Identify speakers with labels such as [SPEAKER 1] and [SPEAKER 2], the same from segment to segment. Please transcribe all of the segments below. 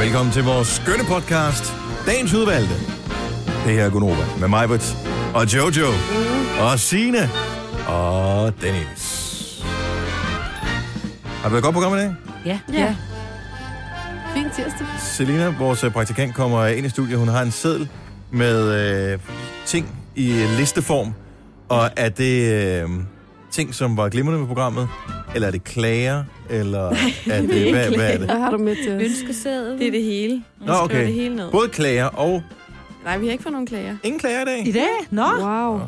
[SPEAKER 1] Velkommen til vores skønne podcast, Dagens Udvalgte. Det her er Gunova med Majbert og Jojo
[SPEAKER 2] Mm.
[SPEAKER 1] og Sine og Dennis. Har det været et godt program i dag?
[SPEAKER 3] Ja.
[SPEAKER 4] Ja. Fin tirsdag.
[SPEAKER 1] Selina, vores øh, praktikant, kommer ind i studiet. Hun har en seddel med øh, ting i øh, listeform. Og er det øh, ting, som var glimrende med programmet? Eller er det klager? Eller er det,
[SPEAKER 2] det er
[SPEAKER 1] hvad, hvad er det?
[SPEAKER 4] Hvad har du med til os?
[SPEAKER 2] Ønskeseddel.
[SPEAKER 3] Det er det hele.
[SPEAKER 1] Nå,
[SPEAKER 2] Skriver det
[SPEAKER 1] okay.
[SPEAKER 2] hele ned.
[SPEAKER 1] Både klager og...
[SPEAKER 2] Nej, vi har ikke fået nogen klager.
[SPEAKER 1] Ingen klager i dag?
[SPEAKER 3] I dag? Nå.
[SPEAKER 4] Wow.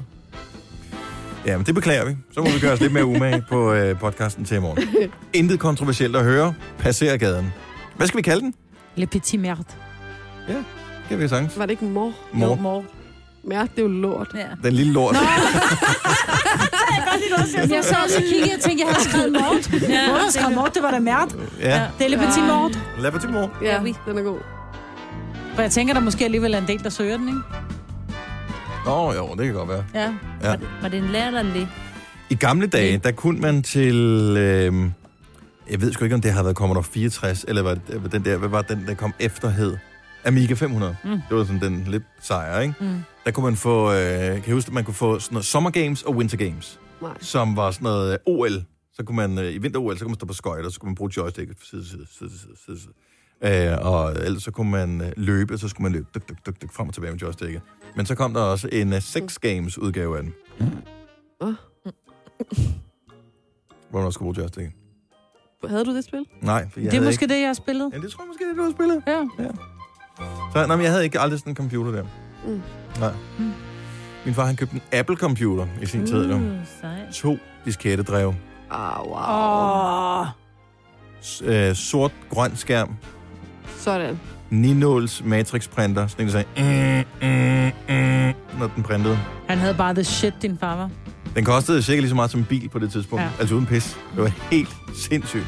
[SPEAKER 1] Ja, men det beklager vi. Så må vi gøre os lidt mere umage på øh, podcasten til i morgen. Intet kontroversielt at høre. Passer gaden. Hvad skal vi kalde den?
[SPEAKER 3] Le petit merde.
[SPEAKER 1] Det Kan vi sagtens?
[SPEAKER 4] Var det ikke mor?
[SPEAKER 3] Jo,
[SPEAKER 1] Mor.
[SPEAKER 3] mor.
[SPEAKER 4] Mærk, det er jo lort.
[SPEAKER 3] Ja.
[SPEAKER 1] Den lille lort.
[SPEAKER 3] Altså, Jeg så også og kiggede og tænkte, jeg havde skrevet mort. Ja, Hvor der skrevet mort, det var da mærd.
[SPEAKER 1] Ja.
[SPEAKER 3] Det er le petit mort.
[SPEAKER 1] Lad mig til mor.
[SPEAKER 4] Ja, den er god.
[SPEAKER 3] For jeg tænker, der måske alligevel er en del, der søger den, ikke?
[SPEAKER 1] Nå, jo, det kan godt være.
[SPEAKER 3] Ja.
[SPEAKER 1] Ja.
[SPEAKER 5] Var det, var det en lærer, der lidt?
[SPEAKER 1] I gamle dage, der kunne man til... Øh, jeg ved sgu ikke, om det har været Commodore 64, eller var det, den der, hvad var den, der kom efter hed? Amiga 500. Mm. Det var sådan den lidt sejere, ikke?
[SPEAKER 3] Mm.
[SPEAKER 1] Der kunne man få, øh, kan jeg huske, at man kunne få sådan noget Summer Games og Winter Games,
[SPEAKER 4] Nej.
[SPEAKER 1] som var sådan noget øh, OL. Så kunne man, øh, i vinter-OL, så kunne man stå på skøjter, så kunne man bruge joystick fra side til side, side til side, side til side. Øh, og ellers så kunne man øh, løbe, så skulle man løbe dyk, dyk, dyk, dyk, frem og tilbage med joysticket. Men så kom der også en øh, Sex Games udgave af den.
[SPEAKER 4] Åh.
[SPEAKER 1] Hvor man også skulle bruge joystick.
[SPEAKER 4] Havde du det spil?
[SPEAKER 1] Nej, for jeg
[SPEAKER 3] Det er
[SPEAKER 1] havde
[SPEAKER 3] måske det, jeg har spillet.
[SPEAKER 1] Ikke... Ja, det tror jeg måske, det er det, du har spillet.
[SPEAKER 3] Ja.
[SPEAKER 1] Så, nej, men jeg havde ikke aldrig sådan en computer der.
[SPEAKER 4] Mm.
[SPEAKER 1] Nej.
[SPEAKER 3] Mm.
[SPEAKER 1] Min far, han købte en Apple-computer i sin tid. Jo.
[SPEAKER 5] sejt.
[SPEAKER 1] To diskettedrev.
[SPEAKER 4] Ah, wow.
[SPEAKER 3] Åh.
[SPEAKER 1] S- øh, sort-grøn skærm.
[SPEAKER 4] Sådan.
[SPEAKER 1] 9-0 matrixprinter. Sådan en, der sagde... Mm, mm, mm, når den printede.
[SPEAKER 3] Han havde bare the shit, din far var.
[SPEAKER 1] Den kostede cirka lige så meget som en bil på det tidspunkt. Ja.
[SPEAKER 3] Ja.
[SPEAKER 1] Altså uden pis. Det var helt sindssygt.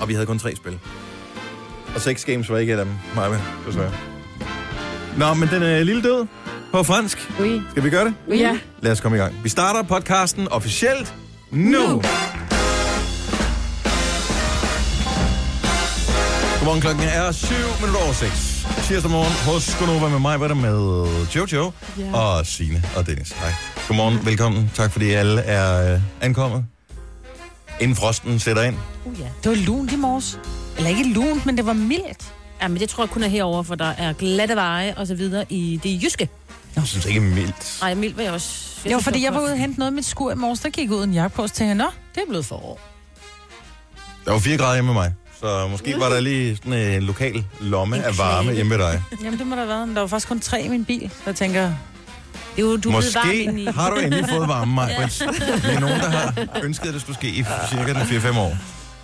[SPEAKER 1] Og vi havde kun tre spil. Og seks games var ikke et af dem. Nej, men desværre. Nå, men den er lille død på fransk.
[SPEAKER 5] Oui.
[SPEAKER 1] Skal vi gøre det?
[SPEAKER 5] Oui.
[SPEAKER 4] Ja.
[SPEAKER 1] Lad os komme i gang. Vi starter podcasten officielt nu. nu.
[SPEAKER 4] Nu.
[SPEAKER 1] Godmorgen, klokken er 7 minutter over 6. Tirsdag morgen hos Gunova med mig, hvad der med Jojo
[SPEAKER 4] Ja.
[SPEAKER 1] og Sine og Dennis. Hej. Godmorgen, velkommen. Tak fordi alle er øh, ankommet. Inden frosten sætter ind.
[SPEAKER 5] Uh, ja.
[SPEAKER 3] Det var lunt i morges. Eller ikke lunt, men det var mildt.
[SPEAKER 5] Jamen, det tror jeg kun er herover, for der er glatte veje og så videre i det jyske.
[SPEAKER 1] Jeg synes ikke mildt.
[SPEAKER 5] Ej, mild var jeg også.
[SPEAKER 3] Det var
[SPEAKER 5] synes,
[SPEAKER 3] fordi,
[SPEAKER 5] det
[SPEAKER 3] jeg var ude og
[SPEAKER 5] koldt.
[SPEAKER 3] hente noget i mit skur i morges, der gik jeg ud i en jakke på, og så tænkte jeg, nå, det er blevet forår.
[SPEAKER 1] Der var 4 grader hjemme med mig. Så måske var der lige sådan øh, en lokal lomme
[SPEAKER 5] En
[SPEAKER 1] af varme
[SPEAKER 5] klage.
[SPEAKER 1] hjemme ved dig.
[SPEAKER 3] Jamen, det må der have været, men der var faktisk kun tre i min bil. Så jeg tænker,
[SPEAKER 5] Det er jo, du er blevet varm indeni.
[SPEAKER 1] Måske har du endelig fået varme, Maja. ja. Det er nogen, der har ønsket, at det skulle ske i cirka den 4-5 år.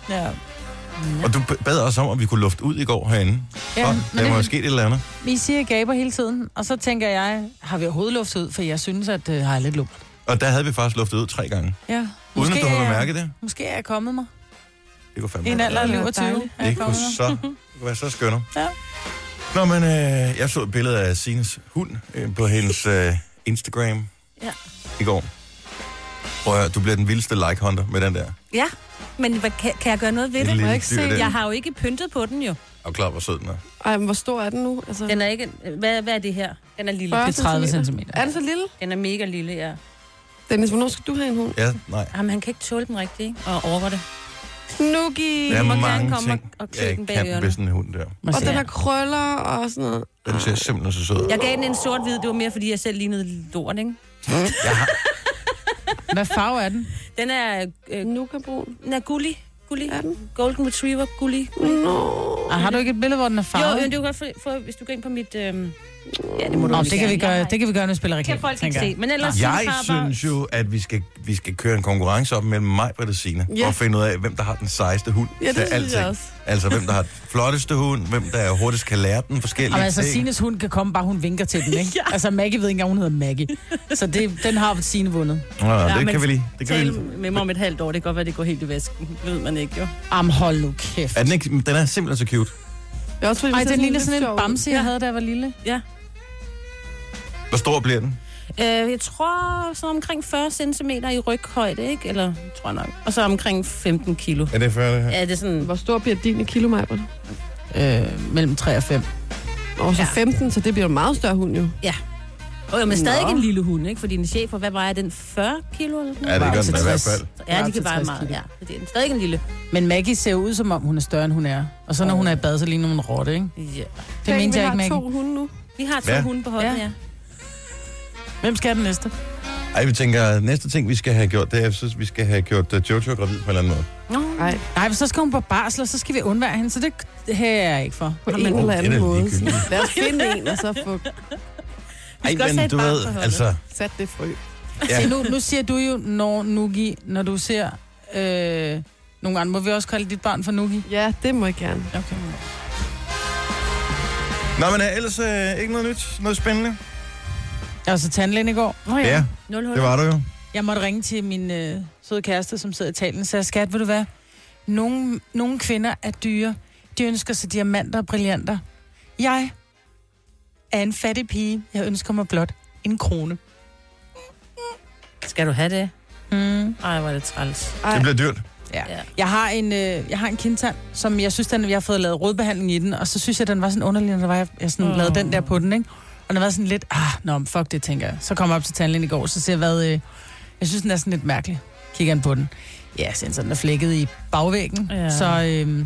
[SPEAKER 3] ja.
[SPEAKER 1] Og du bad også om, at vi kunne lufte ud i går herinde.
[SPEAKER 3] Ja,
[SPEAKER 1] Ja, og
[SPEAKER 3] men
[SPEAKER 1] der
[SPEAKER 3] det-
[SPEAKER 1] må jo ske et eller andet.
[SPEAKER 3] I siger gaber hele tiden, og så tænker jeg, har vi overhovedet luft ud? For jeg synes, at øh, har jeg lidt lumt.
[SPEAKER 1] Og der havde vi faktisk luftet ud tre gange.
[SPEAKER 3] Ja.
[SPEAKER 1] Uden at du
[SPEAKER 3] er
[SPEAKER 1] havde
[SPEAKER 3] jeg-
[SPEAKER 1] mærket det.
[SPEAKER 3] Måske er jeg kommet mig.
[SPEAKER 1] Det kunne
[SPEAKER 3] I
[SPEAKER 1] fandme
[SPEAKER 3] en
[SPEAKER 1] være
[SPEAKER 3] alder af
[SPEAKER 1] dejligt.
[SPEAKER 3] 20. er jeg
[SPEAKER 1] Det kunne
[SPEAKER 3] kommet mig.
[SPEAKER 1] så, det kunne være så skønner.
[SPEAKER 3] Ja.
[SPEAKER 1] Nå, men øh, jeg så et billede af Sines hund øh, på hendes øh, Instagram
[SPEAKER 5] Ja.
[SPEAKER 1] i går. Prøv at høre, du bliver den vildeste like-hunter med den der.
[SPEAKER 5] Ja, men hvad, kan, kan jeg gøre noget ved
[SPEAKER 1] Et
[SPEAKER 5] det?
[SPEAKER 1] lille
[SPEAKER 5] Må jeg ikke
[SPEAKER 1] dyr,
[SPEAKER 5] se?
[SPEAKER 1] den.
[SPEAKER 5] Jeg har jo ikke pyntet på den jo.
[SPEAKER 1] Og klar, hvor sød den er.
[SPEAKER 4] Ej, men hvor stor er den nu? Altså,
[SPEAKER 5] Den er ikke... Hvad, hvad er det her? Den er lille.
[SPEAKER 4] Fyrre
[SPEAKER 3] Det er 30 cm.
[SPEAKER 4] Er den så lille?
[SPEAKER 5] Den er mega lille, ja.
[SPEAKER 4] Dennis, hvornår skal du have en hund?
[SPEAKER 1] Ja, nej.
[SPEAKER 5] Jamen, han kan ikke tåle den rigtigt, ikke? Og over det.
[SPEAKER 4] Nuki!
[SPEAKER 1] Der er
[SPEAKER 5] må gerne
[SPEAKER 1] mange
[SPEAKER 5] komme
[SPEAKER 1] ting,
[SPEAKER 5] og- og klø
[SPEAKER 1] jeg
[SPEAKER 5] den
[SPEAKER 1] ikke
[SPEAKER 5] bag
[SPEAKER 1] kan
[SPEAKER 5] ørerne.
[SPEAKER 1] ved sådan en hund der.
[SPEAKER 4] Og den har krøller og sådan noget.
[SPEAKER 1] Den ser simpelthen så sød ud.
[SPEAKER 5] Ah. Jeg gav den en sort-hvid. Det var mere, fordi jeg selv lignede lort, ikke?
[SPEAKER 3] Hvad farve er den?
[SPEAKER 5] Den er, øh,
[SPEAKER 4] Nuka-brun.
[SPEAKER 5] den er gullig. Gullig.
[SPEAKER 4] Er den?
[SPEAKER 5] Golden Retriever, gullig.
[SPEAKER 4] Nå.
[SPEAKER 3] Og Ah, har du ikke et billede, hvor den er farvet?
[SPEAKER 5] Jo, øh, du kan godt få- få, hvis du går ind på mit... Øh... Ja, det må du
[SPEAKER 3] Nå,
[SPEAKER 5] også
[SPEAKER 3] det kan vi
[SPEAKER 5] gerne. Jeg
[SPEAKER 3] gøre,
[SPEAKER 5] har
[SPEAKER 3] det kan vi gøre, når vi spiller
[SPEAKER 5] kan
[SPEAKER 3] reklame.
[SPEAKER 5] folk ikke
[SPEAKER 3] tænker
[SPEAKER 5] se.
[SPEAKER 3] jeg.
[SPEAKER 5] Men ellers...
[SPEAKER 1] Jeg
[SPEAKER 5] så bare-
[SPEAKER 1] synes jo, at vi skal, vi skal køre en konkurrence op mellem mig og Signe,
[SPEAKER 4] Ja.
[SPEAKER 1] og finde ud af, hvem der har den sejeste hund
[SPEAKER 4] Ja, det
[SPEAKER 1] til
[SPEAKER 4] synes jeg
[SPEAKER 1] alting.
[SPEAKER 4] også.
[SPEAKER 1] Altså, hvem der har den flotteste hund, hvem der hurtigst kan lære den forskellige
[SPEAKER 3] Jamen, altså,
[SPEAKER 1] ting.
[SPEAKER 3] Sines hund kan komme, bare hun vinker til den, ikke? Altså, Maggie ved ikke engang, hun hedder Maggie. Så det, den har Sine vundet.
[SPEAKER 1] Nå, ja, det
[SPEAKER 5] men
[SPEAKER 1] kan vi lige. Det kan vi
[SPEAKER 5] Tal
[SPEAKER 1] lige.
[SPEAKER 5] med mig om et halvt år. Det kan godt være, det går helt i vasken. Det ved man ikke, jo.
[SPEAKER 3] Am, hold nu kæft.
[SPEAKER 1] Er den, ikke, den er simpelthen så cute.
[SPEAKER 4] Jeg er også, fordi,
[SPEAKER 3] Ej,
[SPEAKER 4] hvis jeg
[SPEAKER 3] den
[SPEAKER 4] er
[SPEAKER 3] ligner
[SPEAKER 4] lidt
[SPEAKER 3] sådan en
[SPEAKER 4] sjov.
[SPEAKER 3] bamse, jeg havde, da jeg var lille.
[SPEAKER 5] Ja.
[SPEAKER 1] Hvor stor bliver den?
[SPEAKER 5] Øh, jeg tror sådan omkring 40 cm i ryghøjde, ikke? Eller tror jeg nok. Og så omkring 15 kilo.
[SPEAKER 1] Er det før det her?
[SPEAKER 5] Ja, det er sådan
[SPEAKER 4] Hvor stor bliver din i kilomejbert?
[SPEAKER 3] Øh, mellem 3 og 5.
[SPEAKER 4] Og så
[SPEAKER 5] Ja.
[SPEAKER 4] 15, så det bliver en meget større hund jo.
[SPEAKER 5] Oh, jo, men stadig
[SPEAKER 4] Nå.
[SPEAKER 5] en lille hund, ikke? For dine chefer, hvad vejer den? 40 kilo eller sådan
[SPEAKER 1] Ja, det
[SPEAKER 3] Bare
[SPEAKER 1] gør
[SPEAKER 3] til
[SPEAKER 1] den da i hvert
[SPEAKER 3] 60.
[SPEAKER 1] fald.
[SPEAKER 5] Ja, de
[SPEAKER 3] Op til
[SPEAKER 5] kan veje
[SPEAKER 3] 60
[SPEAKER 5] meget.
[SPEAKER 3] kilo.
[SPEAKER 5] Ja, Så det er stadig en lille.
[SPEAKER 3] Men Maggie ser ud, som om hun er større, end hun er. Og så når hun er i bad, så ligner hun en rotte, ikke?
[SPEAKER 5] Ja.
[SPEAKER 3] Det
[SPEAKER 4] Tænk,
[SPEAKER 3] mente jeg ikke,
[SPEAKER 4] Vi har
[SPEAKER 3] Maggie.
[SPEAKER 4] to hunde nu.
[SPEAKER 5] Vi har to
[SPEAKER 1] Ja.
[SPEAKER 5] ja. hunde på holdet,
[SPEAKER 3] Ja.
[SPEAKER 5] ja. ja.
[SPEAKER 3] Hvem skal have den næste?
[SPEAKER 1] Ej, vi tænker, næste ting, vi skal have gjort, det er, jeg synes, vi skal have gjort øh, Jojo gravid på en eller anden måde.
[SPEAKER 5] Nå,
[SPEAKER 4] Nej,
[SPEAKER 3] Nej, for så skal hun på barsel, og så skal vi undvære hende, så det her er jeg ikke for.
[SPEAKER 4] på
[SPEAKER 5] Nå,
[SPEAKER 4] en
[SPEAKER 5] men-
[SPEAKER 4] eller
[SPEAKER 1] Åh,
[SPEAKER 4] anden
[SPEAKER 1] den er
[SPEAKER 4] måde.
[SPEAKER 1] ligegyldig.
[SPEAKER 4] Lad os finde en, og så få
[SPEAKER 5] skal også have et barn på holdet.
[SPEAKER 1] altså...
[SPEAKER 4] sat det frø.
[SPEAKER 3] Ja.
[SPEAKER 1] Ja.
[SPEAKER 3] Se, nu, nu siger du jo, når Nugi, når du ser øh, nogle andre. Må vi også kalde dit barn for Nugi?
[SPEAKER 4] Ja, det må jeg gerne.
[SPEAKER 3] Okay.
[SPEAKER 1] Nå, men øh, ellers øh, ikke noget nyt, noget spændende.
[SPEAKER 3] Jeg var så tandlægen i går.
[SPEAKER 5] oh,
[SPEAKER 1] Ja,
[SPEAKER 5] Nul
[SPEAKER 1] det
[SPEAKER 5] huller.
[SPEAKER 1] var du jo.
[SPEAKER 3] Jeg måtte ringe til min øh, søde kæreste, som sidder i talen, så jeg skat, vil du være? Nogle, nogle kvinder er dyre. De ønsker sig diamanter og brillanter. Jeg er en fattig pige. Jeg ønsker mig blot en krone.
[SPEAKER 5] Skal du have det?
[SPEAKER 3] Mm.
[SPEAKER 5] Ej, hvor er det træls.
[SPEAKER 1] Det bliver dyrt.
[SPEAKER 5] Ja.
[SPEAKER 3] Jeg har en, øh, jeg har en kindtand, som jeg synes, den, jeg har fået lavet rodbehandling i den, og så synes jeg, den var sådan underlig, når der var, jeg, jeg sådan,
[SPEAKER 5] Åh.
[SPEAKER 3] lavede den der på den, ikke? Og den var sådan lidt, ah, nå, men fuck det, tænker jeg. Så kom jeg op til tandlægen i går, så siger jeg, hvad, øh, jeg synes, den er sådan lidt mærkelig. Kigger han på den. Ja, sådan, så den er flækket i bagvæggen. Ja.
[SPEAKER 5] Ja.
[SPEAKER 3] Så øh,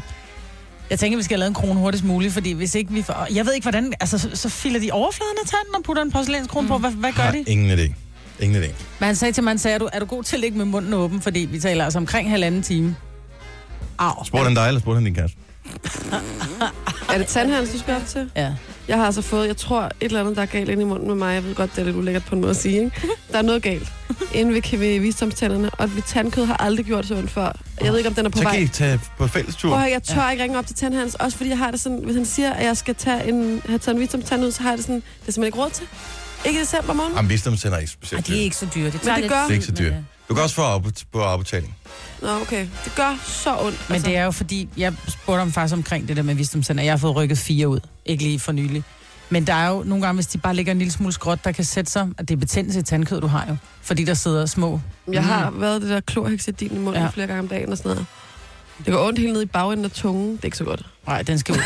[SPEAKER 3] jeg tænker, vi skal have lavet en krone hurtigst muligt, fordi hvis ikke vi får... og Jeg ved ikke, hvordan... Altså, så, så filer de overfladen af tanden og putter en porcelænskrone mm. på. Hvad, hvad gør
[SPEAKER 1] Har
[SPEAKER 3] de?
[SPEAKER 1] ingen idé. Ingen idé.
[SPEAKER 3] Men han sagde til mig, han sagde, er du, er du god til at ligge med munden åben? Fordi vi taler altså omkring halvanden time. Au.
[SPEAKER 1] Spurgte han dig, eller spurgte han din kæreste?
[SPEAKER 4] Er det tandhals, du skal op til?
[SPEAKER 3] Ja.
[SPEAKER 4] Jeg har altså fået, jeg tror, et eller andet, der er galt inde i munden med mig. Jeg ved godt, det er lidt ulækkert på en måde at sige, ikke? Der er noget galt inde ved, ved visdomstænderne, og mit tandkød har aldrig gjort så ondt før. Jeg ved ikke, om den er på
[SPEAKER 1] Så kan
[SPEAKER 4] vej.
[SPEAKER 1] I tage på fællestur.
[SPEAKER 4] Prøv at høre, jeg tør ikke ringe op til tandhans, også fordi jeg har det sådan, hvis han siger, at jeg skal tage en, have taget en visdomstand ud, så har jeg det sådan, det er simpelthen ikke råd til. Ikke i december måned.
[SPEAKER 1] Jamen, visdomstænder er ikke
[SPEAKER 5] Ej,
[SPEAKER 1] specielt
[SPEAKER 5] de er
[SPEAKER 1] dyrt.
[SPEAKER 5] ikke så dyre. Det,
[SPEAKER 4] det gør-
[SPEAKER 1] Det er ikke så dyrt.
[SPEAKER 5] øh,
[SPEAKER 1] Du kan også få op- på afbetaling.
[SPEAKER 4] Nå, okay. Det gør så ondt. altså.
[SPEAKER 3] Men det er jo fordi, jeg spurgte om faktisk omkring det der med visdomscenter. Jeg har fået rykket fire ud, ikke lige for nylig. Men der er jo nogle gange, hvis de bare ligger en lille smule skråt, der kan sætte sig, at det er betændelse i tandkød, du har jo. Fordi der sidder små.
[SPEAKER 4] Jeg har været det der klorhexidin i munden
[SPEAKER 3] Ja.
[SPEAKER 4] ja. flere gange om dagen og sådan noget. Det går ondt helt ned i bagenden af tungen. Det er ikke så godt.
[SPEAKER 3] Nej, den skal ud.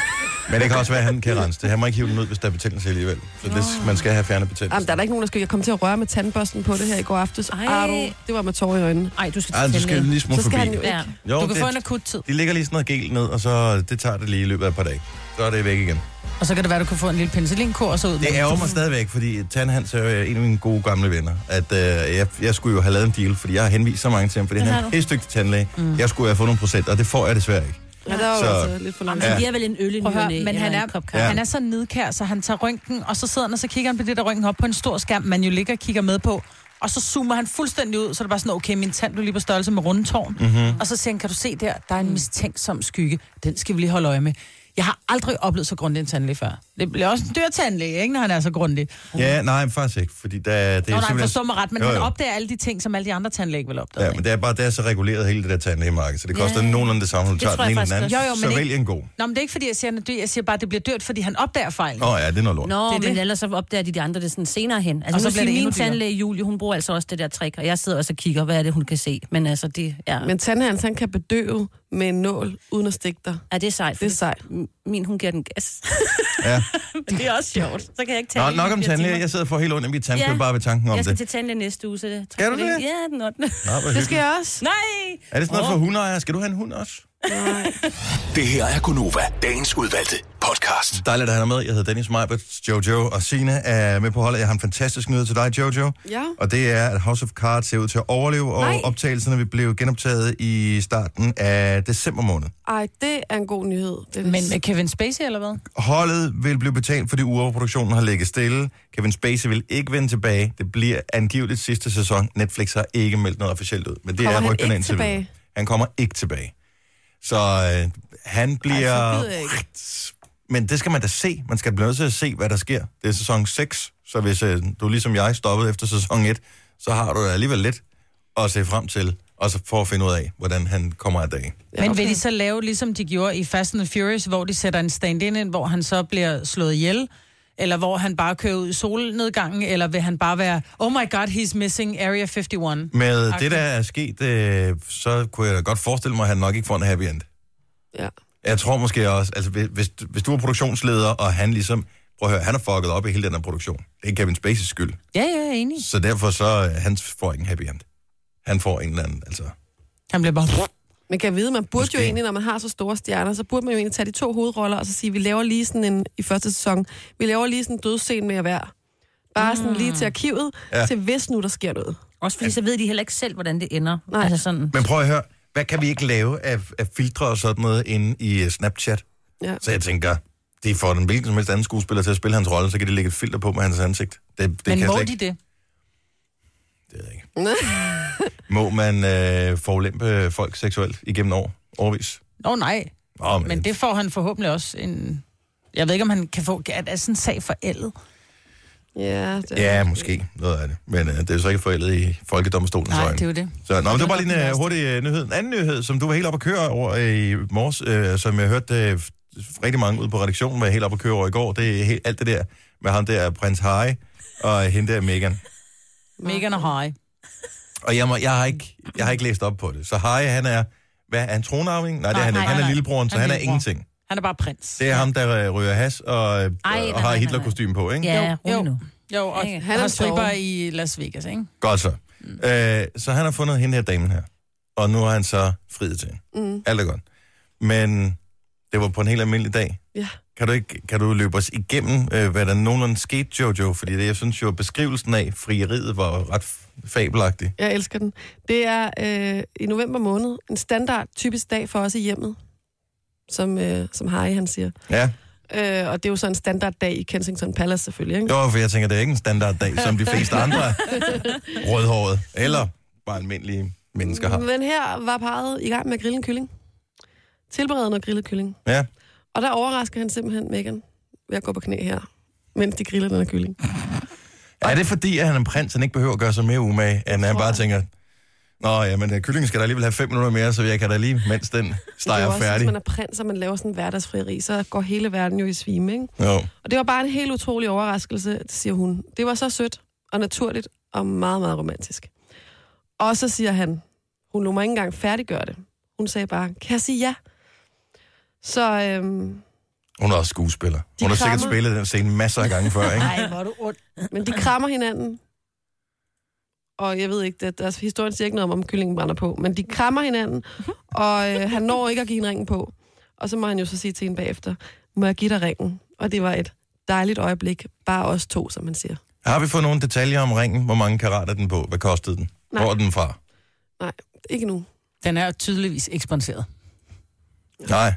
[SPEAKER 1] Men det kan også være, at han kan rense det. Han må ikke hive den ud, hvis der er betændelse alligevel. Så det, man skal have fjernet
[SPEAKER 4] Jamen,
[SPEAKER 1] betændelse.
[SPEAKER 4] der er da ikke nogen, der skal jeg komme til at røre med tandbørsten på det her i går aftes.
[SPEAKER 5] Ej.
[SPEAKER 4] Ej. Det var med tårer i øjnene.
[SPEAKER 5] Ej, du skal
[SPEAKER 1] Ej,
[SPEAKER 5] til
[SPEAKER 1] du skal
[SPEAKER 5] tandlæge.
[SPEAKER 1] lige smule
[SPEAKER 4] Så skal
[SPEAKER 1] forbi.
[SPEAKER 4] han jo
[SPEAKER 5] Ja.
[SPEAKER 4] ikke.
[SPEAKER 1] Jo,
[SPEAKER 3] Du kan
[SPEAKER 1] det,
[SPEAKER 3] få en akut tid.
[SPEAKER 1] de ligger lige sådan noget gel ned, og så det tager det lige i løbet af et par dage. Så er det væk igen.
[SPEAKER 3] Og så kan det være, du kan få en lille penicillinkur og så ud. med den.
[SPEAKER 1] Det ærger mig stadigvæk, fordi Tandhans er jo øh, en af mine gode gamle venner. At øh, jeg, jeg skulle jo have lavet en deal, fordi jeg har henvist så mange til ham, fordi
[SPEAKER 5] Det
[SPEAKER 1] han
[SPEAKER 5] har
[SPEAKER 1] er
[SPEAKER 5] du.
[SPEAKER 1] en dygtig tandlæge. Mm. Jeg skulle have fået nogle procent, og det får jeg desværre ikke.
[SPEAKER 4] Ja, der var
[SPEAKER 1] Så-
[SPEAKER 4] så... altså lidt for langt.
[SPEAKER 5] Ja.
[SPEAKER 1] Ja.
[SPEAKER 5] Det er vel en øl i
[SPEAKER 3] Prøv at høre,
[SPEAKER 5] nyerne,
[SPEAKER 3] men han
[SPEAKER 5] eller
[SPEAKER 3] er,
[SPEAKER 5] en kop kaffe.
[SPEAKER 3] ja. han er så nidkær, så han tager røntgen, og så sidder han, og så kigger han på det der røntgen op på en stor skærm, man jo ligger og kigger med på. Og så zoomer han fuldstændig ud, så er det bare sådan, okay, min tand blev lige på størrelse med rundetårn. Mm-hmm. Og så siger han, kan du se der, der er
[SPEAKER 5] Mm.
[SPEAKER 3] en mistænksom skygge. Den skal vi lige holde øje med. Jeg har aldrig oplevet så grundig en tandlæge før. Det bliver også en dyr tandlæge, ikke, når han er så grundig.
[SPEAKER 1] Ja, nej, men faktisk ikke, fordi der, det
[SPEAKER 3] Nå,
[SPEAKER 1] er
[SPEAKER 3] nej, forstår mig ret, men jo, jo. han
[SPEAKER 1] jo.
[SPEAKER 3] opdager alle de ting, som alle de andre tandlæge ikke vil opdage.
[SPEAKER 1] Ja, men det er bare, det er så reguleret hele det der tandlægemarked, så det koster
[SPEAKER 5] Ja.
[SPEAKER 1] nogenlunde det samme, når du
[SPEAKER 5] Det
[SPEAKER 1] tager
[SPEAKER 5] tror
[SPEAKER 1] den ene
[SPEAKER 5] jeg
[SPEAKER 1] eller
[SPEAKER 5] faktisk
[SPEAKER 1] den anden.
[SPEAKER 3] også. Jo, jo,
[SPEAKER 1] så
[SPEAKER 3] men
[SPEAKER 1] vælg en god.
[SPEAKER 3] Nå, men det er ikke, fordi jeg siger, at han er dyr. Jeg siger bare, at det bliver dyrt, fordi han opdager fejl.
[SPEAKER 1] Nå ja, det er noget lort.
[SPEAKER 5] Nå,
[SPEAKER 3] Det er
[SPEAKER 5] det men
[SPEAKER 3] det.
[SPEAKER 5] ellers så opdager de de andre det sådan senere hen. Altså,
[SPEAKER 3] Og
[SPEAKER 5] og
[SPEAKER 3] så
[SPEAKER 5] så
[SPEAKER 3] bliver det
[SPEAKER 5] bliver
[SPEAKER 3] endnu
[SPEAKER 5] min
[SPEAKER 3] dyrere.
[SPEAKER 5] tandlæge, Julie, hun bruger altså også det der trick, og jeg sidder også og kigger, hvad er det, hun kan se. Men altså, det er, men,
[SPEAKER 4] Men tandhans, han kan bedøve med en nål, uden at stikke dig.
[SPEAKER 5] er det sejt.
[SPEAKER 4] Det er sejt.
[SPEAKER 5] fordi Min, hun giver den gas.
[SPEAKER 1] Ja.
[SPEAKER 5] men det er også sjovt. Så kan jeg ikke
[SPEAKER 1] Nå,
[SPEAKER 5] tale. i
[SPEAKER 1] nok om
[SPEAKER 5] fire
[SPEAKER 1] tandlæge.
[SPEAKER 5] timer.
[SPEAKER 1] Jeg sidder for helt ondt i mit tandkød
[SPEAKER 5] Ja.
[SPEAKER 1] bare ved tanken om
[SPEAKER 5] Jeg skal
[SPEAKER 1] det.
[SPEAKER 5] til tandlæge næste uge, så det...
[SPEAKER 1] Skal du det?
[SPEAKER 5] Ja, den 8.
[SPEAKER 1] Nå, hvor
[SPEAKER 4] Det skal
[SPEAKER 1] hyggeligt.
[SPEAKER 4] jeg også.
[SPEAKER 5] Nej!
[SPEAKER 1] Er det sådan noget
[SPEAKER 5] Åh.
[SPEAKER 1] for hundeejere? Skal du have en hund også?
[SPEAKER 6] Det her er Gonova, dagens udvalgte podcast.
[SPEAKER 1] Dejligt at have dig med. Jeg hedder Dennis Meibert, Jojo og Sina er med på holdet. Jeg har en fantastisk nyhed til dig, Jojo.
[SPEAKER 4] Ja.
[SPEAKER 1] Og det er, at House of Cards ser ud til at overleve, og
[SPEAKER 4] Nej.
[SPEAKER 1] optagelserne vil blive genoptaget i starten af december måned.
[SPEAKER 4] Ej, det er en god nyhed. Det er
[SPEAKER 3] Men med Kevin Spacey, eller hvad?
[SPEAKER 1] Holdet vil blive betalt for de uger, hvor produktionen har ligget stille. Kevin Spacey vil ikke vende tilbage. Det bliver angiveligt sidste sæson. Netflix har ikke meldt noget officielt ud, men det
[SPEAKER 4] Kommer
[SPEAKER 1] er
[SPEAKER 4] han
[SPEAKER 1] rygterne
[SPEAKER 4] ikke
[SPEAKER 1] indtil videre.
[SPEAKER 4] tilbage?
[SPEAKER 1] Han kommer ikke tilbage. Så øh, han bliver...
[SPEAKER 4] så gider jeg ikke.
[SPEAKER 1] Men det skal man da se. Man skal blive nødt til at se, hvad der sker. Det er sæson 6, så hvis øh, du ligesom jeg stoppede efter sæson 1, så har du da alligevel lidt at se frem til, og så for at finde ud af, hvordan han kommer af dagen.
[SPEAKER 4] Ja,
[SPEAKER 3] Men vil
[SPEAKER 4] okay.
[SPEAKER 3] de så lave, ligesom de gjorde i Fast and the Furious, hvor de sætter en stand-in ind, hvor han så bliver slået ihjel, Eller hvor han bare kører ud i solnedgangen, eller vil han bare være, oh my god, he's missing Area 51.
[SPEAKER 1] Med okay. det, der er sket, øh, så kunne jeg da godt forestille mig, at han nok ikke får en happy end.
[SPEAKER 4] Ja.
[SPEAKER 1] Jeg tror måske også, altså hvis- hvis, hvis du er produktionsleder, og han ligesom, prøv at høre, han har fucket op i hele den her produktion. Det er Kevin Spacey's skyld.
[SPEAKER 3] Ja, ja, jeg er enig.
[SPEAKER 1] Så derfor så, øh, han får ikke en happy end. Han får en eller anden, altså...
[SPEAKER 3] Han bliver bare...
[SPEAKER 4] Man kan vide, man burde Måske. jo
[SPEAKER 1] Måske.
[SPEAKER 4] egentlig, når man har så store stjerner, så burde man jo egentlig tage de to hovedroller, og så sige, vi laver lige sådan en, i første sæson, vi laver lige sådan en dødsscene med hver. Bare sådan lige til arkivet,
[SPEAKER 1] Mm. Ja.
[SPEAKER 4] ja. til hvis nu der sker noget.
[SPEAKER 5] Også fordi så ved de heller ikke selv, hvordan det ender.
[SPEAKER 4] Nej.
[SPEAKER 5] Altså sådan.
[SPEAKER 1] Men prøv at høre, hvad kan vi ikke lave af, af filtre og sådan noget inde i øh, Snapchat?
[SPEAKER 4] Ja.
[SPEAKER 1] Så jeg tænker, de får den hvilken som helst anden skuespiller til at spille hans rolle, så kan de lægge et filter på med hans ansigt. Det, det
[SPEAKER 3] Men
[SPEAKER 1] kan jeg
[SPEAKER 3] må
[SPEAKER 1] slet
[SPEAKER 3] de
[SPEAKER 1] ikke.
[SPEAKER 3] det?
[SPEAKER 1] Det ved jeg ikke. Må man øh, forulempe folk seksuelt igennem år? Overvis?
[SPEAKER 3] Nå nej,
[SPEAKER 1] Nå, men,
[SPEAKER 3] men det får han forhåbentlig også en... Jeg ved ikke, om han kan få... Er, er sådan en sag forældet?
[SPEAKER 4] Ja, det er
[SPEAKER 1] Ja, måske. Noget af det. Men øh, det er jo så ikke forældet i folkedomstolens
[SPEAKER 3] Nej,
[SPEAKER 1] øjne.
[SPEAKER 3] det er jo det.
[SPEAKER 1] Så, nå, men det var bare lige
[SPEAKER 3] Det
[SPEAKER 1] en øh,
[SPEAKER 3] er nok den
[SPEAKER 1] hurtig øh, nyhed. En anden nyhed, som du var helt op at køre over øh, i morges, øh, som jeg hørte øh, f- rigtig mange ude på redaktionen var helt op at køre over i går, det er helt, alt det der med ham der, prins Harry, og hende der Meghan.
[SPEAKER 3] Megan og Harry.
[SPEAKER 1] Og jeg, må, jeg, har ikke, jeg har ikke læst op på det. Så Harry, han er, hvad, er han tronarving? Nej, det er
[SPEAKER 3] Nej,
[SPEAKER 1] han
[SPEAKER 3] nej,
[SPEAKER 1] ikke. Han er
[SPEAKER 3] nej, nej.
[SPEAKER 1] lillebroren, så
[SPEAKER 3] Han er
[SPEAKER 1] han er
[SPEAKER 3] lillebror.
[SPEAKER 1] ingenting.
[SPEAKER 3] Han er bare prins.
[SPEAKER 1] Det er ham, der øh, ryger has og, øh,
[SPEAKER 5] Ej, nej,
[SPEAKER 1] og har
[SPEAKER 5] nej, nej,
[SPEAKER 1] hitler kostume på, ikke?
[SPEAKER 5] Ja,
[SPEAKER 3] Jo,
[SPEAKER 5] rolig
[SPEAKER 3] jo.
[SPEAKER 5] nu.
[SPEAKER 3] Jo, og
[SPEAKER 5] Ikke?
[SPEAKER 3] han
[SPEAKER 4] Han er
[SPEAKER 3] har
[SPEAKER 4] en
[SPEAKER 3] stripper
[SPEAKER 4] torve.
[SPEAKER 3] i Las Vegas, ikke?
[SPEAKER 1] Godt så. Øh, så han har fundet hende her damen her. Og nu har han så friet til hende.
[SPEAKER 4] Mm.
[SPEAKER 1] Alt er godt. Men det var på en helt almindelig dag.
[SPEAKER 4] Ja.
[SPEAKER 1] Kan du, ikke, kan du løbe os igennem, øh, hvad der nogenlunde skete, Jojo? Fordi det, jeg synes jo, beskrivelsen af frieriet var jo ret f- fabelagtig.
[SPEAKER 4] Jeg elsker den. Det er øh, i november måned en standard typisk dag for os i hjemmet, som, øh, som Harry han siger.
[SPEAKER 1] Ja,
[SPEAKER 4] Øh, og det er jo så en standard dag i Kensington Palace selvfølgelig, ikke?
[SPEAKER 1] jo, for jeg tænker, det er ikke en standarddag, som de fleste andre rødhårede, eller bare almindelige mennesker har.
[SPEAKER 4] Men her var parret i gang med at grille en kylling. Tilberede noget grillet kylling.
[SPEAKER 1] Ja,
[SPEAKER 4] Og der overrasker han simpelthen Megan ved at gå på knæ her, mens de griller den her kylling.
[SPEAKER 1] Er det fordi, at han er en prins, han ikke behøver at gøre sig mere umage, end han bare tænker, Nå ja, men øh, kyllingen skal da alligevel have fem minutter mere, så jeg kan da lige, mens den
[SPEAKER 4] det er jo
[SPEAKER 1] steger
[SPEAKER 4] også, hvis
[SPEAKER 1] færdig.
[SPEAKER 4] man er prins, og man laver sådan en hverdagsfrieri, så går hele verden jo i svime, ikke?
[SPEAKER 1] Jo.
[SPEAKER 4] Og det var bare en helt utrolig overraskelse, siger hun. Det var så sødt og naturligt og meget, meget romantisk. Og så siger han, hun lå mig ikke engang færdiggøre det. Hun sagde bare, kan jeg sige ja? Så øhm,
[SPEAKER 1] Hun er også skuespiller.
[SPEAKER 4] De
[SPEAKER 1] Hun har sikkert
[SPEAKER 4] krammer.
[SPEAKER 1] spillet den scene masser af gange før, ikke?
[SPEAKER 3] Nej, hvor er du ondt.
[SPEAKER 4] Men de krammer hinanden. Og jeg ved ikke, det, deres historien siger ikke noget om, om kyllingen brænder på. Men de krammer hinanden, og øh, han når ikke at give hende ringen på. Og så må han jo så sige til hende bagefter, må jeg give dig ringen? Og det var et dejligt øjeblik, bare os to, som man siger.
[SPEAKER 1] Har vi fået nogle detaljer om ringen? Hvor mange karat er den på? Hvad kostede den?
[SPEAKER 4] Nej.
[SPEAKER 1] Hvor er den fra?
[SPEAKER 4] Ikke nu.
[SPEAKER 3] Den er jo tydeligvis eksponseret.
[SPEAKER 1] Nej.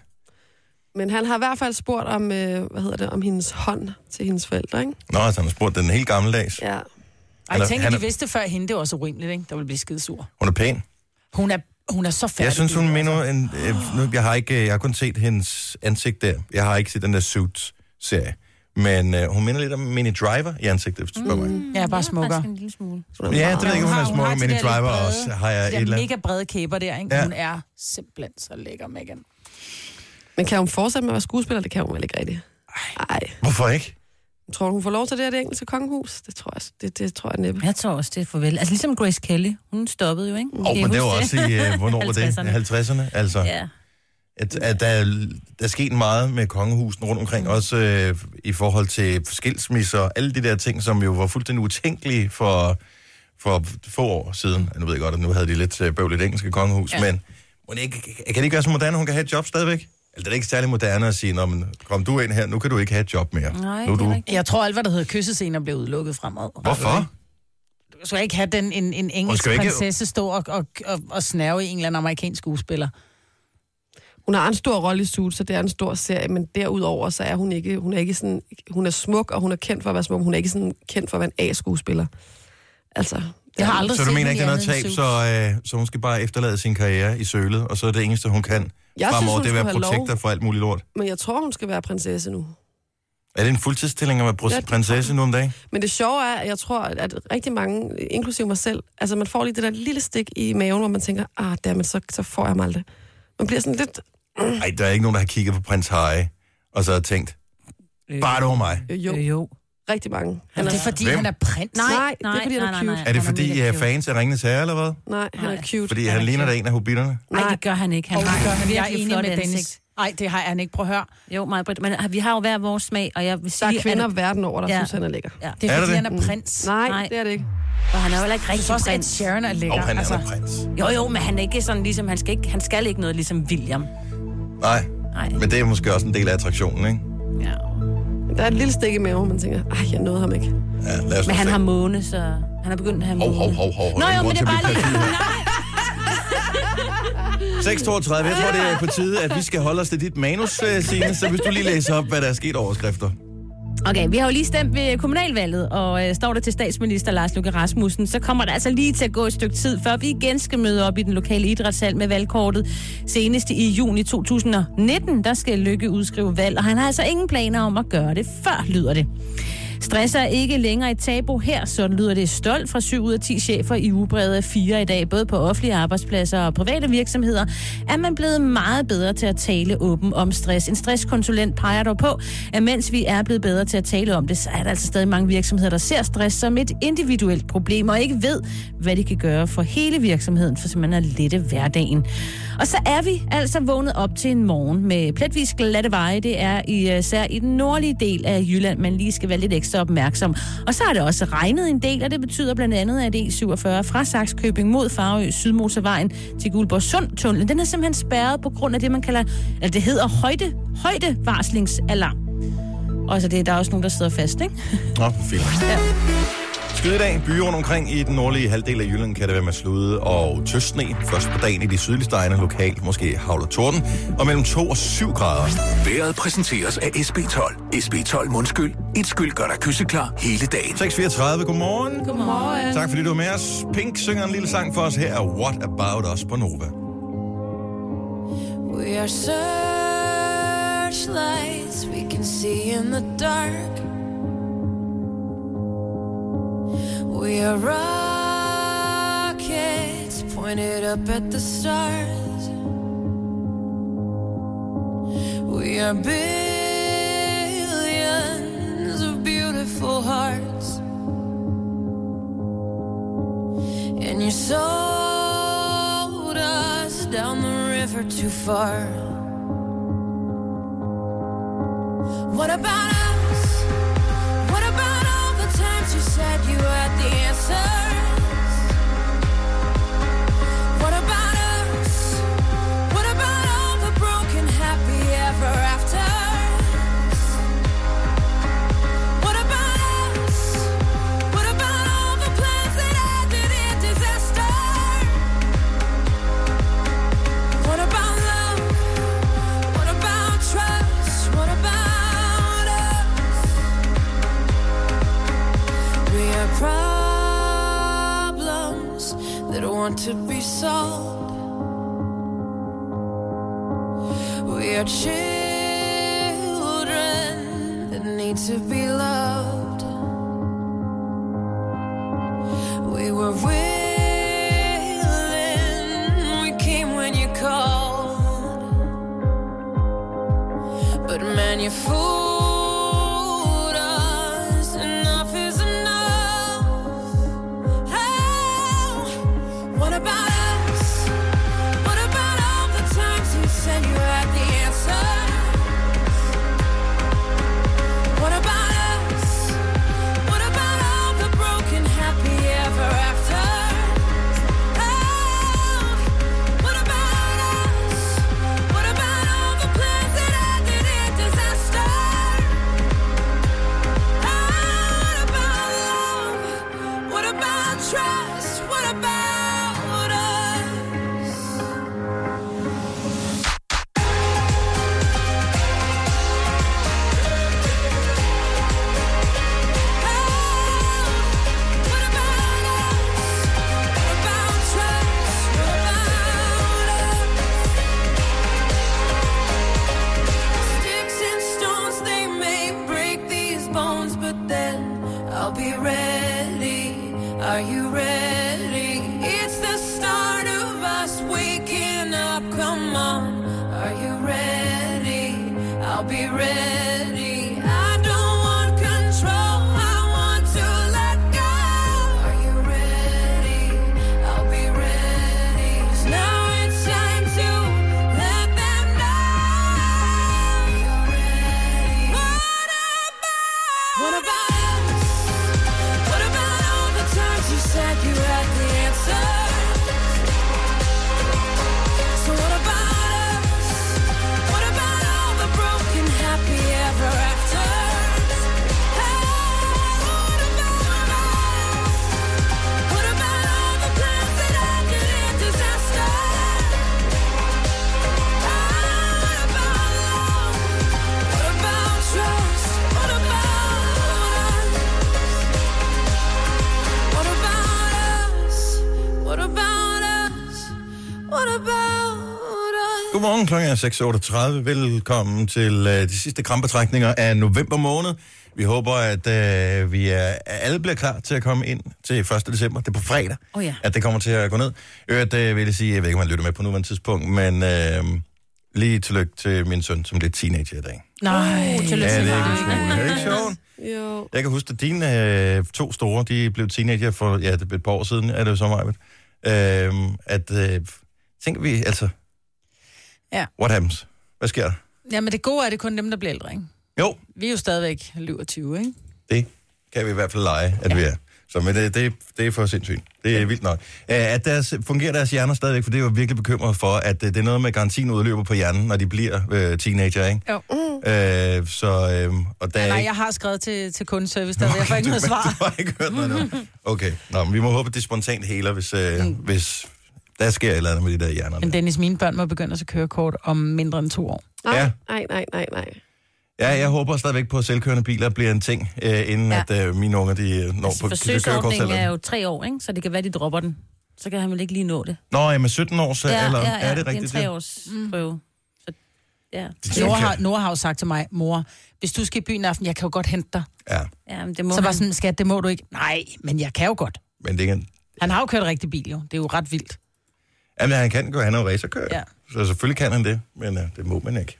[SPEAKER 4] Men han har i hvert fald spurgt om, øh, hvad hedder det, om hendes hånd til hendes forældre, ikke?
[SPEAKER 1] Nå, altså, han har spurgt den er helt gammeldags.
[SPEAKER 4] Ja.
[SPEAKER 3] Og
[SPEAKER 1] Han er-
[SPEAKER 3] jeg tænker,
[SPEAKER 1] han er-
[SPEAKER 3] de vidste før hende, det var også urimeligt, ikke? Der ville blive skide sur.
[SPEAKER 1] Hun er pæn.
[SPEAKER 3] Hun er, hun er så færdig.
[SPEAKER 1] Jeg synes, hun minder...
[SPEAKER 4] altså.
[SPEAKER 1] En, øh, nu, jeg, har ikke, øh, jeg har kun set hendes ansigt der. Jeg har ikke set den der Suits-serie. Men øh, hun minder lidt om Mini Driver i ansigtet, hvis du spørger mig.
[SPEAKER 4] Mm.
[SPEAKER 3] Ja, bare smukkere.
[SPEAKER 5] en lille smule.
[SPEAKER 1] Ja, det ved jeg ikke, om
[SPEAKER 3] Hun
[SPEAKER 1] hun
[SPEAKER 3] har-
[SPEAKER 1] er
[SPEAKER 3] hun
[SPEAKER 1] smuk,
[SPEAKER 3] har de
[SPEAKER 1] Mini
[SPEAKER 3] der lidt
[SPEAKER 1] Driver
[SPEAKER 3] brede-
[SPEAKER 1] også har jeg
[SPEAKER 3] De
[SPEAKER 1] et eller
[SPEAKER 3] der
[SPEAKER 1] andet.
[SPEAKER 3] mega brede kæber der, ikke?
[SPEAKER 1] Ja.
[SPEAKER 3] Ja. Hun er simpelthen så lækker, Megan.
[SPEAKER 4] Men kan hun fortsætte med at være skuespiller? Det kan hun vel ikke rigtigt. Nej.
[SPEAKER 1] Hvorfor ikke?
[SPEAKER 4] Tror du, hun får lov til det her det engelske kongehus? Det tror jeg, det, det tror jeg næppe.
[SPEAKER 5] Jeg tror også, det er farvel. Altså ligesom Grace Kelly, hun stoppede jo, ikke?
[SPEAKER 1] Åh, oh, men det var også i, øh, hvornår var det?
[SPEAKER 5] 50'erne.
[SPEAKER 1] 50'erne. Altså,
[SPEAKER 5] Ja.
[SPEAKER 1] at, at der, er- der er sket meget med kongehusene rundt omkring, også øh, i forhold til skilsmisser og alle de der ting, som jo var fuldstændig utænkelige for, for få år siden. Nu ved jeg godt, at nu havde de lidt øh, bøvl i det engelske kongehus, ja. men må det ikke, kan det ikke være så moderne, hun kan have et job stadigvæk? Eller det er da ikke særlig moderne at sige, "Nå, men kom du ind her, nu kan du ikke have et job mere.
[SPEAKER 5] Nej,
[SPEAKER 1] nu
[SPEAKER 5] det
[SPEAKER 1] du...
[SPEAKER 5] er rigtigt.
[SPEAKER 3] Jeg tror, alt, hvad der hedder kyssescener, bliver udelukket fremad.
[SPEAKER 1] Hvorfor?
[SPEAKER 3] Du skal ikke have den, en, en
[SPEAKER 1] Hun
[SPEAKER 3] engelsk
[SPEAKER 1] skal jo ikke-
[SPEAKER 3] prinsesse stå og, og, og, og snæve i en eller anden amerikansk skuespiller.
[SPEAKER 4] Hun har en stor rolle i Suits, så det er en stor serie, men derudover så er hun ikke, hun er ikke sådan, hun er smuk, og hun er kendt for at være smuk, men hun er ikke sådan kendt for at være en A-skuespiller. Altså, det
[SPEAKER 3] Jeg har aldrig
[SPEAKER 1] Så
[SPEAKER 3] set
[SPEAKER 1] du mener
[SPEAKER 3] hende
[SPEAKER 1] ikke,
[SPEAKER 3] i
[SPEAKER 1] der er noget
[SPEAKER 3] andet end
[SPEAKER 1] tab, så,
[SPEAKER 3] Suits.
[SPEAKER 1] øh, så hun skal bare efterlade sin karriere i sølet, og så er det eneste, hun kan
[SPEAKER 4] jeg
[SPEAKER 1] fremover,
[SPEAKER 4] hun
[SPEAKER 1] det er at være
[SPEAKER 4] skulle have
[SPEAKER 1] protektor for alt muligt lort.
[SPEAKER 4] Lov, men jeg tror, hun skal være prinsesse nu.
[SPEAKER 1] Er det en fuldtidsstilling at være
[SPEAKER 4] Ja,
[SPEAKER 1] pros-
[SPEAKER 4] det-
[SPEAKER 1] prinsesse nu om dagen?
[SPEAKER 4] Men det sjove er, at jeg tror, at rigtig mange, inklusive mig selv, altså man får lige det der lille stik i maven, hvor man tænker, ah, dammit, så, så får jeg mig aldrig. Man bliver sådan lidt,
[SPEAKER 1] Nej, der er ikke nogen, der har kigget på prins Harry, og så har tænkt,
[SPEAKER 3] Øh,
[SPEAKER 1] Bare det over mig.
[SPEAKER 4] Øh, Jo,
[SPEAKER 3] Jo. jo.
[SPEAKER 4] rigtig mange. Han
[SPEAKER 3] Jamen,
[SPEAKER 4] er,
[SPEAKER 3] det er fordi,
[SPEAKER 1] Hvem?
[SPEAKER 3] Hvem? han er prins.
[SPEAKER 4] Nej, det er, fordi han er cute.
[SPEAKER 1] Er det
[SPEAKER 5] han
[SPEAKER 1] fordi, øh,
[SPEAKER 5] mega
[SPEAKER 1] I er
[SPEAKER 5] cute.
[SPEAKER 1] fans af Ringende Sager, eller hvad?
[SPEAKER 4] nej, han er
[SPEAKER 5] Nej.
[SPEAKER 4] cute.
[SPEAKER 1] Fordi han
[SPEAKER 5] er
[SPEAKER 1] ligner da
[SPEAKER 5] cute.
[SPEAKER 1] en af hobitterne.
[SPEAKER 5] Nej,
[SPEAKER 4] Nej.
[SPEAKER 5] det gør han ikke. Han
[SPEAKER 3] Og det
[SPEAKER 5] har
[SPEAKER 3] gør han. Jeg er
[SPEAKER 5] virkelig
[SPEAKER 3] enig
[SPEAKER 5] flot
[SPEAKER 3] med
[SPEAKER 5] ansigt.
[SPEAKER 3] Dennis. Nej, det har han ikke. Prøv at høre.
[SPEAKER 5] Jo, mig, men ah, vi har jo hver vores smag, og jeg vil
[SPEAKER 4] Der
[SPEAKER 5] sige,
[SPEAKER 4] er kvinder
[SPEAKER 5] at
[SPEAKER 4] verden over, der
[SPEAKER 5] Ja.
[SPEAKER 4] ja. synes, han er lækker.
[SPEAKER 5] ja,
[SPEAKER 3] Det er,
[SPEAKER 1] Er
[SPEAKER 3] er
[SPEAKER 1] der
[SPEAKER 3] fordi,
[SPEAKER 1] det?
[SPEAKER 3] han er prins.
[SPEAKER 4] Nej,
[SPEAKER 5] Nej.
[SPEAKER 4] nej, det er det ikke.
[SPEAKER 5] og han er jo heller ikke
[SPEAKER 3] Jeg synes
[SPEAKER 5] rigtig
[SPEAKER 3] også, at
[SPEAKER 5] prins.
[SPEAKER 3] Sharon er
[SPEAKER 1] Og
[SPEAKER 3] lækker.
[SPEAKER 1] oh, han er altså. prins.
[SPEAKER 5] Jo, jo, men han er ikke sådan ligesom, han skal, ikke, han skal ikke noget ligesom William.
[SPEAKER 1] Nej,
[SPEAKER 5] Nej,
[SPEAKER 1] men det er måske også en del af attraktionen, ikke?
[SPEAKER 5] ja.
[SPEAKER 4] Der er et lille stik i maven, man tænker, ej, jeg nåede ham ikke.
[SPEAKER 1] Ja, lad os
[SPEAKER 5] Men
[SPEAKER 1] nu
[SPEAKER 5] han
[SPEAKER 1] se.
[SPEAKER 5] har måne, så han er begyndt at have
[SPEAKER 1] Hov, hov,
[SPEAKER 5] måne.
[SPEAKER 1] hov, hov.
[SPEAKER 5] Nå jo, men det er bare lige...
[SPEAKER 1] lige... 6.32. Jeg tror, det er på tide, at vi skal holde os til dit manus, øh, Signe. Så hvis du lige læser op, hvad der er sket overskrifter.
[SPEAKER 5] Okay, vi har jo lige stemt ved kommunalvalget, og øh, står der til statsminister Lars Løkke Rasmussen, så kommer der altså lige til at gå et stykke tid, før vi igen skal møde op i den lokale idrætshal med valgkortet. Senest i juni 2019, der skal Løkke udskrive valg, og han har altså ingen planer om at gøre det før, lyder det. Stress er ikke længere et tabu her, sådan lyder det stolt fra 7 ud af 10 chefer i ugebrevet 4 i dag, både på offentlige arbejdspladser og private virksomheder, er man blevet meget bedre til at tale åben om stress. En stresskonsulent peger dog på, at mens vi er blevet bedre til at tale om det, så er der altså stadig mange virksomheder, der ser stress som et individuelt problem og ikke ved, hvad de kan gøre for hele virksomheden, for simpelthen at lette hverdagen. Og så er vi altså vågnet op til en morgen med pletvis glatte veje. Det er i, øh, især i den nordlige del af Jylland, man lige skal være lidt ekstra opmærksom. Og så har det også regnet en del, og det betyder blandt andet, at E47 fra Saxkøbing mod Farø Sydmotorvejen til Guldborg Sundtunnelen, den er simpelthen spærret på grund af det, man kalder, eller det hedder højde, højdevarslingsalarm. Og så det, der er også nogen, der sidder fast, ikke?
[SPEAKER 1] Nå, fint. Skydedag, byer rundt omkring i den nordlige halvdel af Jylland kan det være med slude og tøstsne. Først på dagen i de sydligste egne lokalt, måske havl og torden, og mellem 2 og 7 grader.
[SPEAKER 6] Været præsenteres af SB12. SB12 mundskyld. Et skyld gør dig kysseklar hele dagen.
[SPEAKER 1] 6.34, godmorgen. Godmorgen. Tak fordi du er med os. Pink synger en lille sang for os her, er What About Us på Nova.
[SPEAKER 7] We are searchlights we can see in the dark. We are rockets pointed up at the stars. We are billions of beautiful hearts. And you sold us down the river too far. What about us? What about all the times you said you had the answers? What about us? What about all the broken happy ever afters? What about us? What about all the plans that ended in disaster? What about love? What about trust? What about us? We are problems that want to be solved. We are children that need to be loved. We were willing. We came when you called. But man, you fooled us. Enough is enough. Oh, what about us? What about all the times you said you had the answer? What about us? What about all the broken happy ever after? What about us? What about all the plans that ended in disaster? What about us? What about us?
[SPEAKER 1] Godmorgen, klokken er 6.38. Velkommen til øh, de sidste krampetrækninger af november måned. Vi håber, at øh, vi er, alle bliver klar til at komme ind til 1. december. Det er på fredag,
[SPEAKER 5] Åh ja.
[SPEAKER 1] at det kommer til at gå ned. Øvrigt, øh, vil jeg sige, jeg ved ikke, om man lytter med på nuværende tidspunkt, men øh, lige tillykke til min søn, som bliver teenager i dag.
[SPEAKER 3] Nej.
[SPEAKER 5] Uh, tillykke
[SPEAKER 1] Ja,
[SPEAKER 5] til
[SPEAKER 1] det er ikke sjovt. Er
[SPEAKER 5] dig.
[SPEAKER 1] det ikke sjovt?
[SPEAKER 4] Jo.
[SPEAKER 1] Jeg kan huske, at dine øh, to store, de blev teenager for ja, det- et par år siden, er det jo så meget. Øh, at øh, tænker vi, altså,
[SPEAKER 3] Ja.
[SPEAKER 1] what happens? Hvad sker der?
[SPEAKER 3] Ja, men det gode er, at det er kun dem, der bliver ældre, ikke?
[SPEAKER 1] Jo,
[SPEAKER 3] Vi er jo stadigvæk 27, ikke?
[SPEAKER 1] Det kan vi i hvert fald lege, at ja. vi er. Så men det, det, det er for sindssygt. Det er vildt nok. Æ, At deres, fungerer deres hjerner stadigvæk, for det er jeg jo virkelig bekymret for, at øh, det er noget med garantien udløber på hjernen, når de bliver øh, teenager, ikke?
[SPEAKER 3] Jo.
[SPEAKER 1] Øh, så, øh, og der er
[SPEAKER 3] Mm. Nej,
[SPEAKER 1] ikke...
[SPEAKER 3] jeg har skrevet til, til kundeservice, der er derfor ikke noget
[SPEAKER 1] Du-
[SPEAKER 3] svar.
[SPEAKER 1] Du har ikke hørt noget nu. Okay, Nå, men vi må håbe, at det spontant heler, hvis, øh, mm. hvis der sker et eller andet med de der hjerner.
[SPEAKER 3] Men Dennis, mine børn må begynde at tage kørekort om mindre end to år.
[SPEAKER 4] Nej,
[SPEAKER 1] Ja.
[SPEAKER 4] ja. nej, nej, nej, nej.
[SPEAKER 1] Ja, jeg håber stadigvæk på, at selvkørende biler bliver en ting, øh, inden ja.
[SPEAKER 5] Ja.
[SPEAKER 1] at øh, mine unger de, øh, når
[SPEAKER 5] Altså,
[SPEAKER 1] på
[SPEAKER 5] forsøgsordningen
[SPEAKER 1] kørekortsalderen.
[SPEAKER 5] er jo tre år, ikke? så det kan være, de dropper den. Så kan han vel ikke lige nå det.
[SPEAKER 1] Nå, jamen 17 års ja, alder, ja, ja, er det
[SPEAKER 5] det er en
[SPEAKER 1] rigtigt? det?
[SPEAKER 5] treårs prøve. Så, ja.
[SPEAKER 1] Det
[SPEAKER 3] Nora
[SPEAKER 1] tænker
[SPEAKER 3] har,
[SPEAKER 1] jeg.
[SPEAKER 3] Nora har jo sagt til mig, mor, hvis du skal i byen i aften, jeg kan jo godt hente dig.
[SPEAKER 1] Ja,
[SPEAKER 5] ja men det må
[SPEAKER 3] Så var
[SPEAKER 5] han.
[SPEAKER 3] sådan, skat, det må du ikke. Nej, men jeg kan jo godt.
[SPEAKER 1] men det kan,
[SPEAKER 3] Han har jo kørt rigtig bil, jo. Det er jo ret vildt.
[SPEAKER 1] jamen, han kan gå, han er jo racerkører. Ja.
[SPEAKER 3] Ja.
[SPEAKER 1] Så selvfølgelig kan han det, men uh, det må man ikke.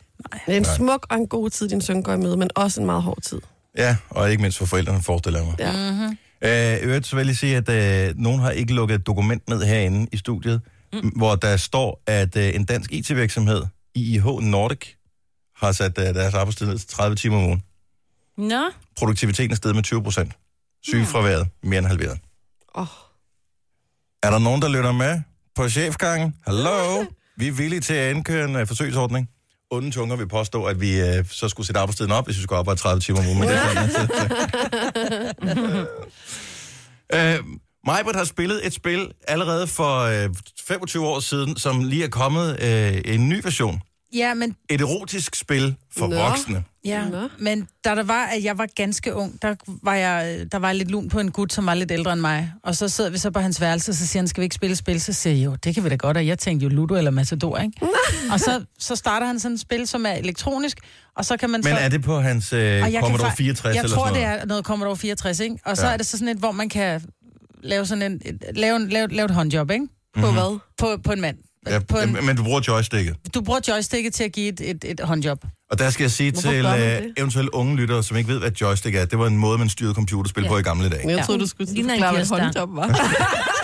[SPEAKER 4] Det er en
[SPEAKER 1] Nej.
[SPEAKER 4] smuk og en god tid, din søn går i møde, men også en meget hård tid.
[SPEAKER 1] Ja, og ikke mindst for forældrene, forestiller jeg mig.
[SPEAKER 4] Ja.
[SPEAKER 5] Mm.
[SPEAKER 1] Øh, I øvrigt så vil jeg lige sige, at øh, nogen har ikke lukket et dokument ned herinde i studiet, mm. hvor der står, at øh, en dansk IT-virksomhed, IIH Nordic, har sat øh, deres arbejdstid ned til 30 timer om ugen.
[SPEAKER 5] Nå,
[SPEAKER 1] Produktiviteten er steget med 20 procent. Sygefraværet mere end halveret.
[SPEAKER 4] Oh.
[SPEAKER 1] Er der nogen, der lytter med på chefgangen? Hallo? Vi er villige til at indkøre en øh, forsøgsordning. Onde tunger vil påstå, at vi øh, så skulle sætte arbejdstiden op, hvis vi skulle arbejde 30 timer om ugen. Men det er sådan, øh, Majbert har spillet et spil allerede for øh, 25 år siden, som lige er kommet øh, en ny version.
[SPEAKER 3] Ja, men,
[SPEAKER 1] Et erotisk spil for Nå.
[SPEAKER 4] Nå.
[SPEAKER 1] voksne.
[SPEAKER 3] ja.
[SPEAKER 4] Nå.
[SPEAKER 3] men da der var, at jeg var ganske ung, der var jeg, der var jeg lidt lun på en gut, som var lidt ældre end mig. Og så sidder vi så på hans værelse, og så siger han, skal vi ikke spille et spil? Så siger jeg, jo, det kan vi da godt, og jeg tænkte jo Ludo eller Matador, ikke? og så, så starter han sådan et spil, som er elektronisk, og så kan man
[SPEAKER 1] Men
[SPEAKER 3] så...
[SPEAKER 1] er det på hans
[SPEAKER 3] Og
[SPEAKER 1] øh,
[SPEAKER 3] jeg kan
[SPEAKER 1] Commodore
[SPEAKER 3] fa-
[SPEAKER 1] 64
[SPEAKER 3] Jeg
[SPEAKER 1] eller
[SPEAKER 3] tror,
[SPEAKER 1] sådan noget?
[SPEAKER 3] det er noget Commodore 64, ikke? Og så
[SPEAKER 1] Ja.
[SPEAKER 3] ja. er det så sådan et, hvor man kan lave sådan en, et- lave, en- lave, lave et håndjob, ikke?
[SPEAKER 4] På
[SPEAKER 5] Mhm.
[SPEAKER 4] mm-hmm. hvad?
[SPEAKER 3] På, på en mand. På
[SPEAKER 1] Ja,
[SPEAKER 3] en,
[SPEAKER 1] men- men du bruger joysticket.
[SPEAKER 3] du bruger joysticket til at give et, et, et håndjob.
[SPEAKER 1] Og der skal jeg sige
[SPEAKER 4] Hvorfor
[SPEAKER 1] til
[SPEAKER 4] gør man
[SPEAKER 1] øh,
[SPEAKER 4] det?
[SPEAKER 1] eventuelle unge lyttere, som ikke ved, hvad joystick er, det var en måde, man styrede computerspil ja.
[SPEAKER 5] Ja.
[SPEAKER 1] på i gamle dage.
[SPEAKER 5] Ja.
[SPEAKER 4] Jeg troede, du skulle
[SPEAKER 5] Ligner en
[SPEAKER 4] forklare, hvad et
[SPEAKER 5] kirsebær.
[SPEAKER 4] håndjob var.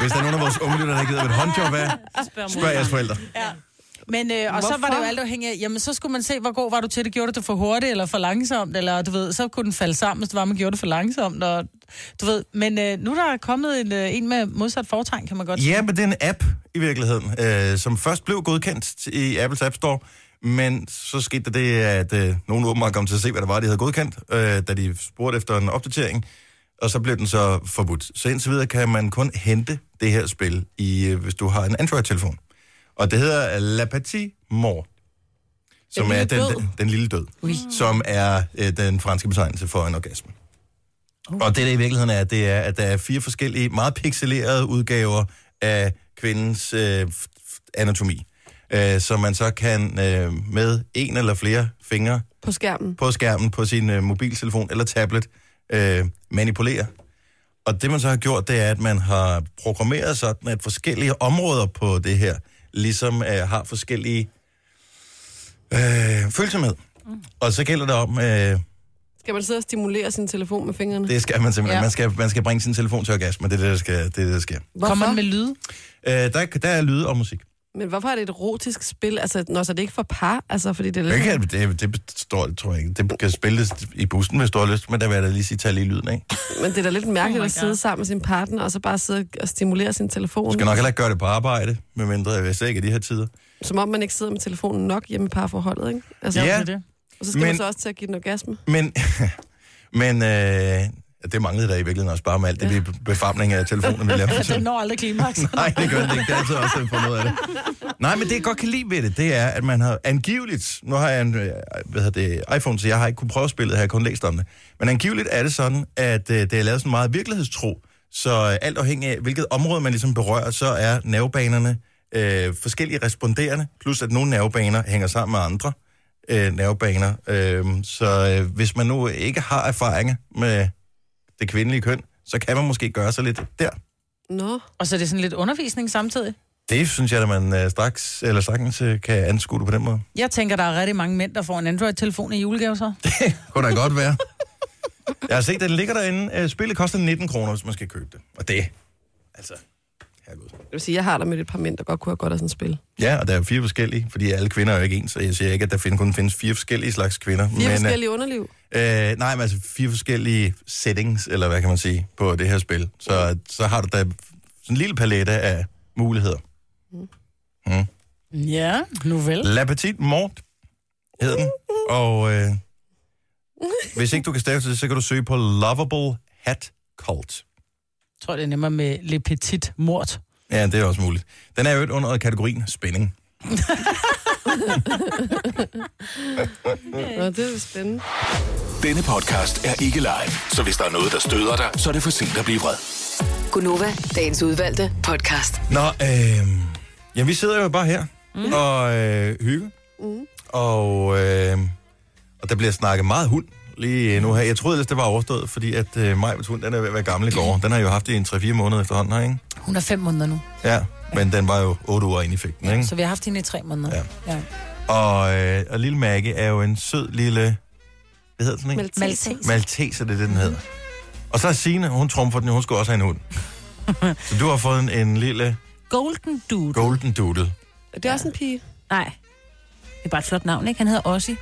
[SPEAKER 1] Hvis der er nogen af vores unge lyttere, der ikke ved, hvad et håndjob er,
[SPEAKER 5] spørg
[SPEAKER 1] spørg jeres forældre.
[SPEAKER 3] Men, øh, og så var det jo alt afhængigt af, jamen så skulle man se, hvor god var du til det. Gjorde du det for hurtigt eller for langsomt? Eller du ved, så kunne den falde sammen, hvis det var, man gjorde det for langsomt. Og, du ved, men øh, nu er der er kommet en, øh, en med modsat foretegn, kan man godt
[SPEAKER 1] Ja, men det er en app i virkeligheden, øh, som først blev godkendt i Apples App Store, men så skete der det, at øh, nogen åbenbart kom til at se, hvad der var, de havde godkendt, øh, da de spurgte efter en opdatering, og så blev den så forbudt. Så indtil videre kan man kun hente det her spil, i, øh, hvis du har en Android-telefon. Og det hedder La Petite Mort. Som
[SPEAKER 4] Den
[SPEAKER 1] er
[SPEAKER 4] lille
[SPEAKER 1] den,
[SPEAKER 4] død.
[SPEAKER 1] den, den lille død, Ui. som er øh, den franske betegnelse for en orgasme. Og det, der i virkeligheden er, det er, at der er fire forskellige, meget pixelerede udgaver af kvindens øh, f- f- anatomi, øh, som man så kan øh, med en eller flere fingre
[SPEAKER 4] På skærmen.
[SPEAKER 1] på skærmen på sin øh, mobiltelefon eller tablet øh, manipulere. Og det, man så har gjort, det er, at man har programmeret sådan, at forskellige områder på det her ligesom øh, har forskellige øh, følsomhed. Mm. Og så gælder det om... Øh,
[SPEAKER 4] Skal man sidde og stimulere sin telefon med fingrene?
[SPEAKER 1] det skal man simpelthen. Ja.
[SPEAKER 3] Ja.
[SPEAKER 1] Man, skal, man skal bringe sin telefon til orgasme. Det er det, der, skal, det, er det, der sker.
[SPEAKER 3] lide. Kommer den med lyde?
[SPEAKER 1] Øh, der, der er lyde og musik.
[SPEAKER 4] Men hvorfor er det et erotisk spil? Altså, når så er det ikke for par? Altså, fordi det er
[SPEAKER 1] Det,
[SPEAKER 4] lidt...
[SPEAKER 1] kan, det, det består, tror jeg ikke. Det kan spilles i bussen, hvis du har lyst, men der vil jeg da lige sige, tag lige lyden af.
[SPEAKER 4] Men det er da lidt mærkeligt
[SPEAKER 5] Oh
[SPEAKER 4] oh
[SPEAKER 5] my
[SPEAKER 4] at sidde
[SPEAKER 5] God.
[SPEAKER 4] sammen med sin partner, og så bare sidde og stimulere sin
[SPEAKER 1] Du
[SPEAKER 4] telefon.
[SPEAKER 1] skal nok heller ikke gøre det på arbejde, medmindre jeg vil ikke i de her tider.
[SPEAKER 4] Som om man ikke sidder med telefonen nok hjemme i parforholdet, ikke? Altså,
[SPEAKER 1] Ja.
[SPEAKER 3] Det er det.
[SPEAKER 4] Og så skal
[SPEAKER 1] men-
[SPEAKER 4] man så også til at give den orgasme.
[SPEAKER 1] Men, men øh, det manglede der i virkeligheden også bare med alt det ja. befamling af telefonen, vi lavede.
[SPEAKER 3] Den når aldrig klimaks.
[SPEAKER 1] Nej, det gør det ikke. Det er altid også den får noget af det. Nej, men det jeg godt kan lide ved det, det er, at man har angiveligt... Nu har jeg en øh, hvad hedder det, iPhone, så jeg har ikke kunne prøve spillet, jeg har kun læst om det. Men angiveligt er det sådan, at øh, det er lavet sådan meget virkelighedstro, Så øh, alt afhængig af, hvilket område man ligesom berører, så er nervebanerne øh, forskellige responderende, plus at nogle nervebaner hænger sammen med andre øh, nervebaner. Øh, så øh, hvis man nu ikke har erfaringer med det kvindelige køn, så kan man måske gøre sig lidt der.
[SPEAKER 4] Nå,
[SPEAKER 3] Og så er det sådan lidt undervisning samtidig.
[SPEAKER 1] Det synes jeg, at man øh, straks, eller sagtens øh, kan anskue det på den måde.
[SPEAKER 3] Jeg tænker, der er rigtig mange mænd, der får en Android-telefon i julegave så.
[SPEAKER 1] Kunne da godt være. Jeg har set, den ligger derinde. Øh, Spillet koster 19 kroner, hvis man skal købe det. Og det, altså, herregud.
[SPEAKER 4] jeg vil sige, jeg har da mødt et par mænd, der godt kunne have godt af sådan et spil.
[SPEAKER 1] Ja, og der er fire forskellige, fordi alle kvinder er jo ikke ens, så jeg siger ikke, at der find, kun findes fire forskellige slags kvinder.
[SPEAKER 4] Fire
[SPEAKER 1] men,
[SPEAKER 4] forskellige underliv.
[SPEAKER 1] Øh, øh, nej, men altså fire forskellige settings, eller hvad kan man sige, på det her spil. Så, så har du da sådan en lille palette af muligheder.
[SPEAKER 3] Ja, nu vel.
[SPEAKER 1] La Petite Mort hedder den. Og øh, hvis ikke du kan stave til det, så kan du søge på Lovable Hat Cult.
[SPEAKER 3] Jeg tror, det er nemmere med Le Petit Mort.
[SPEAKER 1] Ja, det er også muligt. Den er jo under kategorien spænding.
[SPEAKER 4] Nå, det er spændende.
[SPEAKER 6] Denne podcast er ikke live, så hvis der er noget, der støder dig, så er det for sent at blive vred.
[SPEAKER 8] Gunova, dagens udvalgte podcast.
[SPEAKER 1] Nå, øh, ja, vi sidder jo bare her mm. og øh, hygge. Mm. Og, øh, og der bliver snakket meget hund lige nu her. Jeg troede ellers, det var overstået, fordi at øh, Majbets hund, den er ved at være gammel i går. Den har jeg jo haft i en 3-4 måneder efterhånden her, ikke?
[SPEAKER 3] Hun er fem måneder nu,
[SPEAKER 1] Ja, men den var jo 8 uger inde i fægten, ikke?
[SPEAKER 3] så vi har haft hende i tre måneder.
[SPEAKER 1] Ja.
[SPEAKER 3] ja.
[SPEAKER 1] Og, øh, og lille Maggie er jo en sød lille... Hvad hedder sådan en?
[SPEAKER 2] Maltese.
[SPEAKER 1] Malteser, det er det, den hedder. Og så er Signe, hun trumfer den, jo, hun skulle også have en hund. så du har fået en, en lille
[SPEAKER 5] Golden Dude.
[SPEAKER 1] golden doodle.
[SPEAKER 4] Det er også en pige.
[SPEAKER 5] Nej. Det er bare et flot navn, ikke? Han hedder Ossie.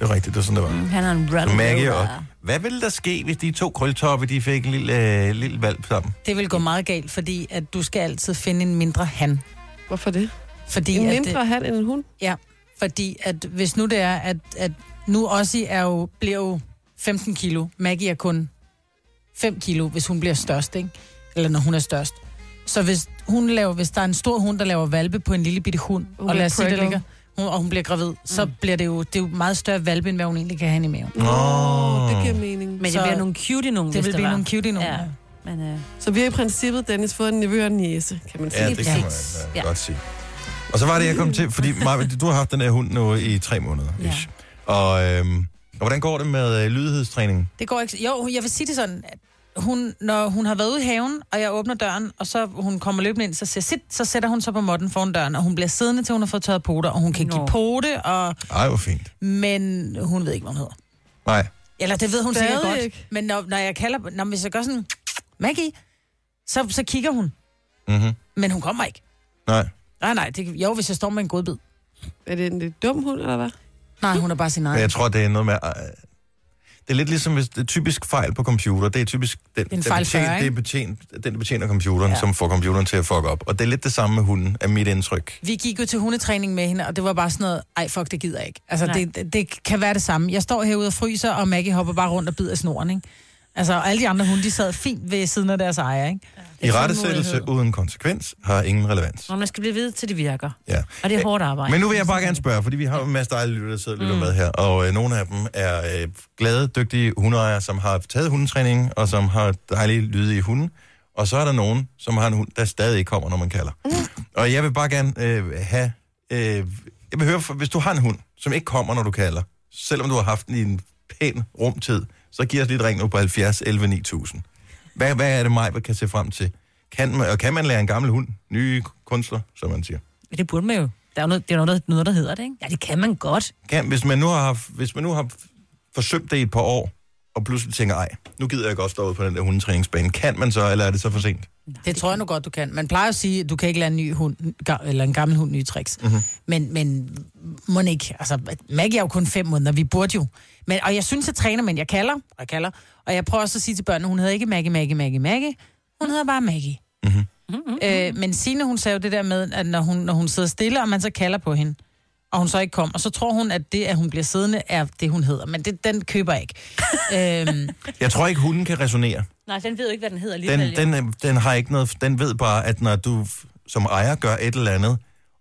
[SPEAKER 1] Det er rigtigt, det er sådan, det var. Mm.
[SPEAKER 5] Han er en
[SPEAKER 1] Så
[SPEAKER 5] Rottweiler.
[SPEAKER 1] Maggie og... Hvad ville der ske, hvis de to krøltoppe, de fik en lille, øh, lille valp sammen?
[SPEAKER 3] Det vil gå meget galt, fordi at du skal altid finde en mindre han.
[SPEAKER 4] Hvorfor det?
[SPEAKER 3] Fordi
[SPEAKER 4] En
[SPEAKER 3] at,
[SPEAKER 4] mindre hat end en hund.
[SPEAKER 3] Ja, fordi at hvis nu det er, at, at nu Ossie er jo, bliver jo 15 kilo, Maggie er kun 5 kilo, hvis hun bliver størst, ikke? Eller når hun er størst. Så hvis, hun laver, hvis der er en stor hund, der laver valpe på en lille bitte hund,
[SPEAKER 4] Hun
[SPEAKER 3] og lad
[SPEAKER 4] bliver
[SPEAKER 3] os sige, der
[SPEAKER 4] preggo.
[SPEAKER 3] ligger, hun, og hun bliver gravid, mm. så bliver det jo, det er jo meget større valpe, end hvad hun egentlig kan have inde i maven.
[SPEAKER 1] Nå.
[SPEAKER 4] Åh, det giver mening.
[SPEAKER 5] Men det
[SPEAKER 3] Så-
[SPEAKER 5] bliver nogle cutie nogen,
[SPEAKER 3] Det
[SPEAKER 5] hvis
[SPEAKER 3] vil
[SPEAKER 5] det
[SPEAKER 3] blive
[SPEAKER 5] var.
[SPEAKER 3] nogle cutie nogle.
[SPEAKER 5] Ja.
[SPEAKER 3] Ja.
[SPEAKER 5] Men, øh,
[SPEAKER 4] Så vi har i princippet, Dennis, fået en nevø og en næse, kan man sige.
[SPEAKER 1] Ja,
[SPEAKER 5] Lige
[SPEAKER 1] det kan man
[SPEAKER 5] præcis.
[SPEAKER 1] øh,
[SPEAKER 5] Ja.
[SPEAKER 1] godt sige. Og så var det, jeg kom til, fordi Maja, du har haft den her hund nu i tre måneder.
[SPEAKER 5] Ja.
[SPEAKER 1] Ish. Og, øhm, og hvordan går det med øh, lydighedstræningen?
[SPEAKER 3] Det går ikke... Jo, jeg vil sige det sådan, at hun, når hun har været ude i haven, og jeg åbner døren, og så hun kommer løbende ind, så siger sit, så sætter hun sig på måtten foran døren, og hun bliver siddende, til hun har fået tørret poter, og hun kan
[SPEAKER 5] Nå.
[SPEAKER 3] give pote, og...
[SPEAKER 1] Ej, hvor fint.
[SPEAKER 3] men hun ved ikke, hvad hun hedder.
[SPEAKER 1] Nej.
[SPEAKER 3] Eller det ved hun
[SPEAKER 4] Stadig
[SPEAKER 3] sikkert godt.
[SPEAKER 4] ikke.
[SPEAKER 3] Men når, når jeg kalder... Når, hvis jeg gør sådan... Maggie, så, så kigger hun.
[SPEAKER 1] Mm-hmm.
[SPEAKER 3] Men hun kommer ikke.
[SPEAKER 1] Nej.
[SPEAKER 3] Nej, nej. Det, jo, hvis jeg står med en godbid.
[SPEAKER 4] Er det en lidt dum hund, eller hvad?
[SPEAKER 3] Nej, hun er bare sin
[SPEAKER 1] Men
[SPEAKER 3] egen.
[SPEAKER 1] jeg tror, det er noget med... øh, Det er lidt ligesom hvis det er typisk fejl på computer. Det er typisk den, der,
[SPEAKER 3] en fejl
[SPEAKER 1] betjener,
[SPEAKER 3] fyrre,
[SPEAKER 1] det er
[SPEAKER 3] ikke?
[SPEAKER 1] betjent, den, der betjener computeren, ja.
[SPEAKER 3] Ja.
[SPEAKER 1] som får computeren til at fuck op. Og det er lidt det samme med hunden, er mit indtryk.
[SPEAKER 3] Vi gik jo til hundetræning med hende, og det var bare sådan noget, ej fuck, det gider jeg ikke. Altså,
[SPEAKER 5] Nej.
[SPEAKER 3] det, det- det, kan være det samme. Jeg står herude og fryser, og Maggie hopper bare rundt og bider af snoren, ikke? Altså, og alle de andre hunde, de sad fint ved siden af deres ejer, ikke?
[SPEAKER 1] I rettesættelse uden konsekvens har ingen relevans.
[SPEAKER 5] Nå, man skal blive ved, til det virker.
[SPEAKER 1] Ja.
[SPEAKER 5] Og det er hårdt arbejde.
[SPEAKER 1] Men nu vil jeg bare gerne spørge, fordi vi har jo en masse dejlige lytter, der sidder og lytter mm. med her, og øh, nogle af dem er øh, glade, dygtige hundeejere, som har taget hundetræning, og som har dejlige lyde i hunden. Og så er der nogen, som har en hund, der stadig ikke kommer, når man kalder. Mm. Og jeg vil bare gerne øh, have... Øh, jeg vil høre, for, hvis du har en hund, som ikke kommer, når du kalder, selvom du har haft den i en pæn rumtid, så giv os lige et ring nu på 70 11 9000. Hvad, hvad er det mig, kan se frem til? Kan man, og kan man lære en gammel hund nye kunstner, som man siger?
[SPEAKER 5] Men Det burde man jo. Der er jo noget, det er jo noget, der, noget, der hedder det, ikke? Ja, det kan man godt.
[SPEAKER 1] kan, hvis man nu har, haft- hvis man nu har forsøgt det i et par år, og pludselig tænker, ej, nu gider jeg godt stå ud på den der hundetræningsbane. Kan man så, eller er det så for sent?
[SPEAKER 3] Det tror jeg nu godt, du kan. Man plejer at sige, at du kan ikke lære en ny hund, ga- eller en gammel hund nye tricks. Mm-hmm. Men, men må ikke. Altså, Maggie er jo kun fem måneder, vi burde jo. Men, og jeg synes, jeg træner, men jeg kalder, og jeg kalder. Og jeg prøver også at sige til børnene, hun hedder ikke Maggie, Maggie, Maggie, Maggie. Hun hedder bare Maggie. Mm-hmm. Øh, men Signe, hun sagde jo det der med, at når hun, når hun sidder stille, og man så kalder på hende, og hun så ikke kommer, så tror hun, at det, at hun bliver siddende, er det, hun hedder. Men det, den køber jeg ikke. øhm,
[SPEAKER 1] Jeg tror ikke, hunden kan resonere.
[SPEAKER 5] Nej, den ved jo ikke, hvad den hedder
[SPEAKER 1] Den,
[SPEAKER 5] alligevel.
[SPEAKER 1] den, øh, den, har ikke noget, den ved bare, at når du f- som ejer gør et eller andet,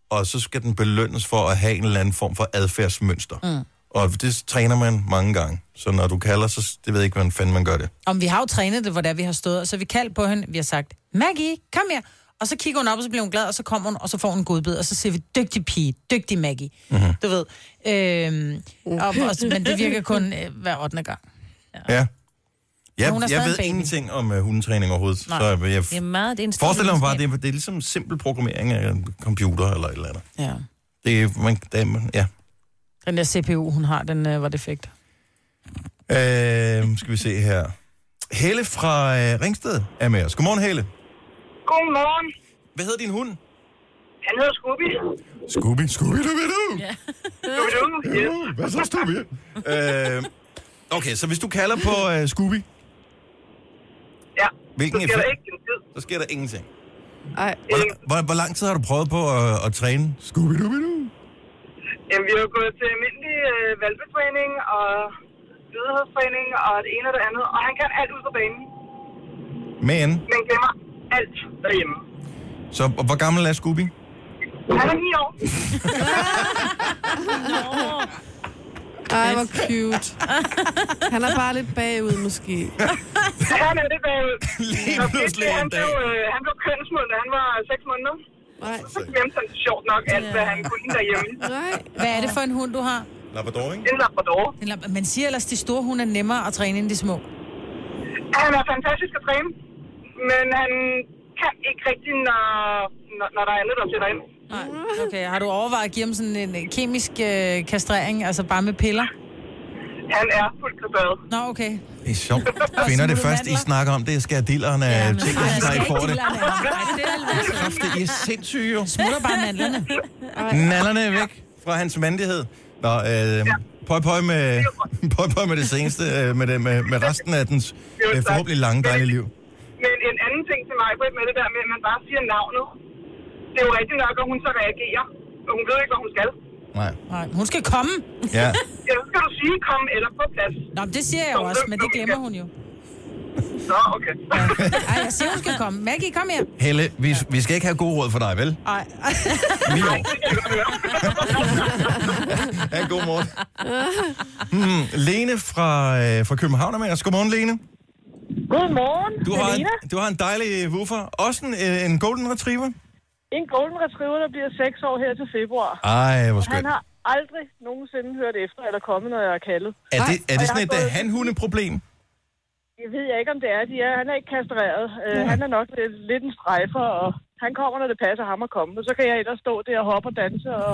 [SPEAKER 1] og så skal den belønnes for at have en eller anden form for adfærdsmønster. Mm. Og det træner man mange gange. Så når du kalder, så det ved jeg ikke, hvordan fanden man gør det.
[SPEAKER 3] Om vi har jo trænet det, hvor det er, vi har stået, og så har vi kaldt på hende, vi har sagt, Maggie, kom her. Og så kigger hun op, og så bliver hun glad, og så kommer hun, og så får hun en godbid, og så siger vi, dygtig pige, dygtig Maggie. Mm-hmm. Du ved. Øhm, og, og, men det virker kun øh, hver 8. gang.
[SPEAKER 1] Ja.
[SPEAKER 3] Men
[SPEAKER 1] Jeg,
[SPEAKER 3] hun er
[SPEAKER 1] jeg
[SPEAKER 3] stadig
[SPEAKER 1] ved
[SPEAKER 3] baby.
[SPEAKER 1] ingenting om uh, hundetræning overhovedet. Nej. Så jeg, jeg
[SPEAKER 5] Det er meget, det er en stor
[SPEAKER 1] forestiller mig bare,
[SPEAKER 5] videnskab.
[SPEAKER 1] det er, det er ligesom simpel programmering af en computer eller et eller andet.
[SPEAKER 3] Ja.
[SPEAKER 1] Det er, man, det er, man- ja.
[SPEAKER 3] Den der CPU, hun har, den øh, var defekt.
[SPEAKER 1] Øh, skal vi se her. Helle fra øh, Ringsted er med os. Godmorgen, Helle.
[SPEAKER 9] Godmorgen.
[SPEAKER 1] Hvad hedder din hund?
[SPEAKER 9] Han hedder Scooby.
[SPEAKER 1] Scooby. Scooby, du ved du. Ja.
[SPEAKER 9] Scooby-Doo, yes.
[SPEAKER 1] Hvad så, Scooby? øh, okay, så hvis du kalder på øh, Scooby,
[SPEAKER 9] Ja.
[SPEAKER 1] Hvilken
[SPEAKER 9] så sker
[SPEAKER 1] effekt?
[SPEAKER 9] der ikke en tid.
[SPEAKER 1] så sker der ingenting.
[SPEAKER 4] Ej,
[SPEAKER 1] Hvor, hvor, hvor lang tid har du prøvet på at, at træne Scooby, du ved du?
[SPEAKER 9] Jamen, vi har jo gået til almindelig øh, valpetræning og lydighedstræning og det ene og det andet. Og han kan alt ud på banen,
[SPEAKER 1] Men,
[SPEAKER 9] men glemmer alt derhjemme.
[SPEAKER 1] så og hvor gammel er Scooby?
[SPEAKER 9] Han er 9 år.
[SPEAKER 4] ej, hvor cute. Han er bare lidt bagud, måske.
[SPEAKER 9] Han er det bagud.
[SPEAKER 1] Lige
[SPEAKER 9] Så
[SPEAKER 1] pludselig
[SPEAKER 9] pludselig,
[SPEAKER 1] en
[SPEAKER 9] han
[SPEAKER 1] dag.
[SPEAKER 9] blev, øh, han blev kønsmod, da han var 6 måneder.
[SPEAKER 4] Nej,
[SPEAKER 9] Så glemte han sjovt nok alt, hvad han kunne derhjemme.
[SPEAKER 4] nej.
[SPEAKER 3] Hvad er det for en hund, du har?
[SPEAKER 1] Labrador, ikke?
[SPEAKER 9] En labrador.
[SPEAKER 3] Den lam- Man siger ellers, at de store hunde er nemmere at træne end de små.
[SPEAKER 9] Han er fantastisk at træne, men han kan ikke rigtig, når, når, når der er andet, der sætter ind.
[SPEAKER 3] Nej. Okay, har du overvejet at give dem sådan en øh, kemisk øh, kastrering, altså bare med piller?
[SPEAKER 9] Han er fuldt kastreret.
[SPEAKER 3] Nå, okay.
[SPEAKER 1] Det er sjovt. Finder det først, I snakker om det, øh, skal dillerne ja, tænke, så I får det.
[SPEAKER 3] altså.
[SPEAKER 1] Kræfte, I er sindssyge, jo.
[SPEAKER 3] Smutter bare mandlerne.
[SPEAKER 1] Nallerne er væk fra hans mandighed. Nå, øh, pøj, pøj, med, pøj, pøj med det seneste, øh, med, det, med, med resten af dens øh, forhåbentlig lange, dejlige liv.
[SPEAKER 9] Men en anden ting til mig, Britt, med det der med, at man bare siger navnet. Det er jo rigtigt nok, at hun så reagerer. Og hun ved ikke, hvad hun skal.
[SPEAKER 1] Nej.
[SPEAKER 3] Nej, hun skal komme.
[SPEAKER 1] Ja.
[SPEAKER 9] Ja, så skal du sige, kom eller på plads.
[SPEAKER 3] Nå, men det siger jeg jo også, men det glemmer hun jo.
[SPEAKER 9] Nå, okay.
[SPEAKER 3] Ej, jeg siger, hun skal komme. Maggie, kom her.
[SPEAKER 1] Helle, vi, vi skal ikke have gode råd for dig, vel?
[SPEAKER 3] Ej,
[SPEAKER 1] Vi Ja, god morgen. Hmm, Lene fra, øh, fra København er med os. Godmorgen, Lene.
[SPEAKER 9] Godmorgen,
[SPEAKER 1] Du har, en, du har en dejlig woofer. Også en, øh, en golden retriever.
[SPEAKER 9] En golden retriever, der bliver 6 år her til februar.
[SPEAKER 1] Ej, hvor skønt.
[SPEAKER 9] har aldrig nogensinde hørt efter, at der er kommet, når jeg har kaldet.
[SPEAKER 1] Er det, er det
[SPEAKER 9] Og jeg
[SPEAKER 1] sådan
[SPEAKER 9] har
[SPEAKER 1] et øh,
[SPEAKER 9] fået-
[SPEAKER 1] han-hunde-problem?
[SPEAKER 9] Jeg ved jeg ikke, om det er. De er han er ikke kastreret. Uh, han er nok lidt, lidt en strejfer, og han kommer, når det passer ham at komme. Og så kan jeg ellers stå der og hoppe og danse og,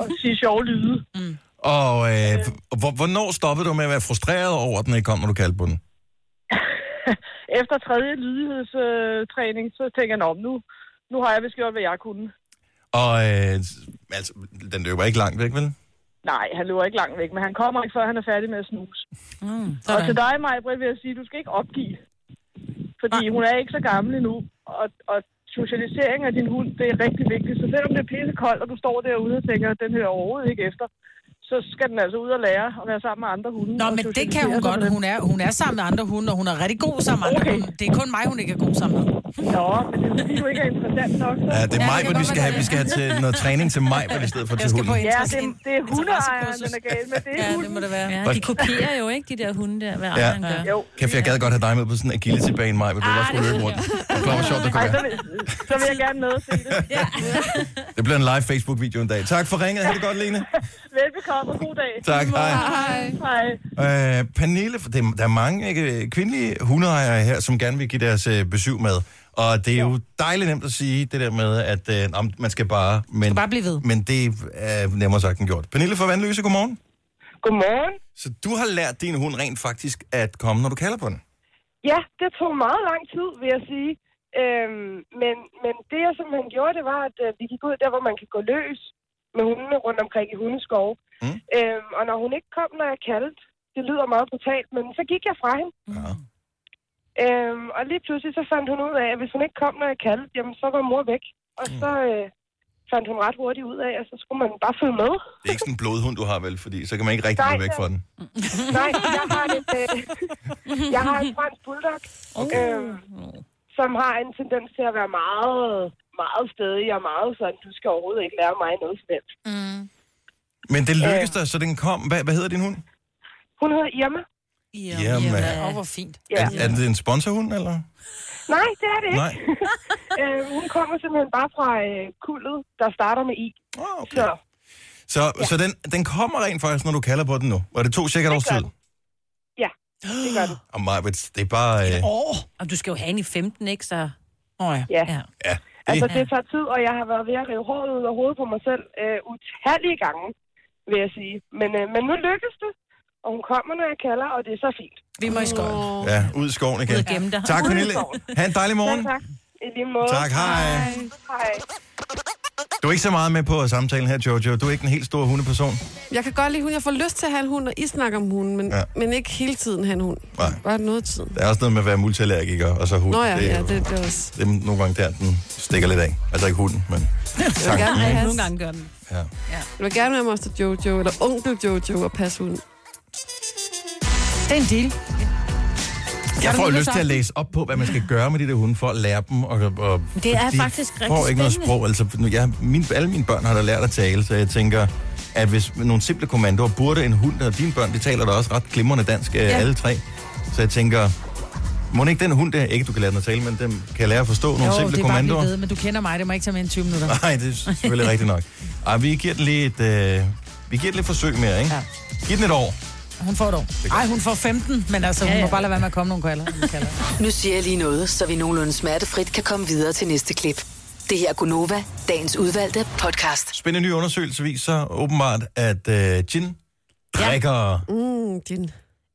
[SPEAKER 9] og sige sjove lyde.
[SPEAKER 1] Og øh, hvor, hvornår stoppede du med at være frustreret over den, ikke kom, når du kaldte på den?
[SPEAKER 9] Efter tredje lydighedstræning, så tænker jeg, "Nå, nu, nu har jeg vist gjort, hvad jeg kunne.
[SPEAKER 1] Og øh, altså, den løber ikke langt væk, vel?
[SPEAKER 9] Nej, han løber ikke langt væk, men han kommer ikke, før han er færdig med at snuse. Og til
[SPEAKER 3] Mm, sådan.
[SPEAKER 9] dig, Maja Britt, vil jeg sige, du skal ikke opgive. Fordi hun er ikke så gammel endnu, og, og socialisering af din hund, det er rigtig vigtigt. Så selvom det er pissekoldt, og du står derude og tænker, at den hører overhovedet ikke efter, så skal den altså ud og lære at være sammen med andre hunde.
[SPEAKER 3] Nå,
[SPEAKER 9] og
[SPEAKER 3] men det kan
[SPEAKER 9] socialisere
[SPEAKER 3] hun
[SPEAKER 9] sig
[SPEAKER 3] godt.
[SPEAKER 9] med dem.
[SPEAKER 3] Hun er, hun er sammen med andre hunde, og hun er rigtig god sammen med andre
[SPEAKER 9] Okay.
[SPEAKER 3] hunde. Det er kun mig, hun ikke er god sammen med.
[SPEAKER 9] Nå, men det er fordi, du ikke er interessant nok. Så...
[SPEAKER 1] Ja, det er
[SPEAKER 3] Ja,
[SPEAKER 1] mig,
[SPEAKER 3] det kan
[SPEAKER 1] men vi
[SPEAKER 3] godt
[SPEAKER 1] skal
[SPEAKER 3] være
[SPEAKER 1] have,
[SPEAKER 3] det.
[SPEAKER 1] vi skal have til noget træning til mig, i stedet for
[SPEAKER 3] Jeg
[SPEAKER 1] til
[SPEAKER 3] skal på
[SPEAKER 1] hunden.
[SPEAKER 9] Ja,
[SPEAKER 3] interesse-
[SPEAKER 9] det, er- det
[SPEAKER 3] Altså,
[SPEAKER 9] er hundeejeren,
[SPEAKER 3] interessekursus.
[SPEAKER 9] den er gal med. Det er
[SPEAKER 3] Ja, det
[SPEAKER 9] hunden.
[SPEAKER 3] må det være.
[SPEAKER 5] Ja, de kopierer jo ikke de der hunde der, hvad
[SPEAKER 1] Ja.
[SPEAKER 5] ja. gør.
[SPEAKER 9] Jo.
[SPEAKER 1] Kæft, jeg gad godt have dig med på sådan en agility-bane, mig, hvor du også skulle løbe rundt. Det var sjovt, det kunne
[SPEAKER 9] Ej, så
[SPEAKER 1] være.
[SPEAKER 9] vil, så vil jeg gerne med at se det.
[SPEAKER 1] Det bliver en live Facebook-video en dag. Tak for ringet. Ha' det godt, Lene.
[SPEAKER 9] Velbekomme og god dag.
[SPEAKER 1] Tak. Hej.
[SPEAKER 4] Ej.
[SPEAKER 9] Hej.
[SPEAKER 1] Øh, Pernille, for det, der er mange ikke, kvindelige hundeejere her, som gerne vil give deres øh, besøg med. Og det er jo dejligt nemt at sige det der med, at øh, nå, man skal bare... Men, skal
[SPEAKER 3] bare blive ved.
[SPEAKER 1] Men det er nemmere sagt end gjort. Pernille fra Vandløse, godmorgen.
[SPEAKER 9] Godmorgen.
[SPEAKER 1] Så du har lært din hund rent faktisk at komme, når du kalder på den.
[SPEAKER 9] Ja, det tog meget lang tid, vil jeg sige. Øhm, men, men det, jeg simpelthen gjorde, det var, at øh, vi gik ud der, hvor man kan gå løs med hundene rundt omkring i hundeskov.
[SPEAKER 1] Mm.
[SPEAKER 9] Mm. Øhm, og når hun ikke kom, når jeg kaldte, det lyder meget brutalt, men så gik jeg fra hende.
[SPEAKER 3] Mhm.
[SPEAKER 1] Ja.
[SPEAKER 9] Øhm, og lige pludselig så fandt hun ud af, at hvis hun ikke kom, når jeg kaldte, jamen så var mor væk. Og så øh, fandt hun ret hurtigt ud af, at så skulle man bare følge med.
[SPEAKER 1] Det er ikke sådan en blodhund, du har vel, fordi så kan man ikke rigtig
[SPEAKER 9] Nej,
[SPEAKER 1] gå væk
[SPEAKER 9] det-
[SPEAKER 1] fra den.
[SPEAKER 9] Nej, jeg har, et, øh, jeg har en fransk bulldog, okay. øh, som har en tendens til at være meget, meget stedig og meget sådan, du skal overhovedet ikke lære mig noget som helst.
[SPEAKER 1] Men det lykkedes dig, så den kom. Hvad, hvad hedder din hund?
[SPEAKER 9] Hun hedder Irma.
[SPEAKER 5] øh,
[SPEAKER 1] Jamen.
[SPEAKER 3] Åh, oh, hvor fint.
[SPEAKER 9] Ja.
[SPEAKER 1] Er, er det en sponsorhund, eller?
[SPEAKER 9] Nej, det er det ikke.
[SPEAKER 1] Nej.
[SPEAKER 9] Øh, hun kommer simpelthen bare fra øh, kuldet, der starter med I.
[SPEAKER 1] Oh, okay.
[SPEAKER 9] Så
[SPEAKER 1] Så, så den, den kommer rent faktisk, når du kalder på den nu. Var det to cirka et års
[SPEAKER 9] gør
[SPEAKER 1] tid?
[SPEAKER 9] den. det gør det.
[SPEAKER 1] Og mig, det er bare... Øh,
[SPEAKER 3] Åh,
[SPEAKER 5] Og du skal jo have en i 15, ikke? Så...
[SPEAKER 3] oh, ja.
[SPEAKER 9] Ja.
[SPEAKER 5] Ja.
[SPEAKER 1] Ja.
[SPEAKER 9] Altså, det tager tid, og jeg har været ved at rive håret ud af hovedet på mig selv øh, utallige gange, vil jeg sige. Men, øh, men nu lykkes det, og hun kommer, når jeg kalder, og det er så fint.
[SPEAKER 3] Vi må i skoven.
[SPEAKER 1] ja, ud i skoven igen.
[SPEAKER 5] Ud og gemme dig.
[SPEAKER 1] Tak,
[SPEAKER 5] Ud i
[SPEAKER 1] Pernille. Ha' en dejlig
[SPEAKER 9] Selv
[SPEAKER 1] morgen.
[SPEAKER 9] tak. I lige måde.
[SPEAKER 1] Tak, hej.
[SPEAKER 9] Hej.
[SPEAKER 1] Du er ikke så meget med på samtalen her, Jojo. Du er ikke en helt stor hundeperson.
[SPEAKER 4] Jeg kan godt lide hunden. Jeg får lyst til at have en hund, og I snakker om hunden, men,
[SPEAKER 1] Ja.
[SPEAKER 4] ja. men ikke hele tiden have en hund.
[SPEAKER 1] Nej.
[SPEAKER 4] Bare noget af tiden.
[SPEAKER 1] Der er også noget med at være multiallergiker, og så hund.
[SPEAKER 4] Nå ja,
[SPEAKER 1] det, er
[SPEAKER 4] ja
[SPEAKER 1] jo-
[SPEAKER 4] det, det er også...
[SPEAKER 1] det er nogle gange der, den stikker lidt af. Altså ikke hunden, men...
[SPEAKER 4] Jeg vil gerne have
[SPEAKER 5] Nogle
[SPEAKER 4] has.
[SPEAKER 5] gange gør den.
[SPEAKER 1] Ja.
[SPEAKER 4] Jeg vil gerne være Moster Jojo, eller onkel Jojo, og passe hunden.
[SPEAKER 3] Det er en deal.
[SPEAKER 1] Jeg
[SPEAKER 3] du
[SPEAKER 1] får
[SPEAKER 3] lige
[SPEAKER 1] lyst
[SPEAKER 3] så
[SPEAKER 1] til at læse op på, hvad man skal gøre med de der hunde, for at lære dem. Og, og
[SPEAKER 5] Det er
[SPEAKER 1] de
[SPEAKER 5] faktisk rigtig
[SPEAKER 1] får ikke noget
[SPEAKER 5] spændende.
[SPEAKER 1] sprog. Altså, nu- jeg, min, alle mine børn har da lært at tale, så jeg tænker, at hvis med nogle simple kommandoer burde en hund, og dine børn, de taler da også ret glimrende dansk, ja. alle tre. Så jeg tænker, må ikke den hund der, ikke du kan lære den at tale, men den kan lære at forstå nogle
[SPEAKER 3] Jo,
[SPEAKER 1] simple
[SPEAKER 3] det er bare
[SPEAKER 1] kommandoer?
[SPEAKER 3] lige ved, men du kender mig, det må ikke tage mere end 20 minutter.
[SPEAKER 1] Nej, det er selvfølgelig rigtigt nok. Ej, vi giver den lige et, øh, vi giver den lidt forsøg mere, ikke? Ja.
[SPEAKER 3] Ja.
[SPEAKER 1] Giv den et år.
[SPEAKER 3] Hun får et år. Ej, hun får 15, men altså, hun
[SPEAKER 5] Ja,
[SPEAKER 3] må
[SPEAKER 5] ja.
[SPEAKER 3] bare lade være med at komme nogle kalder. hun kalder.
[SPEAKER 8] Nu siger jeg lige noget, så vi nogenlunde smertefrit kan komme videre til næste klip. Det her er Gunova, dagens udvalgte podcast.
[SPEAKER 1] Spændende ny undersøgelse viser åbenbart, at øh, gin drikker ja.
[SPEAKER 4] Mm, din.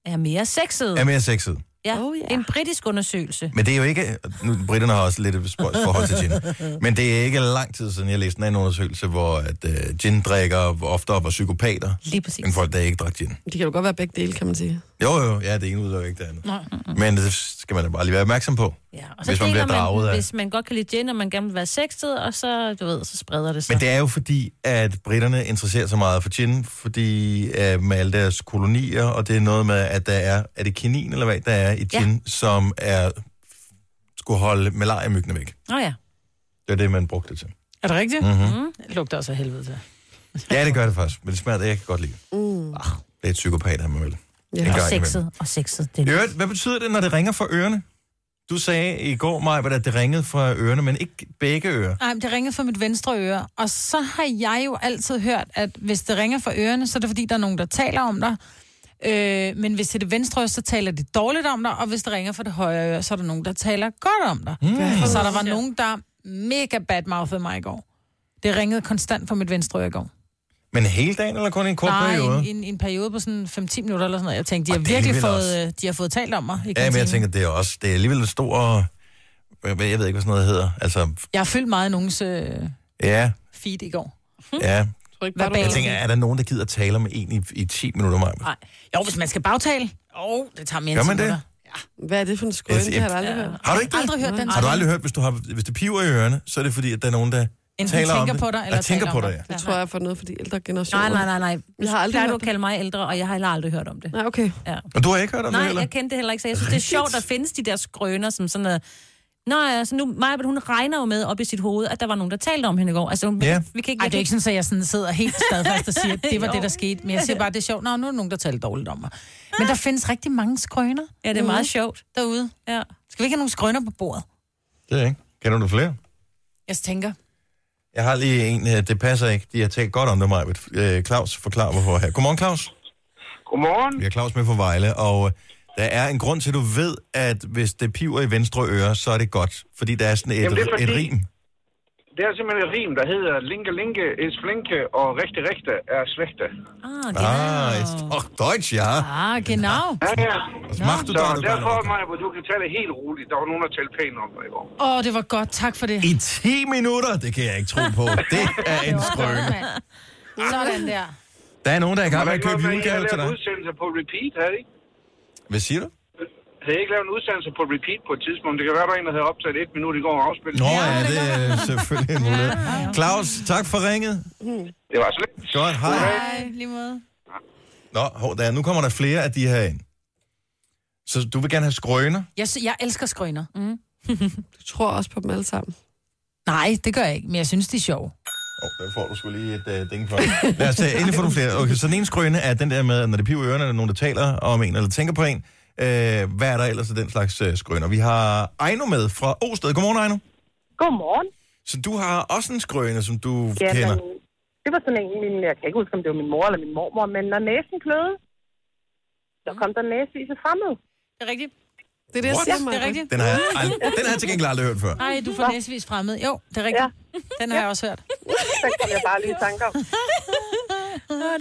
[SPEAKER 5] Er mere sexet.
[SPEAKER 1] er mere sexet.
[SPEAKER 5] Ja.
[SPEAKER 4] Oh,
[SPEAKER 5] Oh,
[SPEAKER 4] ja.
[SPEAKER 5] ja. En britisk undersøgelse.
[SPEAKER 1] Men det er jo ikke... Nu, britterne har også lidt et spøjs forhold til gin. Men det er ikke lang tid siden, jeg læste en anden undersøgelse, hvor at, øh, gin drikker ofte var psykopater,
[SPEAKER 5] Lige præcis.
[SPEAKER 1] end folk, der ikke drak gin.
[SPEAKER 4] Det kan jo godt være begge dele, kan man sige.
[SPEAKER 1] Jo, jo, ja, det ene udelukker ikke det andet. Men det skal man da bare lige være opmærksom på.
[SPEAKER 5] Ja, og så
[SPEAKER 1] Hvis man
[SPEAKER 5] deler
[SPEAKER 1] bliver draget
[SPEAKER 5] den,
[SPEAKER 1] af-
[SPEAKER 5] Hvis man godt kan lide gin, og man gerne vil være sexet, og så, du ved, så spreder det sig.
[SPEAKER 1] Men det er jo fordi, at britterne interesserer sig meget for gin, fordi øh, med alle deres kolonier, og det er noget med, at der er, er det kanin eller hvad, der er i
[SPEAKER 5] Ja.
[SPEAKER 1] gin, ja. som er, skulle holde malariamyggene væk.
[SPEAKER 5] Nå oh, ja.
[SPEAKER 1] Det er det, man brugte det til.
[SPEAKER 3] Er det rigtigt? Mm-hmm. Det lugter også af helvede til.
[SPEAKER 1] Ja, det gør det faktisk, men det smager det, jeg kan godt lide. Mm. Det er et psykopat, han vil.
[SPEAKER 4] Ja.
[SPEAKER 1] En
[SPEAKER 5] Og
[SPEAKER 1] gang imellem.
[SPEAKER 5] sexet, og sexet. Det
[SPEAKER 1] I
[SPEAKER 5] er
[SPEAKER 1] Øvrigt, hvad betyder det, når det ringer fra ørerne? Du sagde i går, Maja, at det ringede fra ørerne, men ikke begge ører.
[SPEAKER 3] Nej, men det ringede fra mit venstre øre, og så har jeg jo altid hørt, at hvis det ringer fra ørerne, så er det fordi, der er nogen, der taler om dig. Øh, men hvis det er det venstre øre, så taler de dårligt om dig, og hvis det ringer fra det højre øre, så er der nogen, der taler godt om dig. Mm. Så der var nogen, der mega badmouthede mig i går. Det ringede konstant fra mit venstre øre i går.
[SPEAKER 1] Men hele dagen, eller kun en kort
[SPEAKER 3] Nej,
[SPEAKER 1] periode?
[SPEAKER 3] en, en, en periode på sådan 5-10 minutter eller sådan noget. Jeg tænkte, de
[SPEAKER 1] Og
[SPEAKER 3] har
[SPEAKER 1] det er
[SPEAKER 3] virkelig
[SPEAKER 1] alligevel
[SPEAKER 3] fået, øh, de har fået talt om mig.
[SPEAKER 1] Ja,
[SPEAKER 3] i
[SPEAKER 1] men jeg
[SPEAKER 3] kantinen.
[SPEAKER 1] tænker, det er også, det er alligevel en stor, hvad- hvad- jeg ved ikke, hvad sådan noget hedder. Altså,
[SPEAKER 3] Jeg har fyldt meget i nogens øh,
[SPEAKER 1] ja,
[SPEAKER 3] feed i går.
[SPEAKER 1] ja.
[SPEAKER 3] Hvad
[SPEAKER 1] Jeg tænker, er der nogen, der gider at tale med en i, i 10 minutter, Maja?
[SPEAKER 3] Nej. Jo, hvis man skal bagtale. Åh, oh, det tager mere
[SPEAKER 1] Gør
[SPEAKER 3] end 10
[SPEAKER 1] man det?
[SPEAKER 3] minutter.
[SPEAKER 4] Hvad er det for en skrøn? Det
[SPEAKER 1] Jeg siger-
[SPEAKER 4] har jeg aldrig hørt.
[SPEAKER 1] Har du ikke det?
[SPEAKER 3] Aldrig hørt den.
[SPEAKER 1] Har du aldrig hørt, hvis, du har, hvis det piver i ørerne, så er det fordi, at der er nogen, der
[SPEAKER 3] Enten
[SPEAKER 1] taler om
[SPEAKER 3] tænker
[SPEAKER 1] det.
[SPEAKER 3] på dig,
[SPEAKER 1] Ja,
[SPEAKER 3] eller
[SPEAKER 1] tænker
[SPEAKER 3] taler
[SPEAKER 1] på
[SPEAKER 3] om
[SPEAKER 1] dig,
[SPEAKER 3] dig.
[SPEAKER 1] ja.
[SPEAKER 4] Jeg tror, jeg får noget for de ældre generationer.
[SPEAKER 5] Nej, nej, nej, nej.
[SPEAKER 4] Jeg har aldrig
[SPEAKER 5] Plejer du
[SPEAKER 4] hørt
[SPEAKER 5] at kalde mig ældre, og jeg har heller aldrig hørt om det.
[SPEAKER 4] Nej, okay.
[SPEAKER 5] Ja.
[SPEAKER 1] Og du har ikke hørt om det,
[SPEAKER 5] Nej,
[SPEAKER 1] eller?
[SPEAKER 5] jeg kendte det heller ikke, så jeg synes, det er sjovt, der findes de der skrøner, som sådan noget... Nå ja, så nu, Maja, hun regner jo med op i sit hoved, at der var nogen, der talte om hende i går. Altså, hun,
[SPEAKER 1] Ja.
[SPEAKER 5] vi kan ikke...
[SPEAKER 3] Ej, det er ikke sådan, at jeg sådan sidder helt stadfast og siger, at det var det, der skete. Men jeg siger bare, at det er sjovt. Nå, nu er der nogen, der taler dårligt om mig. Men der findes rigtig mange skrøner
[SPEAKER 5] Ja, det Mm. er meget sjovt.
[SPEAKER 3] derude.
[SPEAKER 5] Ja.
[SPEAKER 3] Skal vi ikke have nogle skrøner på bordet?
[SPEAKER 1] Det er ikke. Kender du flere?
[SPEAKER 3] Jeg tænker.
[SPEAKER 1] Jeg har lige en, øh, det passer ikke. De har talt godt om det, Maja. Øh, Claus, forklar hvorfor her. Godmorgen, Claus.
[SPEAKER 9] Godmorgen.
[SPEAKER 1] Vi har Claus med fra Vejle, og øh, der er en grund til, at du ved, at hvis det piver i venstre øre, så er det godt. Fordi der er sådan et,
[SPEAKER 10] Jamen, det er
[SPEAKER 1] et
[SPEAKER 10] fordi-
[SPEAKER 1] rim.
[SPEAKER 10] Det er simpelthen et rim, der hedder Linke Linke is flinke og rigtig rigtig er slægte.
[SPEAKER 5] Ah, det
[SPEAKER 1] Ah,
[SPEAKER 5] er...
[SPEAKER 1] ist doch deutsch, ja.
[SPEAKER 3] Ah, genau.
[SPEAKER 10] Ja, ja.
[SPEAKER 1] Was machst Altså, du
[SPEAKER 10] Så
[SPEAKER 1] da? du
[SPEAKER 10] derfor,
[SPEAKER 1] Karl?
[SPEAKER 10] Maja, hvor du kan tage det helt roligt. Der var nogen, der talte pænt om dig i går.
[SPEAKER 3] Åh, oh, det var godt. Tak for det.
[SPEAKER 1] I 10 minutter? Det kan jeg ikke tro på. Det er en skrøne.
[SPEAKER 3] Sådan der.
[SPEAKER 1] Der er nogen, der er i gang med at
[SPEAKER 10] ikke
[SPEAKER 1] købe
[SPEAKER 10] noget med, at I har
[SPEAKER 1] julegave til
[SPEAKER 10] lavet
[SPEAKER 1] dig.
[SPEAKER 10] udsendelser på repeat, havde I? ikke?
[SPEAKER 1] Hvad siger du?
[SPEAKER 10] Havde I ikke lavet en udsendelse på repeat på et tidspunkt? Det kan være, der er en, der havde optaget et minut i går og afspillet.
[SPEAKER 1] Nå ja, det er selvfølgelig en mulighed. Claus, tak for ringet.
[SPEAKER 10] Det var slet.
[SPEAKER 1] Godt, hej.
[SPEAKER 3] Hej, lige måde.
[SPEAKER 1] Nå, hov, der, er- nu kommer der flere af de her ind. Så du vil gerne have skrøner?
[SPEAKER 3] Jeg, sy- jeg elsker skrøner. Mm.
[SPEAKER 4] Du tror også på dem alle sammen.
[SPEAKER 3] Nej, det gør jeg ikke, men jeg synes, de er sjove.
[SPEAKER 1] Åh, oh, der får du sgu lige et øh, ding for. Lad os tage, endelig få nogle flere. Okay, så den ene skrøne er den der med, at når det piver i ørerne, er der nogen, der taler om en eller tænker på en. Øh, hvad er der ellers af den slags øh, skrøner? Vi har Ejno med fra Osted. Godmorgen, Ejno.
[SPEAKER 11] Godmorgen.
[SPEAKER 1] Så du har også en skrøne, som du
[SPEAKER 11] Ja,
[SPEAKER 1] kender?
[SPEAKER 11] men det var sådan en, min, jeg kan ikke huske, om det var min mor eller min mormor, men når næsen kløede, så kom der næsvis af fremmed.
[SPEAKER 3] Det er rigtigt.
[SPEAKER 4] Det er
[SPEAKER 3] det, jeg
[SPEAKER 1] What?
[SPEAKER 3] siger, Maja. Det er rigtigt.
[SPEAKER 1] Den har, jeg, ald- den har jeg til gengæld aldrig hørt før.
[SPEAKER 3] Ej, du får næsvis fremmed. Jo, det er rigtigt. Ja. Den har jeg også hørt.
[SPEAKER 11] Den kom jeg bare lige i tanke om.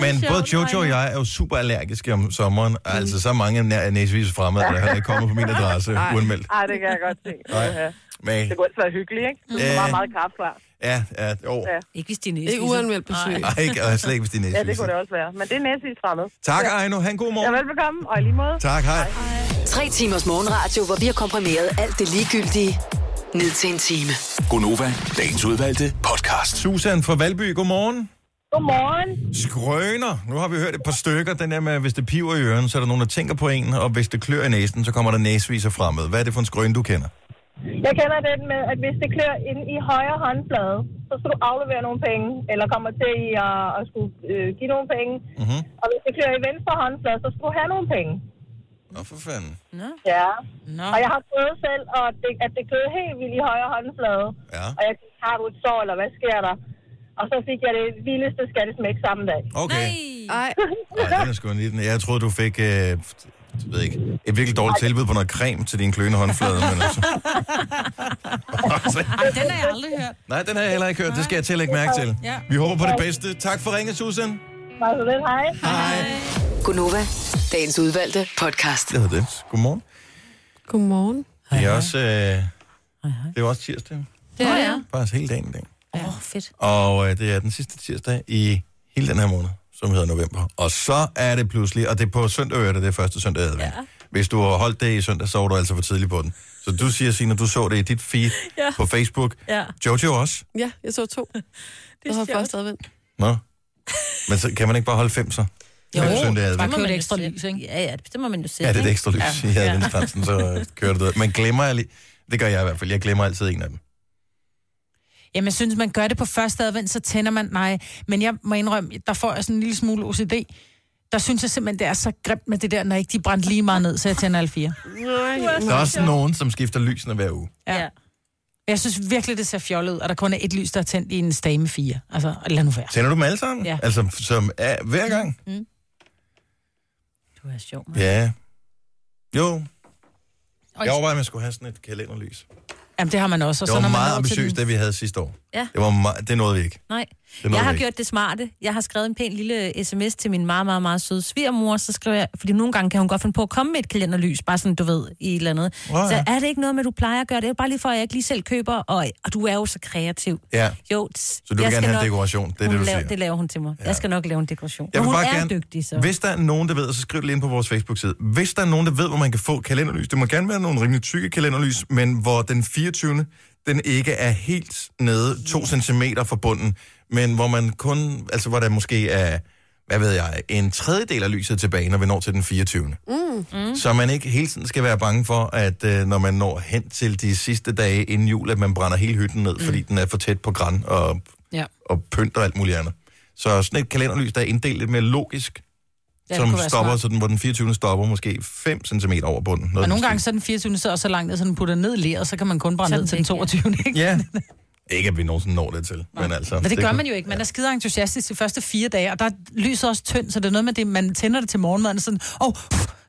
[SPEAKER 1] Men både Jojo og jeg er jo super allergiske om sommeren. Mm. Altså, så mange nær- næsvis fremad, at han ikke kommer på min adresse uanmeldt.
[SPEAKER 11] Nej, det kan jeg godt se.
[SPEAKER 1] Nej.
[SPEAKER 11] Uha.
[SPEAKER 1] Men,
[SPEAKER 11] Det kunne også være hyggeligt, ikke? Det var
[SPEAKER 1] Ja.
[SPEAKER 11] meget, meget kraftfar.
[SPEAKER 1] ja, ja, jo.
[SPEAKER 11] Ja.
[SPEAKER 5] Ikke hvis ligesom- de næste.
[SPEAKER 4] Ikke uanmeldt besøg.
[SPEAKER 1] Nej, ikke, og slet ikke, hvis de er
[SPEAKER 11] Ja, det
[SPEAKER 1] næsvis.
[SPEAKER 11] kunne det også være. Men det er næsvis fremmed.
[SPEAKER 1] Tak, Ejno. Han god
[SPEAKER 11] Ja,
[SPEAKER 1] morgen.
[SPEAKER 11] velbekomme, og i lige måde.
[SPEAKER 1] Tak, hej.
[SPEAKER 8] Tre timers morgenradio, hvor vi har komprimeret alt det ligegyldige ned til en time.
[SPEAKER 6] Gonova, dagens udvalgte podcast.
[SPEAKER 1] Susan fra Valby, godmorgen.
[SPEAKER 11] Godmorgen.
[SPEAKER 1] Skrøner. Nu har vi hørt et par stykker. Den der med, at hvis det piver i øren, så er der nogen, der tænker på en, og hvis det klør i næsen, så kommer der næsviser fremad. Hvad er det for en skrøne, du kender?
[SPEAKER 11] Jeg kender den med, at hvis det klør ind i højre håndflade, så skal du aflevere nogle penge, eller kommer til i at, at skulle øh, give nogle penge.
[SPEAKER 1] Mhm.
[SPEAKER 11] Og hvis det klør i venstre håndflade, så skal du have nogle penge.
[SPEAKER 1] Nå, for fanden.
[SPEAKER 11] Ja.
[SPEAKER 3] Nå.
[SPEAKER 11] Og jeg har prøvet selv, og det, at det kløede helt vildt i højre håndflade.
[SPEAKER 1] Ja.
[SPEAKER 11] Og jeg tænkte, har du et sår, eller hvad sker der? Og så fik jeg det vildeste skattesmæk samme dag.
[SPEAKER 1] Okay.
[SPEAKER 4] Ej,
[SPEAKER 1] Nej, den er sgu en liten. Jeg troede, du fik øh, jeg ved ikke, et virkelig dårligt tilbud på noget creme til din kløende håndflade. Men altså.
[SPEAKER 3] Ej, den har jeg aldrig hørt.
[SPEAKER 1] Nej, den har jeg heller ikke hørt. Det skal jeg til at lægge mærke til.
[SPEAKER 3] Ja.
[SPEAKER 1] Vi håber på det bedste. Tak for ringet, Susan.
[SPEAKER 11] Bare så lidt, hej.
[SPEAKER 8] Gunova, dagens udvalgte podcast.
[SPEAKER 1] Det hedder det. Godmorgen.
[SPEAKER 4] godmorgen.
[SPEAKER 1] Det er også, øh, det er jo også tirsdag.
[SPEAKER 5] Det er jeg.
[SPEAKER 1] Faktisk hele dagen i dag.
[SPEAKER 5] Åh, oh, fedt.
[SPEAKER 1] Og øh, det er den sidste tirsdag i hele den her måned, som hedder november. Og så er det pludselig, og det er på søndag, øh, det er det første søndag i advent. Ja. Hvis du har holdt det i søndag, så var du altså for tidlig på den. Så du siger, Signe, du så det i dit feed ja.
[SPEAKER 5] Ja.
[SPEAKER 1] på Facebook.
[SPEAKER 5] Ja.
[SPEAKER 1] Jojo også?
[SPEAKER 4] Ja, jeg så to. Det var
[SPEAKER 5] sjovt.
[SPEAKER 4] først advendt.
[SPEAKER 1] Nå. Men så kan man ikke bare holde fem så? Jo, søndag i
[SPEAKER 5] Bare
[SPEAKER 1] advent.
[SPEAKER 3] købe
[SPEAKER 5] købe
[SPEAKER 3] et
[SPEAKER 5] et
[SPEAKER 3] ekstra
[SPEAKER 5] lys, ikke? Ja, ja, det må man jo selv.
[SPEAKER 1] Ja, det er det
[SPEAKER 5] ikke?
[SPEAKER 1] ekstra lys ja. i adventstansen, så øh, kører det ud. Man glemmer lige... Det gør jeg i hvert fald. Jeg glemmer altid en af dem.
[SPEAKER 3] Jamen, jeg synes, man gør det på første advent, så tænder man, nej. Men jeg må indrømme, der får jeg sådan en lille smule OCD. Der synes jeg simpelthen, det er så grimt med det der, når ikke de brændt lige meget ned, så jeg tænder alle fire.
[SPEAKER 1] Der er også nogen, som skifter lysene hver uge.
[SPEAKER 5] Ja.
[SPEAKER 3] Jeg synes virkelig, det ser fjollet ud, og der kun er et lys, der er tændt i en stage med fire. Altså, lad nu være.
[SPEAKER 1] Tænder du dem alle sammen?
[SPEAKER 3] Ja. Mm.
[SPEAKER 1] Altså, som er, hver gang?
[SPEAKER 5] Du er sjov, man.
[SPEAKER 1] Ja. Jo,
[SPEAKER 3] Og,
[SPEAKER 1] jeg overvejede, at man skulle have sådan et kalenderlys.
[SPEAKER 3] jamen, det har man også. Og
[SPEAKER 1] Det
[SPEAKER 3] så
[SPEAKER 1] var
[SPEAKER 3] når man
[SPEAKER 1] meget
[SPEAKER 3] når til den-
[SPEAKER 1] ambitiøst, det vi havde sidste år.
[SPEAKER 5] Ja.
[SPEAKER 1] Det, var me- det nåede vi ikke.
[SPEAKER 5] Nej.
[SPEAKER 1] Det nåede
[SPEAKER 5] Jeg har
[SPEAKER 1] vi ikke.
[SPEAKER 5] gjort det smarte. Jeg har skrevet en pæn lille sms til min meget, meget, meget søde svigermor, så skriver jeg, fordi nogle gange kan hun godt finde på at komme med et kalenderlys, bare sådan, du ved, i et eller andet.
[SPEAKER 1] Wow.
[SPEAKER 5] Så er det ikke noget med, at du plejer at gøre det? Det er bare lige for, at jeg ikke lige selv køber, og, og du er jo så kreativ.
[SPEAKER 1] Ja.
[SPEAKER 5] Jo, så
[SPEAKER 1] du vil gerne have en dekoration, det er det, du
[SPEAKER 5] laver,
[SPEAKER 1] siger.
[SPEAKER 5] Det laver hun til mig. Ja. Jeg skal nok lave en dekoration.
[SPEAKER 1] Jeg
[SPEAKER 5] Jeg
[SPEAKER 1] vil
[SPEAKER 5] hun
[SPEAKER 1] bare
[SPEAKER 5] er
[SPEAKER 1] gerne-
[SPEAKER 5] dygtig, så.
[SPEAKER 1] Hvis der er nogen, der ved, så skriv det lige ind på vores Facebook-side. Hvis der er nogen, der ved, hvor man kan få kalenderlys, det må gerne være nogle rimelig tykke kalenderlys, men hvor den 24. den ikke er helt nede 2 cm fra bunden, men hvor man kun, altså hvor der måske er, hvad ved jeg, en tredjedel af lyset tilbage, når vi når til den 24. Mm. Så man ikke hele tiden skal være bange for, at øh, når man når hen til de sidste dage inden jul, at man brænder hele hytten ned, mm. fordi den er for tæt på græn og,
[SPEAKER 3] Ja.
[SPEAKER 1] og pynt og alt muligt andet. Så sådan et kalenderlys, der er inddelt lidt mere logisk,
[SPEAKER 3] Ja, det
[SPEAKER 1] som
[SPEAKER 3] kunne være
[SPEAKER 1] stopper,
[SPEAKER 3] smart.
[SPEAKER 1] så den, hvor den 24. stopper måske 5 cm over bunden. Noget
[SPEAKER 3] Og nogle
[SPEAKER 1] af
[SPEAKER 3] gange
[SPEAKER 1] den
[SPEAKER 3] så er den 24. så også så langt ned, så den putter ned i leret, så kan man kun brænde
[SPEAKER 5] Så
[SPEAKER 3] ned til den 22.
[SPEAKER 5] væk, ja.
[SPEAKER 3] Ikke?
[SPEAKER 1] stil. Ja. Ikke, at vi nogensinde når det til, men altså...
[SPEAKER 3] Men det gør
[SPEAKER 1] kunne-
[SPEAKER 3] man jo ikke. Man er skide entusiastisk de første fire dage, og der er lyset også tyndt, så det er noget med det, man tænder det til morgenmaden, og sådan, åh, oh,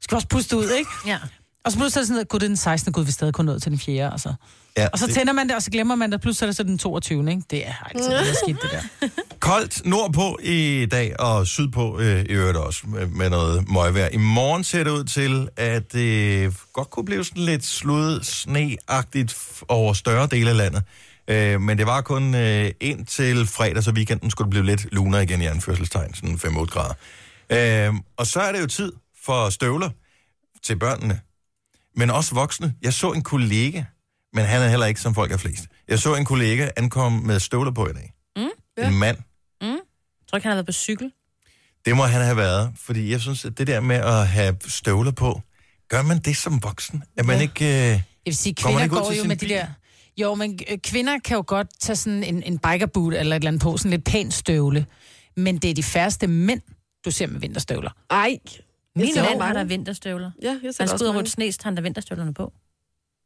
[SPEAKER 3] skal vi også puste ud, ikke?
[SPEAKER 5] Ja.
[SPEAKER 3] Og så pludselig er det sådan, at gud, det er den 16. gud, vi er stadig kun nået til den 4. Og så,
[SPEAKER 1] Ja,
[SPEAKER 3] og så tænder man det, og så glemmer man det, og pludselig er det så den 22. Ikke? Det er altid noget skidt, det der.
[SPEAKER 1] Koldt nordpå i dag, og sydpå øh, i øvrigt også, med, med noget møgvejr. I morgen ser det ud til, at det øh, godt kunne blive sådan lidt slud sneagtigt f- over større dele af landet. Øh, men det var kun øh, indtil fredag, så weekenden skulle det blive lidt lunere igen i anførselstegn, sådan 5-8 grader. Øh, og så er det jo tid for støvler til børnene, men også voksne. Jeg så en kollega, men han er heller ikke som folk er flest. Jeg så en kollega ankomme med støvler på i dag. Mm, en mand.
[SPEAKER 5] Jeg tror ikke, han har været på cykel.
[SPEAKER 1] Det må han have været, fordi jeg synes, at det der med at have støvler på, gør man det som voksen? At man ja. ikke... Øh,
[SPEAKER 3] Jeg vil sige,
[SPEAKER 1] Kommer man ikke
[SPEAKER 3] kvinder
[SPEAKER 1] ud
[SPEAKER 3] går
[SPEAKER 1] til
[SPEAKER 3] jo
[SPEAKER 1] sin
[SPEAKER 3] med de
[SPEAKER 1] bil?
[SPEAKER 3] der... Jo, men øh, kvinder kan jo godt tage sådan en, en bikerboot eller et eller andet på, sådan lidt pæn støvle. Men det er de færreste mænd, du ser med vinterstøvler.
[SPEAKER 4] Ej.
[SPEAKER 5] Min mand har der vinterstøvler.
[SPEAKER 4] Ja, jeg ser
[SPEAKER 5] Han
[SPEAKER 4] også
[SPEAKER 5] stod og
[SPEAKER 4] mange.
[SPEAKER 5] rydde sne, så han der vinterstøvlerne på.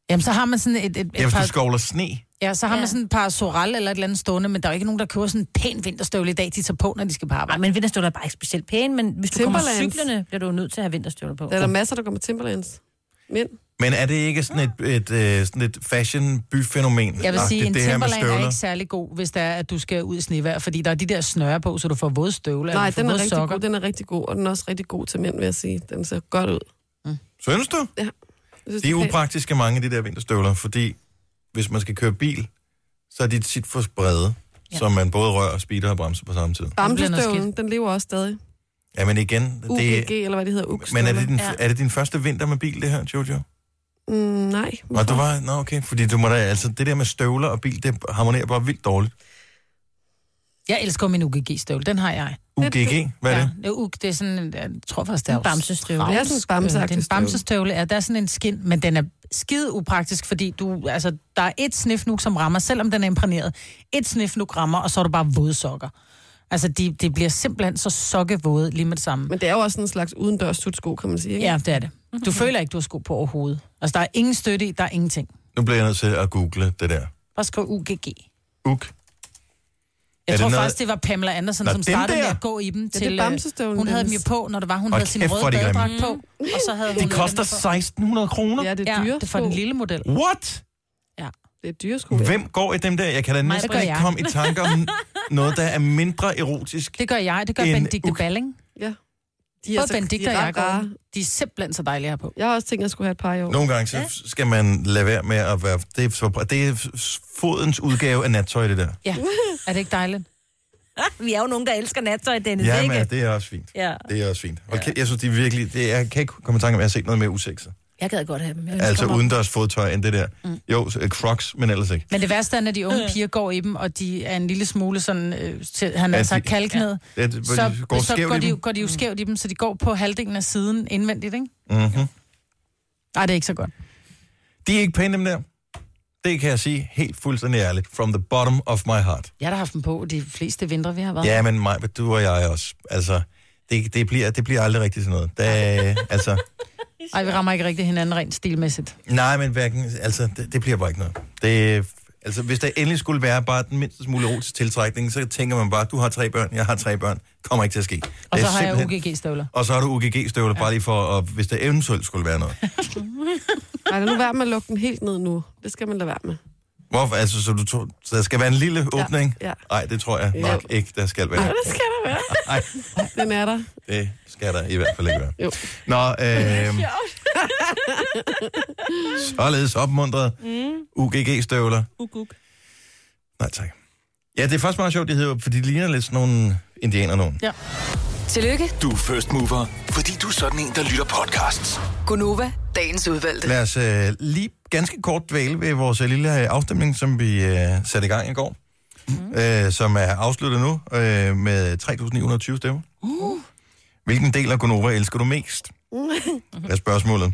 [SPEAKER 3] Jamen, så har man sådan et... et, et
[SPEAKER 1] Ja, hvis
[SPEAKER 3] par-
[SPEAKER 1] du skovler sne.
[SPEAKER 3] Ja, så har ja. man sådan et par sorel eller et eller andet stående, men der er jo ikke nogen, der køber sådan en pæn vinterstøvle i dag, de tager på, når de skal på arbejde.
[SPEAKER 5] Nej, men vinterstøvler er bare ikke specielt pæne, men hvis du kommer cyklerne, bliver du nødt til at have vinterstøvler på.
[SPEAKER 4] Der er der masser, der går med Timberlands. Mænd.
[SPEAKER 1] Men er det ikke sådan et, et, øh, sådan et fashion byfænomen?
[SPEAKER 3] Jeg vil sige, en Timberland er ikke særlig god, hvis det er, at du skal ud i snevejr, fordi der er de der snøre på, så du får våde støvler.
[SPEAKER 4] Nej,
[SPEAKER 3] eller du får
[SPEAKER 4] den er
[SPEAKER 3] våde
[SPEAKER 4] rigtig
[SPEAKER 3] sokker.
[SPEAKER 4] god, den er rigtig god, og den er også rigtig god til mænd, vil jeg sige. Den ser godt ud.
[SPEAKER 1] Synes du?
[SPEAKER 4] Ja. Jeg synes,
[SPEAKER 1] De er
[SPEAKER 4] pænt.
[SPEAKER 1] upraktiske mange af de der vinterstøvler, fordi hvis man skal køre bil, så er de tit for brede, ja. så man både rører, speeder og bremser på samme tid.
[SPEAKER 4] Bamsestøvlen, den lever også stadig.
[SPEAKER 1] Ja, men igen,
[SPEAKER 3] Uh,
[SPEAKER 1] det,
[SPEAKER 4] UGG, eller hvad det hedder, UGG.
[SPEAKER 1] men er det, din, ja. er det din første vinter med bil, det her, Jojo?
[SPEAKER 4] Mm, nej.
[SPEAKER 1] Nå, du var, nå, okay, fordi du må da, altså, det der med støvler og bil, det harmonerer bare vildt dårligt.
[SPEAKER 3] Jeg elsker min UGG-støvle, den har jeg.
[SPEAKER 1] UGG, hvad er det?
[SPEAKER 3] Ja, UG, det er sådan, en- jeg tror faktisk, det er
[SPEAKER 5] En bamsestøvle.
[SPEAKER 3] strauss-
[SPEAKER 5] Det er sådan en bamseagtig
[SPEAKER 3] Det er en
[SPEAKER 5] støvle.
[SPEAKER 3] bamsestøvle, ja. Der er sådan en skin, men den er skide upraktisk, fordi du, altså, der er et snifnuk, som rammer, selvom den er imprægneret. Et snifnuk rammer, og så er du bare våde sokker. Altså, de, de bliver simpelthen så sokkevåde lige med det samme.
[SPEAKER 4] Men det er jo også sådan en slags udendørs tutsko, kan man sige. Ikke?
[SPEAKER 3] Ja, det er det.
[SPEAKER 5] Mhm.
[SPEAKER 3] Du føler ikke, du har sko på overhovedet. Altså, der er ingen støtte i, der er ingenting.
[SPEAKER 1] Nu bliver jeg nødt til at google det der.
[SPEAKER 3] Bare skriv UGG.
[SPEAKER 1] UG.
[SPEAKER 3] Jeg
[SPEAKER 1] Er
[SPEAKER 3] tror
[SPEAKER 1] det noget-
[SPEAKER 3] faktisk, det var Pamela Andersen,
[SPEAKER 1] Nå,
[SPEAKER 3] som
[SPEAKER 1] dem
[SPEAKER 3] startede
[SPEAKER 1] der?
[SPEAKER 3] med at gå i dem
[SPEAKER 4] det er
[SPEAKER 3] til... øh,
[SPEAKER 4] bamsestøvlen,
[SPEAKER 3] hun havde dem
[SPEAKER 4] Dennis.
[SPEAKER 3] jo på, når det var, hun
[SPEAKER 1] Og
[SPEAKER 3] havde sin
[SPEAKER 1] kæft, hvor er
[SPEAKER 3] røde
[SPEAKER 1] de grimme.
[SPEAKER 3] badedragt på, og så havde hun...
[SPEAKER 1] Det koster 1.600 kroner?
[SPEAKER 4] Ja, det er
[SPEAKER 3] ja,
[SPEAKER 4] dyre
[SPEAKER 3] det er for den
[SPEAKER 4] sko.
[SPEAKER 3] lille model.
[SPEAKER 1] What?
[SPEAKER 3] Ja.
[SPEAKER 4] Det er dyre sko.
[SPEAKER 1] Hvem går i dem der? Jeg kan da
[SPEAKER 3] Mig,
[SPEAKER 1] næsten
[SPEAKER 3] det gør
[SPEAKER 1] ikke
[SPEAKER 3] jeg.
[SPEAKER 1] komme i tanke om noget, der er mindre erotisk.
[SPEAKER 3] Det gør jeg, det gør
[SPEAKER 1] En
[SPEAKER 3] Benedikte
[SPEAKER 1] uk-
[SPEAKER 3] Balling.
[SPEAKER 4] Ja.
[SPEAKER 3] De er Både Benedikte og jeg går.
[SPEAKER 4] rare.
[SPEAKER 3] De er simpelthen så dejlige her på.
[SPEAKER 4] Jeg har også tænkt, at jeg skulle have et par i år.
[SPEAKER 1] Nogle gange så skal man lade være med at være... Det er, så, det er fodens udgave af nattøj, det der.
[SPEAKER 3] Ja, er det ikke dejligt?
[SPEAKER 5] Vi er jo nogen, der elsker nattøj, Dennis,
[SPEAKER 1] Ja,
[SPEAKER 5] ikke?
[SPEAKER 1] men det er også fint.
[SPEAKER 5] Ja.
[SPEAKER 1] Det er også fint. Og jeg synes, det er virkelig... Det er, jeg kan ikke komme i tanke om, at jeg har set noget mere usexet.
[SPEAKER 5] Jeg gad godt have dem. Jeg
[SPEAKER 1] Altså
[SPEAKER 5] ønsker mig-
[SPEAKER 1] udendørs fodtøj end det der.
[SPEAKER 3] Mm.
[SPEAKER 1] Jo, så- crocs, men ellers ikke.
[SPEAKER 3] Men det værste er, når de unge piger går i dem, og de er en lille smule sådan, øh, til, han
[SPEAKER 1] Ja,
[SPEAKER 3] har
[SPEAKER 1] de-
[SPEAKER 3] sagt kalknet,
[SPEAKER 1] Ja, det- hvor
[SPEAKER 3] så,
[SPEAKER 1] de går
[SPEAKER 3] så
[SPEAKER 1] skævt
[SPEAKER 3] går,
[SPEAKER 1] i
[SPEAKER 3] de, jo-
[SPEAKER 1] dem.
[SPEAKER 3] går de jo skævt i dem, så de går på halvdelen af siden indvendigt, ikke?
[SPEAKER 1] Mm-hmm.
[SPEAKER 3] Nej, det er ikke så godt.
[SPEAKER 1] De er ikke pæne, dem der. Det kan jeg sige helt fuldstændig ærligt. From the bottom of my heart.
[SPEAKER 3] Jeg har da haft dem på de fleste vintre, vi har været.
[SPEAKER 1] Ja, men mig, du og jeg også. Altså, det, det, bliver, det bliver aldrig rigtigt sådan noget. Da, altså,
[SPEAKER 3] Ej, vi rammer ikke rigtig hinanden rent stilmæssigt.
[SPEAKER 1] nej, men hverken, altså, det, det bliver bare ikke noget. Det, altså, hvis der endelig skulle være bare den mindste smule erotisk tiltrækning, så tænker man bare, du har tre børn, jeg har tre børn. Kommer ikke til at ske.
[SPEAKER 3] Og
[SPEAKER 1] Det
[SPEAKER 3] så
[SPEAKER 1] er
[SPEAKER 3] har jeg
[SPEAKER 1] simpelthen-
[SPEAKER 3] UGG-støvler.
[SPEAKER 1] Og så har du UGG-støvler, bare lige for, at, hvis der eventuelt skulle være noget.
[SPEAKER 4] Nej, lad nu være med at lukke den helt ned nu. Det skal man lade være med.
[SPEAKER 1] Hvorfor? Altså, så, du tog, så der skal være en lille åbning?
[SPEAKER 4] ja.
[SPEAKER 1] Nej, det tror jeg nok ikke, der skal være.
[SPEAKER 4] Nej, det skal der være.
[SPEAKER 1] Nej,
[SPEAKER 4] Den er der.
[SPEAKER 1] det skal der i hvert fald ikke være.
[SPEAKER 4] Jo.
[SPEAKER 1] Nå, øh, således opmuntret.
[SPEAKER 5] Mm.
[SPEAKER 1] UGG-støvler.
[SPEAKER 5] Uk, uk.
[SPEAKER 1] Nej, tak. Ja, det er faktisk meget sjovt, de hedder, jo, for de ligner lidt sådan nogle indianer nogen.
[SPEAKER 3] Ja.
[SPEAKER 8] Tillykke,
[SPEAKER 6] Du er first mover, fordi du er sådan en, der lytter podcasts.
[SPEAKER 8] Gunova, dagens udvalgte.
[SPEAKER 1] Lad os øh, lige ganske kort dvæle ved vores øh, lille øh, afstemning, som vi øh, satte i gang i går,
[SPEAKER 3] Mm-hmm.
[SPEAKER 1] mm. øh, som er afsluttet nu øh, med 3.920 stemmer.
[SPEAKER 7] Uh.
[SPEAKER 1] Hvilken del af Gonova elsker du mest?
[SPEAKER 3] Mm-hmm.
[SPEAKER 1] er spørgsmålet.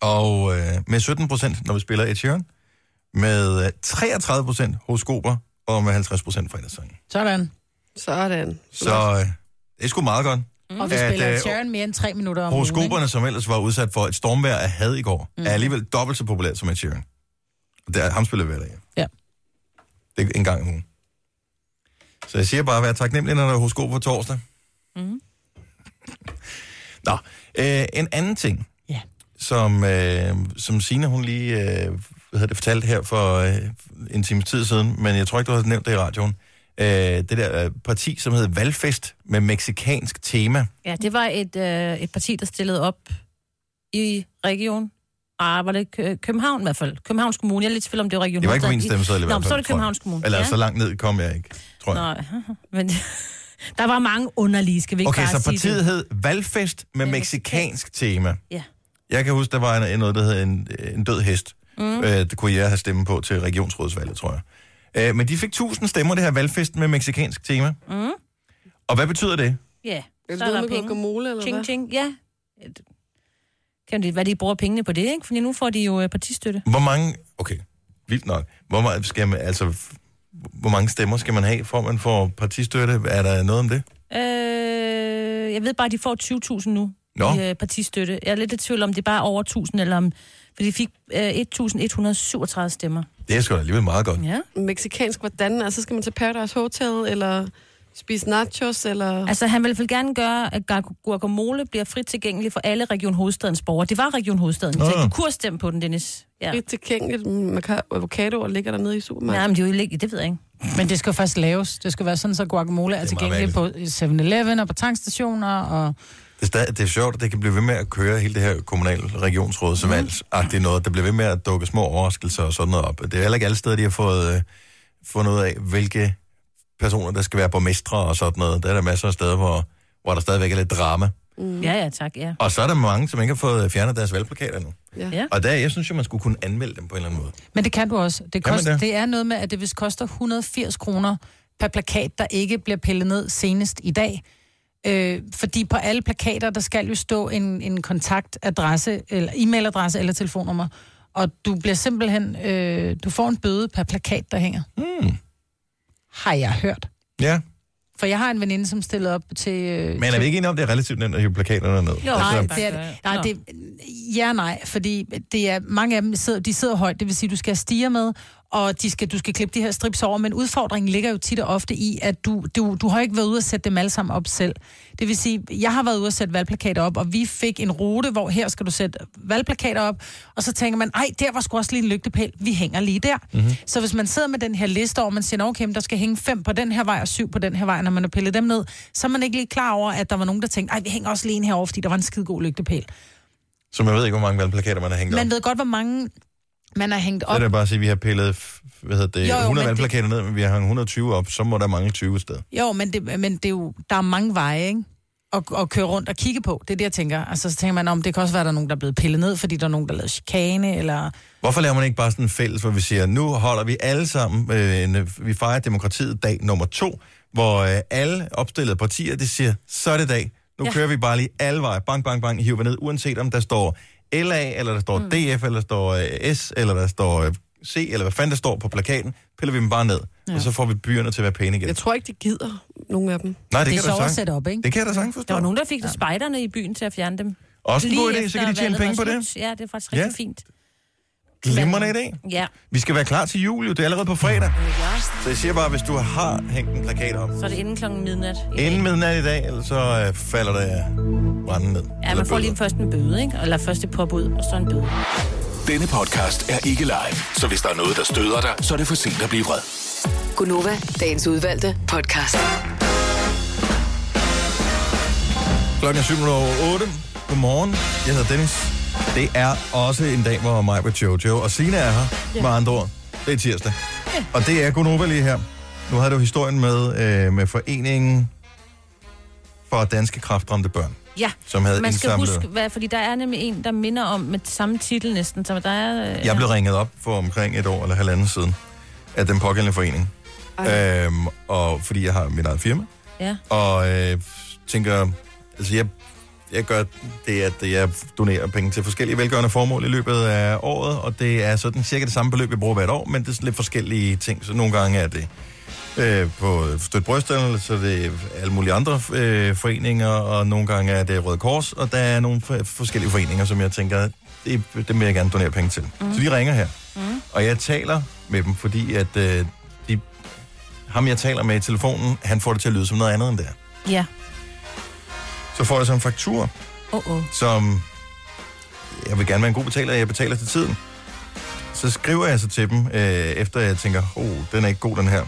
[SPEAKER 1] Og øh, med 17 procent, når vi spiller Ed Sheeran. Med øh, 33 procent horoskoper, og med 50 procent fredagssangen.
[SPEAKER 3] Sådan.
[SPEAKER 4] Sådan.
[SPEAKER 1] Så øh, det er sgu meget godt.
[SPEAKER 3] Mm. Og vi
[SPEAKER 1] at,
[SPEAKER 3] spiller
[SPEAKER 1] øh,
[SPEAKER 3] at, Sharon mere end tre minutter om ugen.
[SPEAKER 1] Horoskoperne, som ellers var udsat for et stormvejr af had i går, mm. er alligevel dobbelt så populært som Ed Sheeran. Og Der, ham spiller vi hver dag.
[SPEAKER 3] Ja.
[SPEAKER 1] Det er en gang om ugen. Så jeg siger bare, at være taknemmelig, når der er horoskop på torsdag.
[SPEAKER 5] Mm-hmm.
[SPEAKER 7] Mm.
[SPEAKER 1] Nå, øh, en anden ting,
[SPEAKER 3] Ja.
[SPEAKER 1] som, øh, som Sina hun lige øh, hvad hedder det, fortalte her for øh, en times tid siden, men jeg tror ikke, du har nævnt det i radioen. Øh, det der øh, parti, som hedder Valfest med meksikansk tema.
[SPEAKER 5] Ja, det var et, øh, et parti, der stillede op i region. Ah, var det Kø- København i hvert fald? Københavns Kommune. Jeg er lidt i tvivl om, det var Region
[SPEAKER 1] Det var ikke på min
[SPEAKER 5] Hovedstaden.
[SPEAKER 1] stemmeseddel i hvert
[SPEAKER 5] Nå,
[SPEAKER 1] fald.
[SPEAKER 5] men så var det
[SPEAKER 1] tror jeg.
[SPEAKER 5] Københavns Kommune.
[SPEAKER 1] Eller
[SPEAKER 5] Mm. ja.
[SPEAKER 1] så langt ned kom jeg ikke, tror jeg.
[SPEAKER 5] Nå, men der var mange underlige, skal vi ikke
[SPEAKER 1] Okay,
[SPEAKER 5] bare
[SPEAKER 1] så
[SPEAKER 5] sige
[SPEAKER 1] partiet
[SPEAKER 5] det?
[SPEAKER 1] hed Valfest med meksikansk tema.
[SPEAKER 5] Ja.
[SPEAKER 1] Jeg kan huske, der var en, noget, der hed en, en død hest. Mm. Øh, det kunne jeg have stemme på til regionsrådsvalget, tror jeg. Øh, men de fik 1000 stemmer, det her valgfest med meksikansk tema.
[SPEAKER 5] Mm.
[SPEAKER 1] Og hvad betyder det?
[SPEAKER 5] Ja,
[SPEAKER 4] Er det
[SPEAKER 5] så
[SPEAKER 4] noget
[SPEAKER 5] er der
[SPEAKER 4] med
[SPEAKER 5] penge.
[SPEAKER 4] guacamole, eller
[SPEAKER 5] ching,
[SPEAKER 4] hvad?
[SPEAKER 5] Ching, ja. Et- Kan det, hvad de bruger pengene på det, ikke? Fordi nu får de jo øh, partistøtte.
[SPEAKER 1] Hvor mange... Okay, Vildt nok. Hvor, meget skal man, altså, hvor mange stemmer skal man have, for at man får partistøtte? Er der noget om det?
[SPEAKER 5] Øh, jeg ved bare, at de får 20.000 nu
[SPEAKER 1] Nå.
[SPEAKER 5] i øh, partistøtte. Jeg er lidt i tvivl om, det er bare over 1.000, eller om... For de fik øh, 1.137 stemmer.
[SPEAKER 1] Det er sgu da alligevel meget godt.
[SPEAKER 5] Ja.
[SPEAKER 4] Mexikansk, hvordan? Altså, skal man til Paradise Hotel, eller spise nachos, eller...
[SPEAKER 5] Altså, han vil i hvert fald gerne gøre, at gar- guacamole bliver frit tilgængelig for alle Region Hovedstadens borgere. Det var Region Hovedstaden.
[SPEAKER 4] Nå.
[SPEAKER 5] Så du kunne stemme på den, Dennis. Ja.
[SPEAKER 4] Frit tilgængeligt, mm, maka- avocadoer ligger dernede i supermarkedet.
[SPEAKER 5] Nej, men det er jo ikke, det ved jeg ikke.
[SPEAKER 3] Men det skal jo først laves. Det skal være sådan, så guacamole er, er tilgængelig på 7-Eleven og på tankstationer. Og...
[SPEAKER 1] Det er, stadig, det er sjovt, at det kan blive ved med at køre hele det her kommunal regionsråd
[SPEAKER 3] Mhm.
[SPEAKER 1] som alt. Det er noget, der bliver ved med at dukke små overraskelser og sådan noget op. Det er heller ikke alle steder, de har fået, øh, fundet ud af, hvilke personer, der skal være borgmestre og sådan noget. Der er der masser af steder, hvor, hvor der stadigvæk er lidt drama.
[SPEAKER 5] Mm. Ja, ja, tak, ja.
[SPEAKER 1] Og så er der mange, som ikke har fået øh, fjernet deres valgplakater nu.
[SPEAKER 5] ja.
[SPEAKER 1] Og der, jeg synes jo, man skulle kunne anmelde dem på en eller anden måde.
[SPEAKER 3] Men det kan du også. Det,
[SPEAKER 1] Kan man
[SPEAKER 3] kost,
[SPEAKER 1] det?
[SPEAKER 3] det? det er noget med, at det hvis koster 180 kroner per plakat, der ikke bliver pillet ned senest i dag. Øh, fordi på alle plakater, der skal jo stå en, en kontaktadresse, eller e-mailadresse eller telefonnummer. Og du bliver simpelthen, øh, du får en bøde per plakat, der hænger.
[SPEAKER 1] Mm.
[SPEAKER 3] Har jeg hørt.
[SPEAKER 1] Ja,
[SPEAKER 3] For jeg har en veninde, som stillede op til... Øh,
[SPEAKER 1] men er vi ikke enige om, det er relativt nemt at hive plakaterne ned? Altså,
[SPEAKER 3] jo, nej, det er det. Nej, det, ja, nej, fordi det er, mange af dem sidder, de sidder højt, det vil sige, du skal stige med, og de skal, du skal klippe de her strips over, men udfordringen ligger jo tit og ofte i, at du, du, du har ikke været ude at sætte dem alle sammen op selv. Det vil sige, jeg har været ude at sætte valgplakater op, og vi fik en rute, hvor her skal du sætte valgplakater op, og så tænker man, ej, der var sgu også lige en lygtepæl, vi hænger lige der. Mm-hmm. Så hvis man sidder med den her liste over, man siger, "Nå, okay, men der skal hænge fem på den her vej og syv på den her vej, når man har pillet dem ned, så er man ikke lige klar over, at der var nogen, der tænkte, ej, vi hænger også lige en herovre, fordi der var en skide god lygtepæl.
[SPEAKER 1] Så man ved ikke, hvor mange valgplakater man har hængt op.
[SPEAKER 3] Man ved godt, hvor mange man har hængt
[SPEAKER 1] Så er
[SPEAKER 3] op.
[SPEAKER 1] det bare at sige, at vi har pillet f- hvad hedder det,
[SPEAKER 3] Jo, jo,
[SPEAKER 1] 100
[SPEAKER 3] men
[SPEAKER 1] valgplakater ned, men vi har hængt 120 op, så må der mangle 20 steder.
[SPEAKER 3] Jo, men, det, men det er jo, der er mange veje, ikke? At, at køre rundt og kigge på. Det er det, jeg tænker. Altså, så tænker man om, det kan også være, at der er nogen, der er blevet pillet ned, fordi der er nogen, der lavede chikane, eller...
[SPEAKER 1] Hvorfor laver man ikke bare sådan en fælles, hvor vi siger, nu holder vi alle sammen, øh, en, øh, vi fejrer demokratiet dag nummer to, hvor øh, alle opstillede partier, det siger, så er det dag. Nu ja.
[SPEAKER 12] Ja.
[SPEAKER 1] kører vi bare lige alle veje, bang, bang, bang, hiver vi ned, uanset om der står LA, eller der står mm. DF, eller der står øh, S, eller der står øh, C, eller hvad fanden der står på plakaten, piller vi dem bare ned, ja. og så får vi byerne til at være pæne igen.
[SPEAKER 4] Jeg tror ikke, de gider, nogen af dem.
[SPEAKER 1] Nej, det,
[SPEAKER 5] Det
[SPEAKER 1] kan
[SPEAKER 5] er sjovt
[SPEAKER 1] da
[SPEAKER 5] at
[SPEAKER 1] sagtens-
[SPEAKER 5] sætte op, ikke?
[SPEAKER 1] Det kan jeg da sagtens forstå.
[SPEAKER 5] Der var nogen, der fik ja. spejderne i byen til at fjerne dem.
[SPEAKER 1] Også en
[SPEAKER 5] Lige
[SPEAKER 1] god idé, så
[SPEAKER 5] efter
[SPEAKER 1] kan de tjene
[SPEAKER 5] valget
[SPEAKER 1] penge på
[SPEAKER 5] var
[SPEAKER 1] det.
[SPEAKER 5] slut. Ja, det er faktisk
[SPEAKER 1] Ja.
[SPEAKER 5] rigtig fint.
[SPEAKER 1] Glimrende idé.
[SPEAKER 5] Ja,
[SPEAKER 1] Vi skal være klar til jul, jo. det er allerede på fredag. Så jeg siger bare, hvis du har hængt en plakat op,
[SPEAKER 5] så er det inden klokken midnat.
[SPEAKER 1] inden midnat i dag, ellers så øh, falder der branden ned.
[SPEAKER 5] Ja, man får lige først en bøde, ikke? Eller først et påbud, og så en bøde.
[SPEAKER 6] Denne podcast er ikke live, så hvis der er noget, der støder dig, så er det for sent at blive vred.
[SPEAKER 8] Gunova, dagens udvalgte podcast.
[SPEAKER 1] Klokken er 7 over 8. Godmorgen. Jeg hedder Dennis. Det er også en dag, hvor mig med Jojo og Sina er her,
[SPEAKER 12] Ja.
[SPEAKER 1] ja. med andre ord. Det er tirsdag. Ja. Og det er Gunova lige her. Nu havde du historien med, øh, med foreningen for danske kraftramte børn,
[SPEAKER 5] Ja,
[SPEAKER 1] som havde
[SPEAKER 5] man skal
[SPEAKER 1] indsamlet...
[SPEAKER 5] huske, hvad, fordi der er nemlig en, der minder om med samme titel næsten, så der er... øh,
[SPEAKER 1] Jeg blev ringet op for omkring et år eller halvanden siden af den pågældende forening. Øhm, og fordi jeg har mit eget firma.
[SPEAKER 5] Ja.
[SPEAKER 1] Og øh, tænker, altså jeg, jeg gør det, at jeg donerer penge til forskellige velgørende formål i løbet af året, og det er sådan cirka det samme beløb, jeg bruger hvert år, men det er sådan lidt forskellige ting, så nogle gange er det øh, på Støt Brysterne, så er det alle mulige andre øh, foreninger, og nogle gange er det Røde Kors, og der er nogle f- forskellige foreninger, som jeg tænker, det, dem vil jeg gerne donere penge til. Mm. Så de ringer her. Mm. Og jeg taler med dem, fordi at øh, de, ham, jeg taler med i telefonen, han får det til at lyde som noget andet end det er.
[SPEAKER 5] Ja.
[SPEAKER 1] Så får jeg så en faktur,
[SPEAKER 5] Åh, åh.
[SPEAKER 1] som jeg vil gerne være en god betaler, jeg betaler til tiden. Så skriver jeg så til dem, øh, efter jeg tænker, oh, den er ikke god, den her.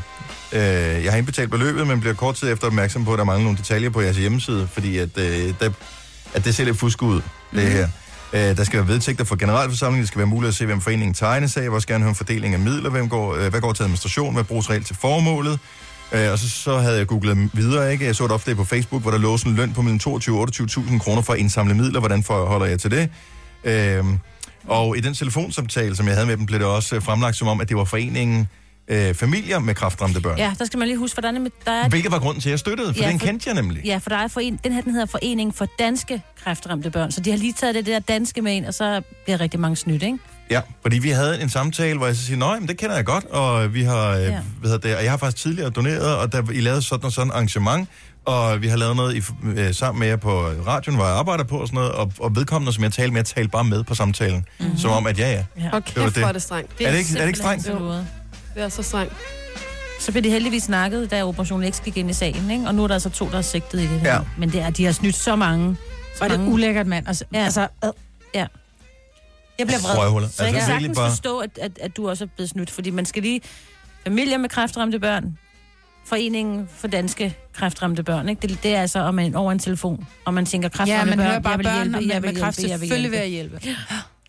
[SPEAKER 1] Øh, jeg har indbetalt beløbet, men bliver kort tid efter opmærksom på, at der mangler nogle detaljer på jeres hjemmeside, fordi at, øh, der, at det ser lidt fusk ud, det her. Øh, der skal være vedtægter for generalforsamlingen, det skal være muligt at se, hvem foreningen tegnes af, jeg vil også gerne høre en fordeling af midler, hvem går, øh, hvad går til administration, hvad bruges reelt til formålet, Øh, og så, så havde jeg googlet videre, ikke? Jeg så et opslag på Facebook, hvor der lå sådan en løn på mellem 22 og 28.000 kroner for at indsamle midler. Hvordan forholder jeg til det? Øh, og i den telefonsamtale, som jeg havde med dem, blev det også øh, fremlagt som om, at det var foreningen, øh, øh, familier med kraftramte børn. Ja.
[SPEAKER 5] Ja, der skal man lige huske, hvordan det med, der er...
[SPEAKER 1] Hvilket var grunden til, at jeg støttede, for ja, den kendte jeg nemlig.
[SPEAKER 5] Ja, for der er foren, den her den hedder Foreningen for Danske Kræftramte Børn, så de har lige taget det der danske med ind, og så bliver rigtig mange snydt, ikke?
[SPEAKER 1] Ja, fordi vi havde en samtale, hvor jeg så siger, nej, men det kender jeg godt, og vi har, ja.
[SPEAKER 5] Ja.
[SPEAKER 1] hvad hedder det, og jeg har faktisk tidligere doneret, og der, I lavede sådan og sådan arrangement, og vi har lavet noget i, f- øh, sammen med jer på radioen, hvor jeg arbejder på og sådan noget, og, og vedkommende, som jeg talte med, jeg talte bare med på samtalen, mm-hmm. som om, at ja, ja.
[SPEAKER 4] Ja. Og
[SPEAKER 1] var
[SPEAKER 4] kæft, hvor er det strengt.
[SPEAKER 1] Er det ikke, er det ikke strengt?
[SPEAKER 5] Jo.
[SPEAKER 4] Det er så strengt.
[SPEAKER 5] Så blev de heldigvis snakket, da operationen ikke gik ind i sagen, ikke? Og nu er der altså to, der er sigtet i det her.
[SPEAKER 3] Ja.
[SPEAKER 5] Men det er, de har snydt så mange. Så
[SPEAKER 3] Og det er ulækkert, mand. Altså,
[SPEAKER 5] ja. altså ja. Jeg bliver vred.
[SPEAKER 1] Røvhuller.
[SPEAKER 5] Så jeg
[SPEAKER 1] Altså,
[SPEAKER 5] kan
[SPEAKER 1] virkelig
[SPEAKER 5] sagtens
[SPEAKER 1] bare-
[SPEAKER 5] bare... forstå, at, at, at du også er blevet snydt, fordi man skal lige... Familier med kræftramte børn, Foreningen for Danske Kræftramte Børn, ikke? Det, det er altså om en, over en telefon, og man tænker,
[SPEAKER 3] Ja,
[SPEAKER 5] kræftramte
[SPEAKER 3] man
[SPEAKER 5] børn,
[SPEAKER 3] hører bare
[SPEAKER 5] altså, jeg vil
[SPEAKER 3] børn
[SPEAKER 5] hjælpe,
[SPEAKER 3] med-
[SPEAKER 5] jeg vil
[SPEAKER 3] med
[SPEAKER 5] hjælpe,
[SPEAKER 3] kræft,
[SPEAKER 5] jeg vil
[SPEAKER 3] selvfølgelig vil jeg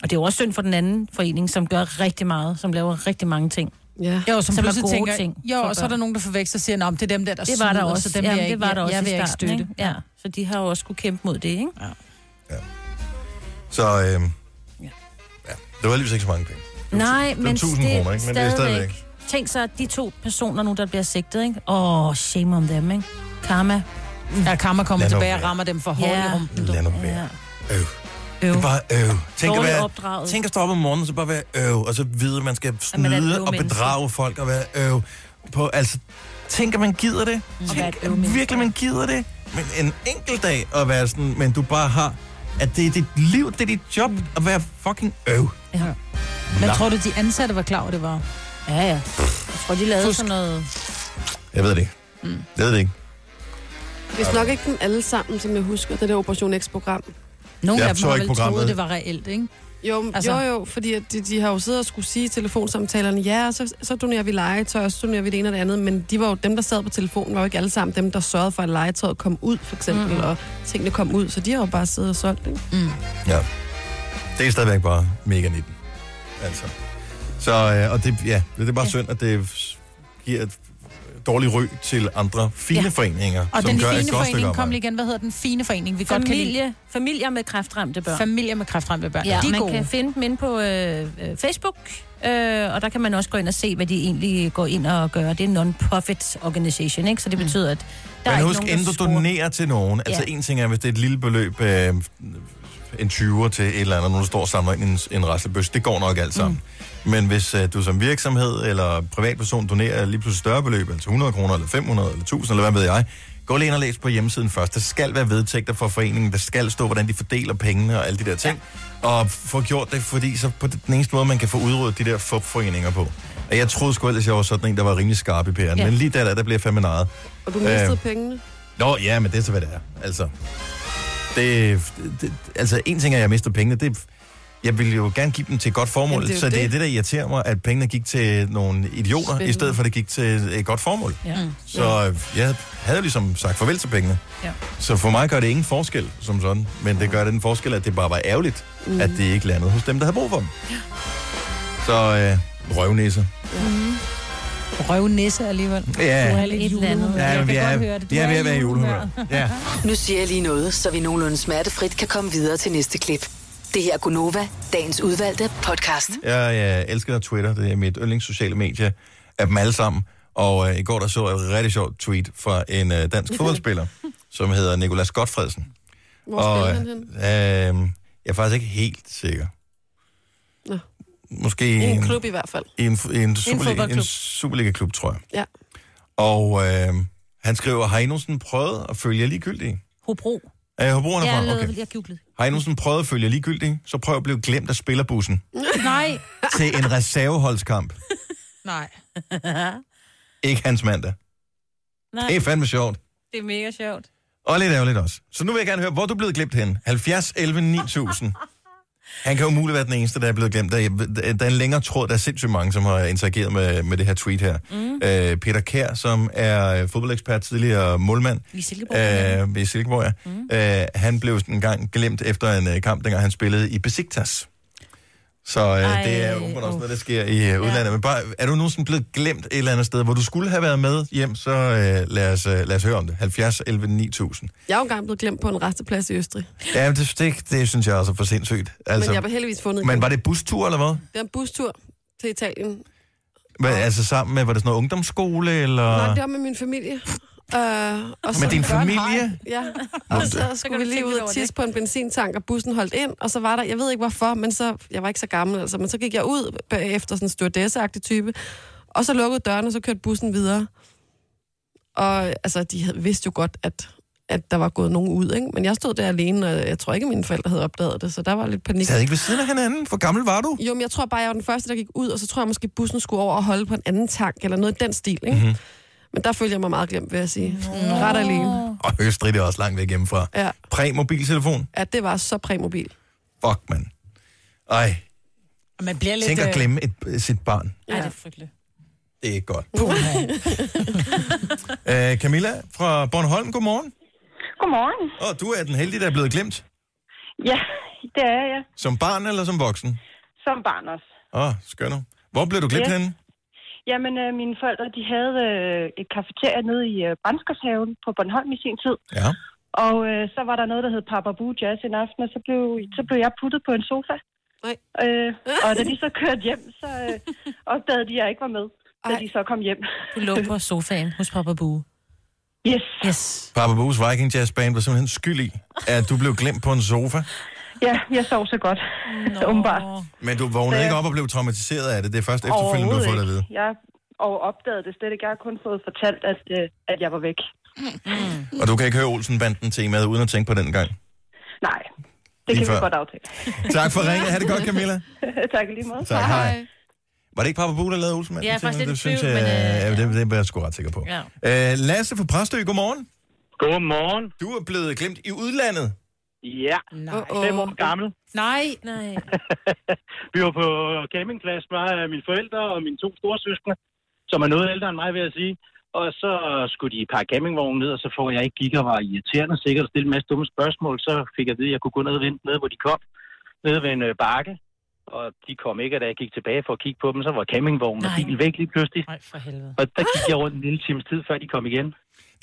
[SPEAKER 5] Og det er jo også synd for den anden forening, som gør rigtig meget, som laver rigtig mange ting.
[SPEAKER 4] Ja.
[SPEAKER 3] Jo, som,
[SPEAKER 5] Som er
[SPEAKER 3] pludselig
[SPEAKER 5] gode
[SPEAKER 3] tænker,
[SPEAKER 5] ting
[SPEAKER 3] jo,
[SPEAKER 5] for
[SPEAKER 3] og så er der
[SPEAKER 5] børn.
[SPEAKER 3] nogen, der forveksler og siger, "Nå, men det er dem der, der
[SPEAKER 5] det var der
[SPEAKER 3] snyder, så
[SPEAKER 5] også.
[SPEAKER 3] dem
[SPEAKER 5] Jamen,
[SPEAKER 3] vil jeg
[SPEAKER 5] det
[SPEAKER 3] ikke-
[SPEAKER 5] var der også
[SPEAKER 3] jeg
[SPEAKER 5] i
[SPEAKER 3] vil ikke
[SPEAKER 5] starten,
[SPEAKER 3] støtte.
[SPEAKER 5] ikke? Ja. Så de har jo også kunne kæmpe mod det, ikke? Ja.
[SPEAKER 1] Så øh, ja. det var alligevel ikke så mange penge.
[SPEAKER 5] Nej,
[SPEAKER 1] var
[SPEAKER 5] men,
[SPEAKER 1] 1000
[SPEAKER 5] det,
[SPEAKER 1] kroner, ikke? Men det er stadigvæk.
[SPEAKER 5] Tænk så, at de to personer nu, der bliver sigtet, ikke? Åh, oh, shame on them, ikke? Karma.
[SPEAKER 3] Ja, karma kommer
[SPEAKER 1] Lad nu
[SPEAKER 3] tilbage og
[SPEAKER 1] være.
[SPEAKER 3] rammer dem for hårdt i
[SPEAKER 5] Ja.
[SPEAKER 3] rumpen.
[SPEAKER 1] Lad nu være. Øv. Det er bare øv. Tænk at,
[SPEAKER 3] Dårligt
[SPEAKER 1] være,
[SPEAKER 3] opdraget.
[SPEAKER 1] tænk at stå op om morgenen, og så bare være øv, og så vide, at man skal
[SPEAKER 5] man er et
[SPEAKER 1] snyde
[SPEAKER 5] øv
[SPEAKER 1] og bedrage folk og være øv. På, altså, tænk, at man gider det. Tænk, at virkelig, man gider det. Men en enkelt dag at være sådan, men du bare har, at det er dit liv, det er dit job, at være fucking øv.
[SPEAKER 3] Ja.
[SPEAKER 1] Nå.
[SPEAKER 3] Men tror du, de ansatte var klar over, det var?
[SPEAKER 5] Ja, ja. Jeg tror, de lavede sådan noget...
[SPEAKER 1] Jeg ved det ikke. Mm. Jeg ved det ikke.
[SPEAKER 4] Hvis nok ikke dem alle sammen, som jeg husker, det der Operation X-program.
[SPEAKER 3] Nogle
[SPEAKER 1] Jeg
[SPEAKER 3] af dem
[SPEAKER 1] så
[SPEAKER 3] har
[SPEAKER 1] ikke
[SPEAKER 3] vel
[SPEAKER 1] programmet.
[SPEAKER 3] troet, det var reelt, ikke?
[SPEAKER 4] Jo, altså. jo, jo, fordi at de, de har jo siddet og skulle sige i telefonsamtalerne, ja, så, så donerer vi legetøj, og så donerer vi det ene og det andet, men de var jo, dem, der sad på telefonen, var jo ikke alle sammen dem, der sørgede for, at legetøjet kom ud, for eksempel, mm. og tingene kom ud, så de har jo bare siddet og solgt, ikke?
[SPEAKER 3] Mm.
[SPEAKER 1] Ja. Det er stadigvæk bare mega 19. Altså. Så, øh, og det, ja, det er bare ja. synd, at det f- giver et dårligt ryg til andre fine ja.
[SPEAKER 3] Ja.
[SPEAKER 1] foreninger,
[SPEAKER 3] Og
[SPEAKER 1] som
[SPEAKER 3] den
[SPEAKER 1] gør et
[SPEAKER 3] fine
[SPEAKER 1] godt stykke
[SPEAKER 3] forening, kom
[SPEAKER 1] arbejde.
[SPEAKER 3] lige igen, hvad hedder den fine forening, vi godt kan lide?
[SPEAKER 5] Familie, familier med kræftramte børn.
[SPEAKER 3] Familier med kræftramte børn.
[SPEAKER 5] Ja,
[SPEAKER 3] de er
[SPEAKER 5] man
[SPEAKER 3] gode.
[SPEAKER 5] kan finde dem inde på øh, øh, Facebook, øh, og der kan man også gå ind og se, hvad de egentlig går ind og gør. Det er en non-profit organisation, ikke? Så
[SPEAKER 3] Mm.
[SPEAKER 5] det betyder, at der er
[SPEAKER 1] Men
[SPEAKER 5] ikke
[SPEAKER 1] husk,
[SPEAKER 5] nogen,
[SPEAKER 1] inden
[SPEAKER 5] der
[SPEAKER 1] du donerer til nogen, ja. altså
[SPEAKER 5] Ja.
[SPEAKER 1] en ting er, hvis det er et lille beløb, øh, en 20'er til et eller andet, nogen der står og samler ind i en, en raslebøs, det går nok alt sammen. Mm. Men hvis øh, du som virksomhed eller privatperson donerer lige pludselig større beløb, altså 100 kroner eller 500 eller 1000 eller hvad ved jeg, gå lige ind og læs på hjemmesiden først. Der skal være vedtægter for foreningen, der skal stå, hvordan de fordeler pengene og alle de der ting. Ja. Og få gjort det, fordi så på den eneste måde, man kan få udryddet de der fup-foreninger på. Og jeg troede sgu ellers, jeg var sådan en, der var rimelig skarp i pæren, ja.
[SPEAKER 4] Ja.
[SPEAKER 1] men lige der, der, der bliver jeg fandme nejet.
[SPEAKER 4] Og du mistede
[SPEAKER 1] Øh,
[SPEAKER 4] øh. pengene.
[SPEAKER 1] Nå, ja, men det er så, hvad det er. Altså, det, det, altså en ting er, at jeg mister pengene. Det, jeg ville jo gerne give dem til et godt formål,
[SPEAKER 4] Jamen, det er jo
[SPEAKER 1] så det, er
[SPEAKER 4] det.
[SPEAKER 1] det, der irriterer mig, at pengene gik til nogle idioter, Spindende. i
[SPEAKER 4] Spændende.
[SPEAKER 1] stedet for, at det gik til et godt formål.
[SPEAKER 5] Ja.
[SPEAKER 3] Mm.
[SPEAKER 1] Så øh, jeg havde ligesom sagt farvel til pengene.
[SPEAKER 5] Ja.
[SPEAKER 1] Så for mig gør det ingen forskel, som sådan. Men det gør den forskel, at det bare var ærgerligt, mm.
[SPEAKER 5] Mhm.
[SPEAKER 1] at det ikke landede hos dem, der havde brug for dem. Så øh, røvnæse.
[SPEAKER 3] Mm. Røvnisse alligevel.
[SPEAKER 1] Ja.
[SPEAKER 3] Du er lidt
[SPEAKER 8] Et eller andet.
[SPEAKER 3] julehumør.
[SPEAKER 8] Ja,
[SPEAKER 3] Jeg
[SPEAKER 8] men
[SPEAKER 3] kan
[SPEAKER 8] vi er-
[SPEAKER 3] godt høre det. Du
[SPEAKER 1] vi er ved at være i
[SPEAKER 3] julehumør.
[SPEAKER 1] julehumør. Ja.
[SPEAKER 8] Nu siger jeg lige noget, så vi nogenlunde smertefrit kan komme videre til næste klip. Det her er Gunova, dagens udvalgte podcast.
[SPEAKER 1] Jeg, jeg øh, elsker Twitter, det er mit yndlings sociale medie af dem alle sammen. Og øh, i går der så jeg et rigtig sjovt tweet fra en øh, dansk fodboldspiller, som hedder Nikolas Godfredsen.
[SPEAKER 4] Hvor spillede han
[SPEAKER 1] øh,
[SPEAKER 4] hen?
[SPEAKER 1] øh, jeg er faktisk ikke helt sikker.
[SPEAKER 4] Nå.
[SPEAKER 1] Måske
[SPEAKER 4] I en
[SPEAKER 1] en-
[SPEAKER 4] klub i hvert fald.
[SPEAKER 1] i en, i en, Superliga, en
[SPEAKER 4] fodboldklub.
[SPEAKER 1] Superliga-klub, tror jeg.
[SPEAKER 4] Ja.
[SPEAKER 1] Og øh, han skriver, har I nogensinde prøvet at følge jer ligegyldige?
[SPEAKER 5] Hobro.
[SPEAKER 1] Er jeg Hobroen
[SPEAKER 5] Jeg,
[SPEAKER 1] herfra?
[SPEAKER 5] lavede,
[SPEAKER 1] Okay.
[SPEAKER 5] jeg googlede.
[SPEAKER 1] Har I nogensinde prøvet at følge jer ligegyldige? Så prøv at blive glemt af spillerbussen
[SPEAKER 5] Nej.
[SPEAKER 1] til en reserveholdskamp.
[SPEAKER 3] Nej.
[SPEAKER 1] Ikke hans mandag.
[SPEAKER 5] Nej.
[SPEAKER 1] Det er fandme sjovt.
[SPEAKER 5] Det er mega sjovt.
[SPEAKER 1] Og lidt ærgerligt også. Så nu vil jeg gerne høre, hvor er du er blevet glemt hen? 70, 11, 9000. Han kan jo muligt være den eneste, der er blevet glemt. Der er, der er en længere tråd, der er sindssygt mange, som har interageret med, med det her tweet her. Mm. Øh, Peter Kær, som er fodboldekspert, tidligere målmand.
[SPEAKER 5] I Silkeborg.
[SPEAKER 1] Øh, ved Silkeborg, ja. Mm. Øh, han blev sådan en gang glemt efter en øh, kamp, dengang han spillede i Besiktas. Så øh,
[SPEAKER 5] Ej,
[SPEAKER 1] det er åbenbart også noget, der sker i øh, udlandet. Ja.
[SPEAKER 5] Ja.
[SPEAKER 1] Men bare, er du nogensinde blevet glemt et eller andet sted, hvor du skulle have været med hjem, så øh, lad, os, øh, lad os høre om det. 70 11 9000.
[SPEAKER 4] Jeg er jo engang blevet glemt på en resteplads i Østrig,
[SPEAKER 1] Ja, men det, det, det synes jeg også er for sindssygt.
[SPEAKER 4] altså,
[SPEAKER 1] Altså,
[SPEAKER 4] men jeg var heldigvis fundet
[SPEAKER 1] men
[SPEAKER 4] igen.
[SPEAKER 1] var det bustur eller hvad?
[SPEAKER 4] Det var en bustur til Italien.
[SPEAKER 1] Hvad, altså sammen med, var det sådan noget ungdomsskole, eller...
[SPEAKER 4] Nej, det var med min familie. Uh, og så
[SPEAKER 1] Med din
[SPEAKER 4] Børn-
[SPEAKER 1] familie?
[SPEAKER 4] Ja.
[SPEAKER 1] Nå,
[SPEAKER 4] Og
[SPEAKER 1] det-
[SPEAKER 4] så skulle vi lige ud og tisse på en benzintank, og bussen holdt ind, og så var der, jeg ved ikke hvorfor, men så, jeg var ikke så gammel, altså, men så gik jeg ud bagefter sådan en stewardesseagtig type, og så lukkede døren, og så kørte bussen videre. Og altså, de havde, vidste jo godt, at, at der var gået nogen ud, ikke? men jeg stod der alene, og jeg tror ikke, at mine forældre havde opdaget det, så der var lidt panik.
[SPEAKER 1] Sad ikke ved siden af hinanden? Hvor gammel var du?
[SPEAKER 4] Jo, men jeg tror bare, jeg var den første, der gik ud, og så tror jeg måske, bussen skulle over og holde på en anden tank, eller noget i den stil, ikke? Mm-hmm. Men der følte jeg mig meget glemt, vil jeg sige. Ret alene.
[SPEAKER 1] Og Østrig, det er også langt væk hjemmefra.
[SPEAKER 4] Ja.
[SPEAKER 1] Præ-mobiltelefon?
[SPEAKER 4] ja, det var så præmobil.
[SPEAKER 1] Fuck, mand. Ej,
[SPEAKER 3] Man bliver lidt...
[SPEAKER 1] tænk at
[SPEAKER 3] øh,
[SPEAKER 1] glemme et, sit barn.
[SPEAKER 3] Ej, det er frygteligt.
[SPEAKER 1] Det er ikke godt.
[SPEAKER 3] Puha.
[SPEAKER 1] Æ, Camilla fra Bornholm, godmorgen.
[SPEAKER 12] Godmorgen.
[SPEAKER 1] Og du er den heldige, der er blevet glemt.
[SPEAKER 12] Ja, det er jeg.
[SPEAKER 1] Som barn eller som voksen?
[SPEAKER 12] Som barn også.
[SPEAKER 1] Åh, oh, skønner. Hvor blev du glemt
[SPEAKER 12] Ja.
[SPEAKER 1] yes. henne?
[SPEAKER 12] Jamen, øh, mine forældre, de havde øh, et kafeteria nede i øh, Brandskorshaven på Bornholm i sin tid.
[SPEAKER 1] Ja.
[SPEAKER 12] Og øh, så var der noget, der hed Papa Boo Jazz en aften, og så blev, så blev jeg puttet på en sofa.
[SPEAKER 4] Nej.
[SPEAKER 12] Øh, og da de så kørte hjem, så øh, opdagede de, at jeg ikke var med, da de så kom hjem.
[SPEAKER 5] Du lå på sofaen hos Papa Bue.
[SPEAKER 12] Yes.
[SPEAKER 5] Yes.
[SPEAKER 1] Papa Boos Viking Jazz Band var simpelthen skyld i, at du blev glemt på en sofa.
[SPEAKER 12] Ja, jeg sov så godt. Nå. Åbenbart.
[SPEAKER 1] Men du vågnede
[SPEAKER 12] Ja.
[SPEAKER 1] ikke op og blev traumatiseret af det. Det er først efterfølgende, du har fået det at vide.
[SPEAKER 12] Overhovedet ikke. Jeg og opdagede det slet ikke. Jeg har kun fået fortalt, at, øh, at jeg var væk.
[SPEAKER 1] Og du kan ikke høre Olsen-banden temaet uden at tænke på den gang.
[SPEAKER 12] Nej, det
[SPEAKER 1] Lige
[SPEAKER 12] kan
[SPEAKER 1] før.
[SPEAKER 12] vi godt aftale.
[SPEAKER 1] Tak for ringet. Ha' det godt, Camilla.
[SPEAKER 12] tak i lige måde.
[SPEAKER 1] Tak, hej. Var det ikke Papa Boo, der lavede Olsenmanden?
[SPEAKER 12] Jeg er faktisk lidt
[SPEAKER 1] det
[SPEAKER 12] i
[SPEAKER 1] synes
[SPEAKER 12] tvivl,
[SPEAKER 1] jeg,
[SPEAKER 12] men,
[SPEAKER 1] øh, det, det er jeg sgu ret sikker på.
[SPEAKER 12] Ja.
[SPEAKER 1] Øh, Lasse fra Præstø, godmorgen.
[SPEAKER 13] Godmorgen.
[SPEAKER 1] Du er blevet glemt i udlandet.
[SPEAKER 13] Ja, fem år gammel.
[SPEAKER 3] Nej. Nej.
[SPEAKER 13] Vi var på campingplads med øh, mine forældre og mine to store søskende, som er noget ældre end mig, vil jeg sige. Og så skulle de pakke campingvognen ned, og så får jeg ikke gik og var irriterende sikkert og stille en masse dumme spørgsmål. Så fik jeg at vide, at jeg kunne gå ned og vente ned, hvor de kom. Nede ved en øh, bakke. Og de kom ikke, og da jeg gik tilbage for at kigge på dem, så var campingvognen og bilen væk lige pludselig.
[SPEAKER 3] Nej, for helvede.
[SPEAKER 13] Og der gik jeg rundt en lille times tid, før de kom igen.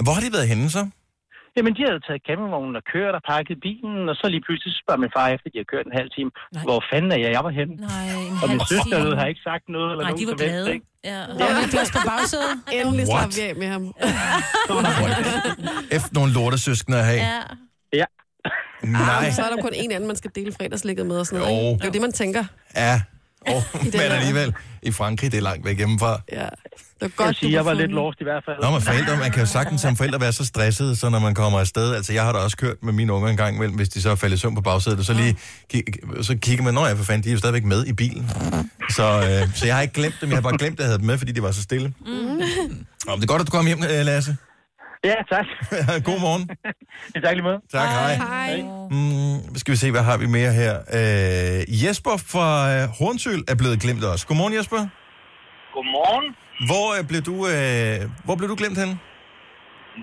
[SPEAKER 1] Hvor har de været henne så?
[SPEAKER 13] Jamen, de havde taget campingvognen og kørt og pakket bilen, og så lige pludselig så spørger min far efter, de har kørt en halv time, Nej. hvor fanden er jeg, jeg var henne?
[SPEAKER 5] Nej, en
[SPEAKER 13] og min
[SPEAKER 5] halv
[SPEAKER 13] søster
[SPEAKER 5] time.
[SPEAKER 13] ved, har ikke sagt noget. Eller
[SPEAKER 5] Nej,
[SPEAKER 13] nogen
[SPEAKER 5] de var
[SPEAKER 13] som helst,
[SPEAKER 5] glade.
[SPEAKER 13] ikke?
[SPEAKER 5] Ja.
[SPEAKER 4] Der var lidt glas på bagsædet. Endelig
[SPEAKER 1] What?
[SPEAKER 4] slap vi af med ham.
[SPEAKER 1] Efter nogle lortesøskende at have.
[SPEAKER 5] Ja.
[SPEAKER 13] Ja.
[SPEAKER 1] Nej.
[SPEAKER 12] Ah,
[SPEAKER 4] Jamen, Så er der kun en anden, man skal dele fredagslægget med og sådan
[SPEAKER 1] Jo.
[SPEAKER 4] noget. ikke? Det er jo det, man tænker.
[SPEAKER 1] Ja. Oh,
[SPEAKER 4] det
[SPEAKER 1] men
[SPEAKER 4] her.
[SPEAKER 1] alligevel, i Frankrig, det er langt væk hjemmefra.
[SPEAKER 4] Ja. Det var
[SPEAKER 13] Jeg
[SPEAKER 4] godt,
[SPEAKER 13] vil sige,
[SPEAKER 4] du
[SPEAKER 13] jeg var lidt
[SPEAKER 4] fundet.
[SPEAKER 13] lost i hvert fald.
[SPEAKER 1] Nå, men forældre, man kan jo sagtens som forældre være så stresset, så når man kommer afsted. Altså, jeg har da også kørt med mine unger en gang imellem, hvis de så er faldet i søvn på bagsædet, og så lige ki- så kigger man, når jeg for fanden, de er jo stadigvæk med i bilen. Så, øh, så jeg har ikke glemt dem, jeg har bare glemt, at jeg havde dem med, fordi de var så stille. Nå, men det er godt, at du kom hjem, øh, Lasse.
[SPEAKER 13] Ja, tak.
[SPEAKER 1] God morgen.
[SPEAKER 13] tak lige måde.
[SPEAKER 1] Tak, hej.
[SPEAKER 13] Hej.
[SPEAKER 1] Mm, skal vi se, hvad har vi mere her? Øh, Jesper fra øh, Hornsøl er blevet glemt også. Godmorgen, Jesper.
[SPEAKER 14] Godmorgen.
[SPEAKER 1] Hvor, øh, blev, du, øh, hvor blev du glemt henne?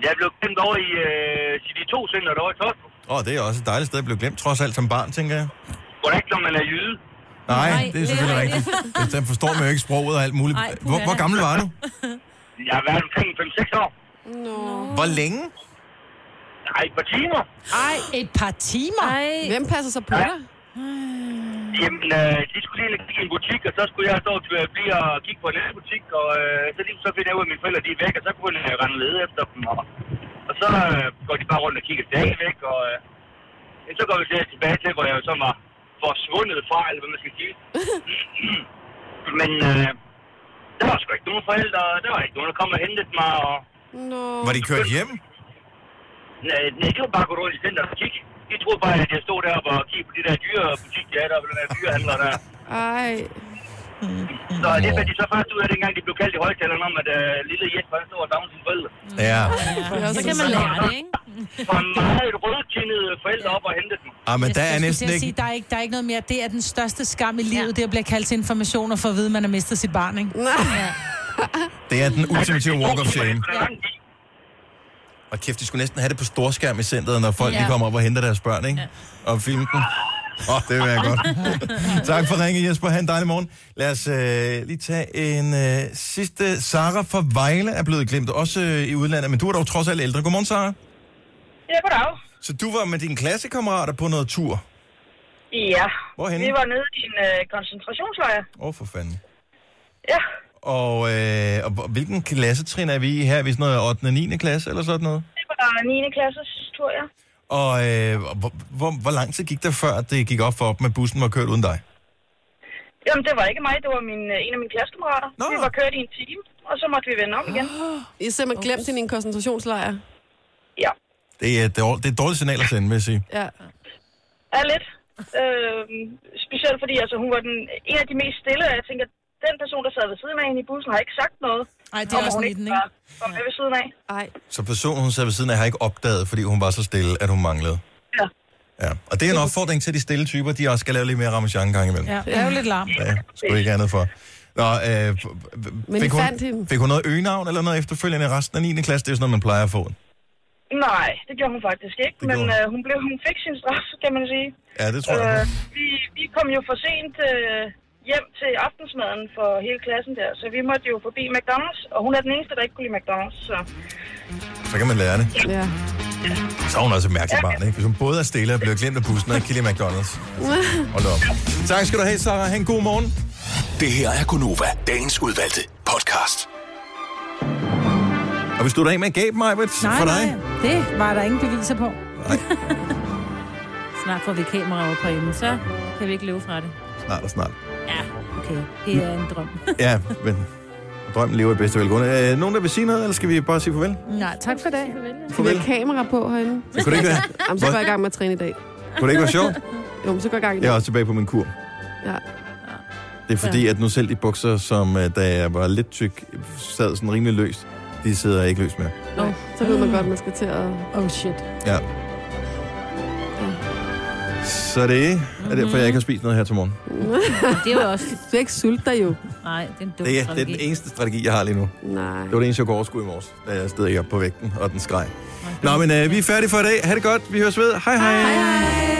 [SPEAKER 14] Jeg blev kendt over i øh, CD2 Center derovre i Tostrup.
[SPEAKER 1] Åh, oh, det er også et dejligt sted at blive glemt, trods alt som barn, tænker jeg.
[SPEAKER 14] Hvor det ikke, når man er jyde.
[SPEAKER 1] Nej,
[SPEAKER 14] Nej,
[SPEAKER 1] Nej det er selvfølgelig
[SPEAKER 14] det er
[SPEAKER 1] rigtigt. Den forstår man jo ikke sproget og alt muligt.
[SPEAKER 14] Nej, puha
[SPEAKER 1] hvor, hvor
[SPEAKER 14] da.
[SPEAKER 1] gammel var du?
[SPEAKER 14] Jeg har været omkring 5-6 år.
[SPEAKER 1] Hvor længe?
[SPEAKER 14] Nej, et par timer.
[SPEAKER 3] Ej, et par timer. Ej.
[SPEAKER 4] Hvem passer så på dig?
[SPEAKER 14] Jamen, øh, de skulle lige kigge i en butik, og så skulle jeg stå til at blive og kigge på en anden butik, og øh, så lige så finder jeg ud af, at mine forældre de er væk, og så kunne jeg rende lede efter dem, og, og så øh, går de bare rundt og kigger stadig væk, og øh, ja, så går vi der tilbage til, hvor jeg jo så var forsvundet fra, eller hvad man skal sige. Men øh, der var sgu ikke nogen forældre, og der var ikke nogen, der kom og hentede mig, og
[SPEAKER 4] Nå.
[SPEAKER 1] Var de kørt hjem?
[SPEAKER 14] nej, nej, det var bare gået rundt i centret og kigge. De troede bare, at jeg stod deroppe og kiggede på de der dyrebutik, de havde deroppe, den der dyrehandler der.
[SPEAKER 4] Ej.
[SPEAKER 14] Så det fandt de så først ud af, dengang de blev kaldt i højtalerne om, at øh, lille Jesper han stod og savnede sine forældre.
[SPEAKER 1] Ja.
[SPEAKER 5] Så kan man lære det, ikke?
[SPEAKER 14] Fra meget rødkindede forældre op og hentede dem.
[SPEAKER 1] Ah, men der er
[SPEAKER 3] Jeg skulle til
[SPEAKER 1] næsten
[SPEAKER 3] at
[SPEAKER 1] ikke...
[SPEAKER 3] Sige, der, er ikke, der er ikke noget mere. Det er den største skam i livet, ja. det er at blive kaldt til information og få at vide, at man har mistet sit barn, ikke? Ja.
[SPEAKER 1] Det er den ultimative walk of shame. Og kæft, de skulle næsten have det på storskærm i centret, når folk
[SPEAKER 3] Ja.
[SPEAKER 1] ja. kommer op og henter deres børn, ikke? Ja. Og filme dem. Åh, oh, det vil jeg godt. tak for ringen, Jesper. Ha' en dejlig morgen. Lad os øh, lige tage en øh, sidste. Sara fra Vejle er blevet glemt, også øh, i udlandet, men du er dog trods alt ældre. Godmorgen, Sara.
[SPEAKER 15] Ja, goddag.
[SPEAKER 1] Så du var med dine klassekammerater på noget tur. Åh,
[SPEAKER 15] Ja.
[SPEAKER 1] Hvorhenne?
[SPEAKER 15] Vi var nede i en øh, koncentrationslejr.
[SPEAKER 1] oh, for fanden.
[SPEAKER 15] Ja.
[SPEAKER 1] Og, øh, og hvor- hvilken klassetrin er vi i her? Er vi sådan noget 8. og 9. klasse eller sådan noget?
[SPEAKER 11] Det var 9. klasses, tror jeg.
[SPEAKER 1] Og øh, hvor, hvor, hvor lang tid gik der før, at det gik op for dem, at bussen var kørt uden dig?
[SPEAKER 11] Jamen, det var ikke mig, det var min, øh, en af mine klassekammerater. Vi var kørt i en time, og så måtte vi vende om igen.
[SPEAKER 4] I har simpelthen glemt hende i en koncentrationslejr.
[SPEAKER 1] Det er, et dårligt- det er et dårligt signal at sende, vil jeg sige.
[SPEAKER 4] Ja.
[SPEAKER 11] Ja, lidt. Øh, specielt fordi altså, hun var den, en af de mest stille, og jeg tænker, den person, der sad ved siden af hende i bussen, har ikke sagt noget.
[SPEAKER 3] Nej,
[SPEAKER 1] det er også
[SPEAKER 11] nitten, ikke? var- Var med ved siden af.
[SPEAKER 4] Nej.
[SPEAKER 1] Så personen, hun sad ved siden af, har ikke opdaget, fordi hun var så stille, at hun manglede.
[SPEAKER 11] Ja.
[SPEAKER 1] ja. Og det er en opfordring til de stille typer, de også skal lave lidt mere ramachan en gang imellem.
[SPEAKER 3] Ja, det er jo lidt larm.
[SPEAKER 1] Ja, skulle ikke andet for. Nå, øh, f-
[SPEAKER 3] Men I
[SPEAKER 1] fik, hun,
[SPEAKER 3] fandt hende.
[SPEAKER 1] fik hun noget øgenavn eller noget efterfølgende i resten af 9. klasse? Det er jo sådan noget, man plejer at få.
[SPEAKER 11] Nej, det gjorde hun faktisk ikke, men
[SPEAKER 1] gjorde hun.
[SPEAKER 11] øh, hun, blev, hun fik sin straf, kan man sige. øh,
[SPEAKER 1] Ja, det tror jeg. hun-
[SPEAKER 3] Øh.
[SPEAKER 11] vi, vi kom jo for sent øh, hjem til aftensmaden for hele klassen der, så vi måtte jo forbi McDonald's, og hun er den eneste, der ikke kunne lide McDonald's, så...
[SPEAKER 1] Så kan man lære det.
[SPEAKER 4] Ja.
[SPEAKER 1] Så er hun også et mærkeligt barn, ikke? Hvis hun både er stille og bliver glemt af bussen og ikke kan lide McDonald's. Hold da op. Tak skal du have, Sarah. Ha' en god morgen.
[SPEAKER 6] Det her er Gunova, dagens udvalgte podcast.
[SPEAKER 1] Og hvis du er af med en gab, Majbert,
[SPEAKER 3] Nej,
[SPEAKER 1] for dig.
[SPEAKER 3] nej, det var der ingen beviser på.
[SPEAKER 5] Snart får vi kamera over på hjemme, så kan vi ikke løbe fra det.
[SPEAKER 1] Snart og snart.
[SPEAKER 5] Ja, okay. Det er en drøm.
[SPEAKER 1] Ja, men drømmen lever i bedste velgående. Øh, nogen, der vil sige noget, eller skal vi bare sige farvel?
[SPEAKER 4] Nej, tak for i dag.
[SPEAKER 1] Farvel.
[SPEAKER 4] Farvel. Med kamera på herinde.
[SPEAKER 1] Men kunne det ikke være-
[SPEAKER 4] Jamen, så går jeg i gang med at træne i dag.
[SPEAKER 1] Kunne det ikke være sjovt?
[SPEAKER 4] Jo, men så går jeg i gang i
[SPEAKER 1] Jeg er
[SPEAKER 4] dag.
[SPEAKER 1] også tilbage på min kur.
[SPEAKER 4] Ja.
[SPEAKER 1] Det er fordi, at nu selv de bukser, som øh, da jeg var lidt tyk, sad sådan rimelig løst, de sidder ikke løst mere.
[SPEAKER 4] Nej, så ved man godt, man skal til at...
[SPEAKER 3] Oh shit.
[SPEAKER 1] Ja. Så det er derfor, jeg ikke har spist noget her til morgen.
[SPEAKER 5] det er jo også...
[SPEAKER 4] Du er ikke sulte dig jo.
[SPEAKER 5] Nej, det er en dum
[SPEAKER 1] Det er, det er
[SPEAKER 5] strategi.
[SPEAKER 1] den eneste strategi, jeg har lige nu.
[SPEAKER 4] Nej.
[SPEAKER 1] Det var det eneste, jeg kunne overskue i morges, da jeg stod ikke op på vægten, og den skreg. Nå, men øh, vi er færdige for i dag. Ha' det godt. Vi høres ved. Hej hej. hej, hej.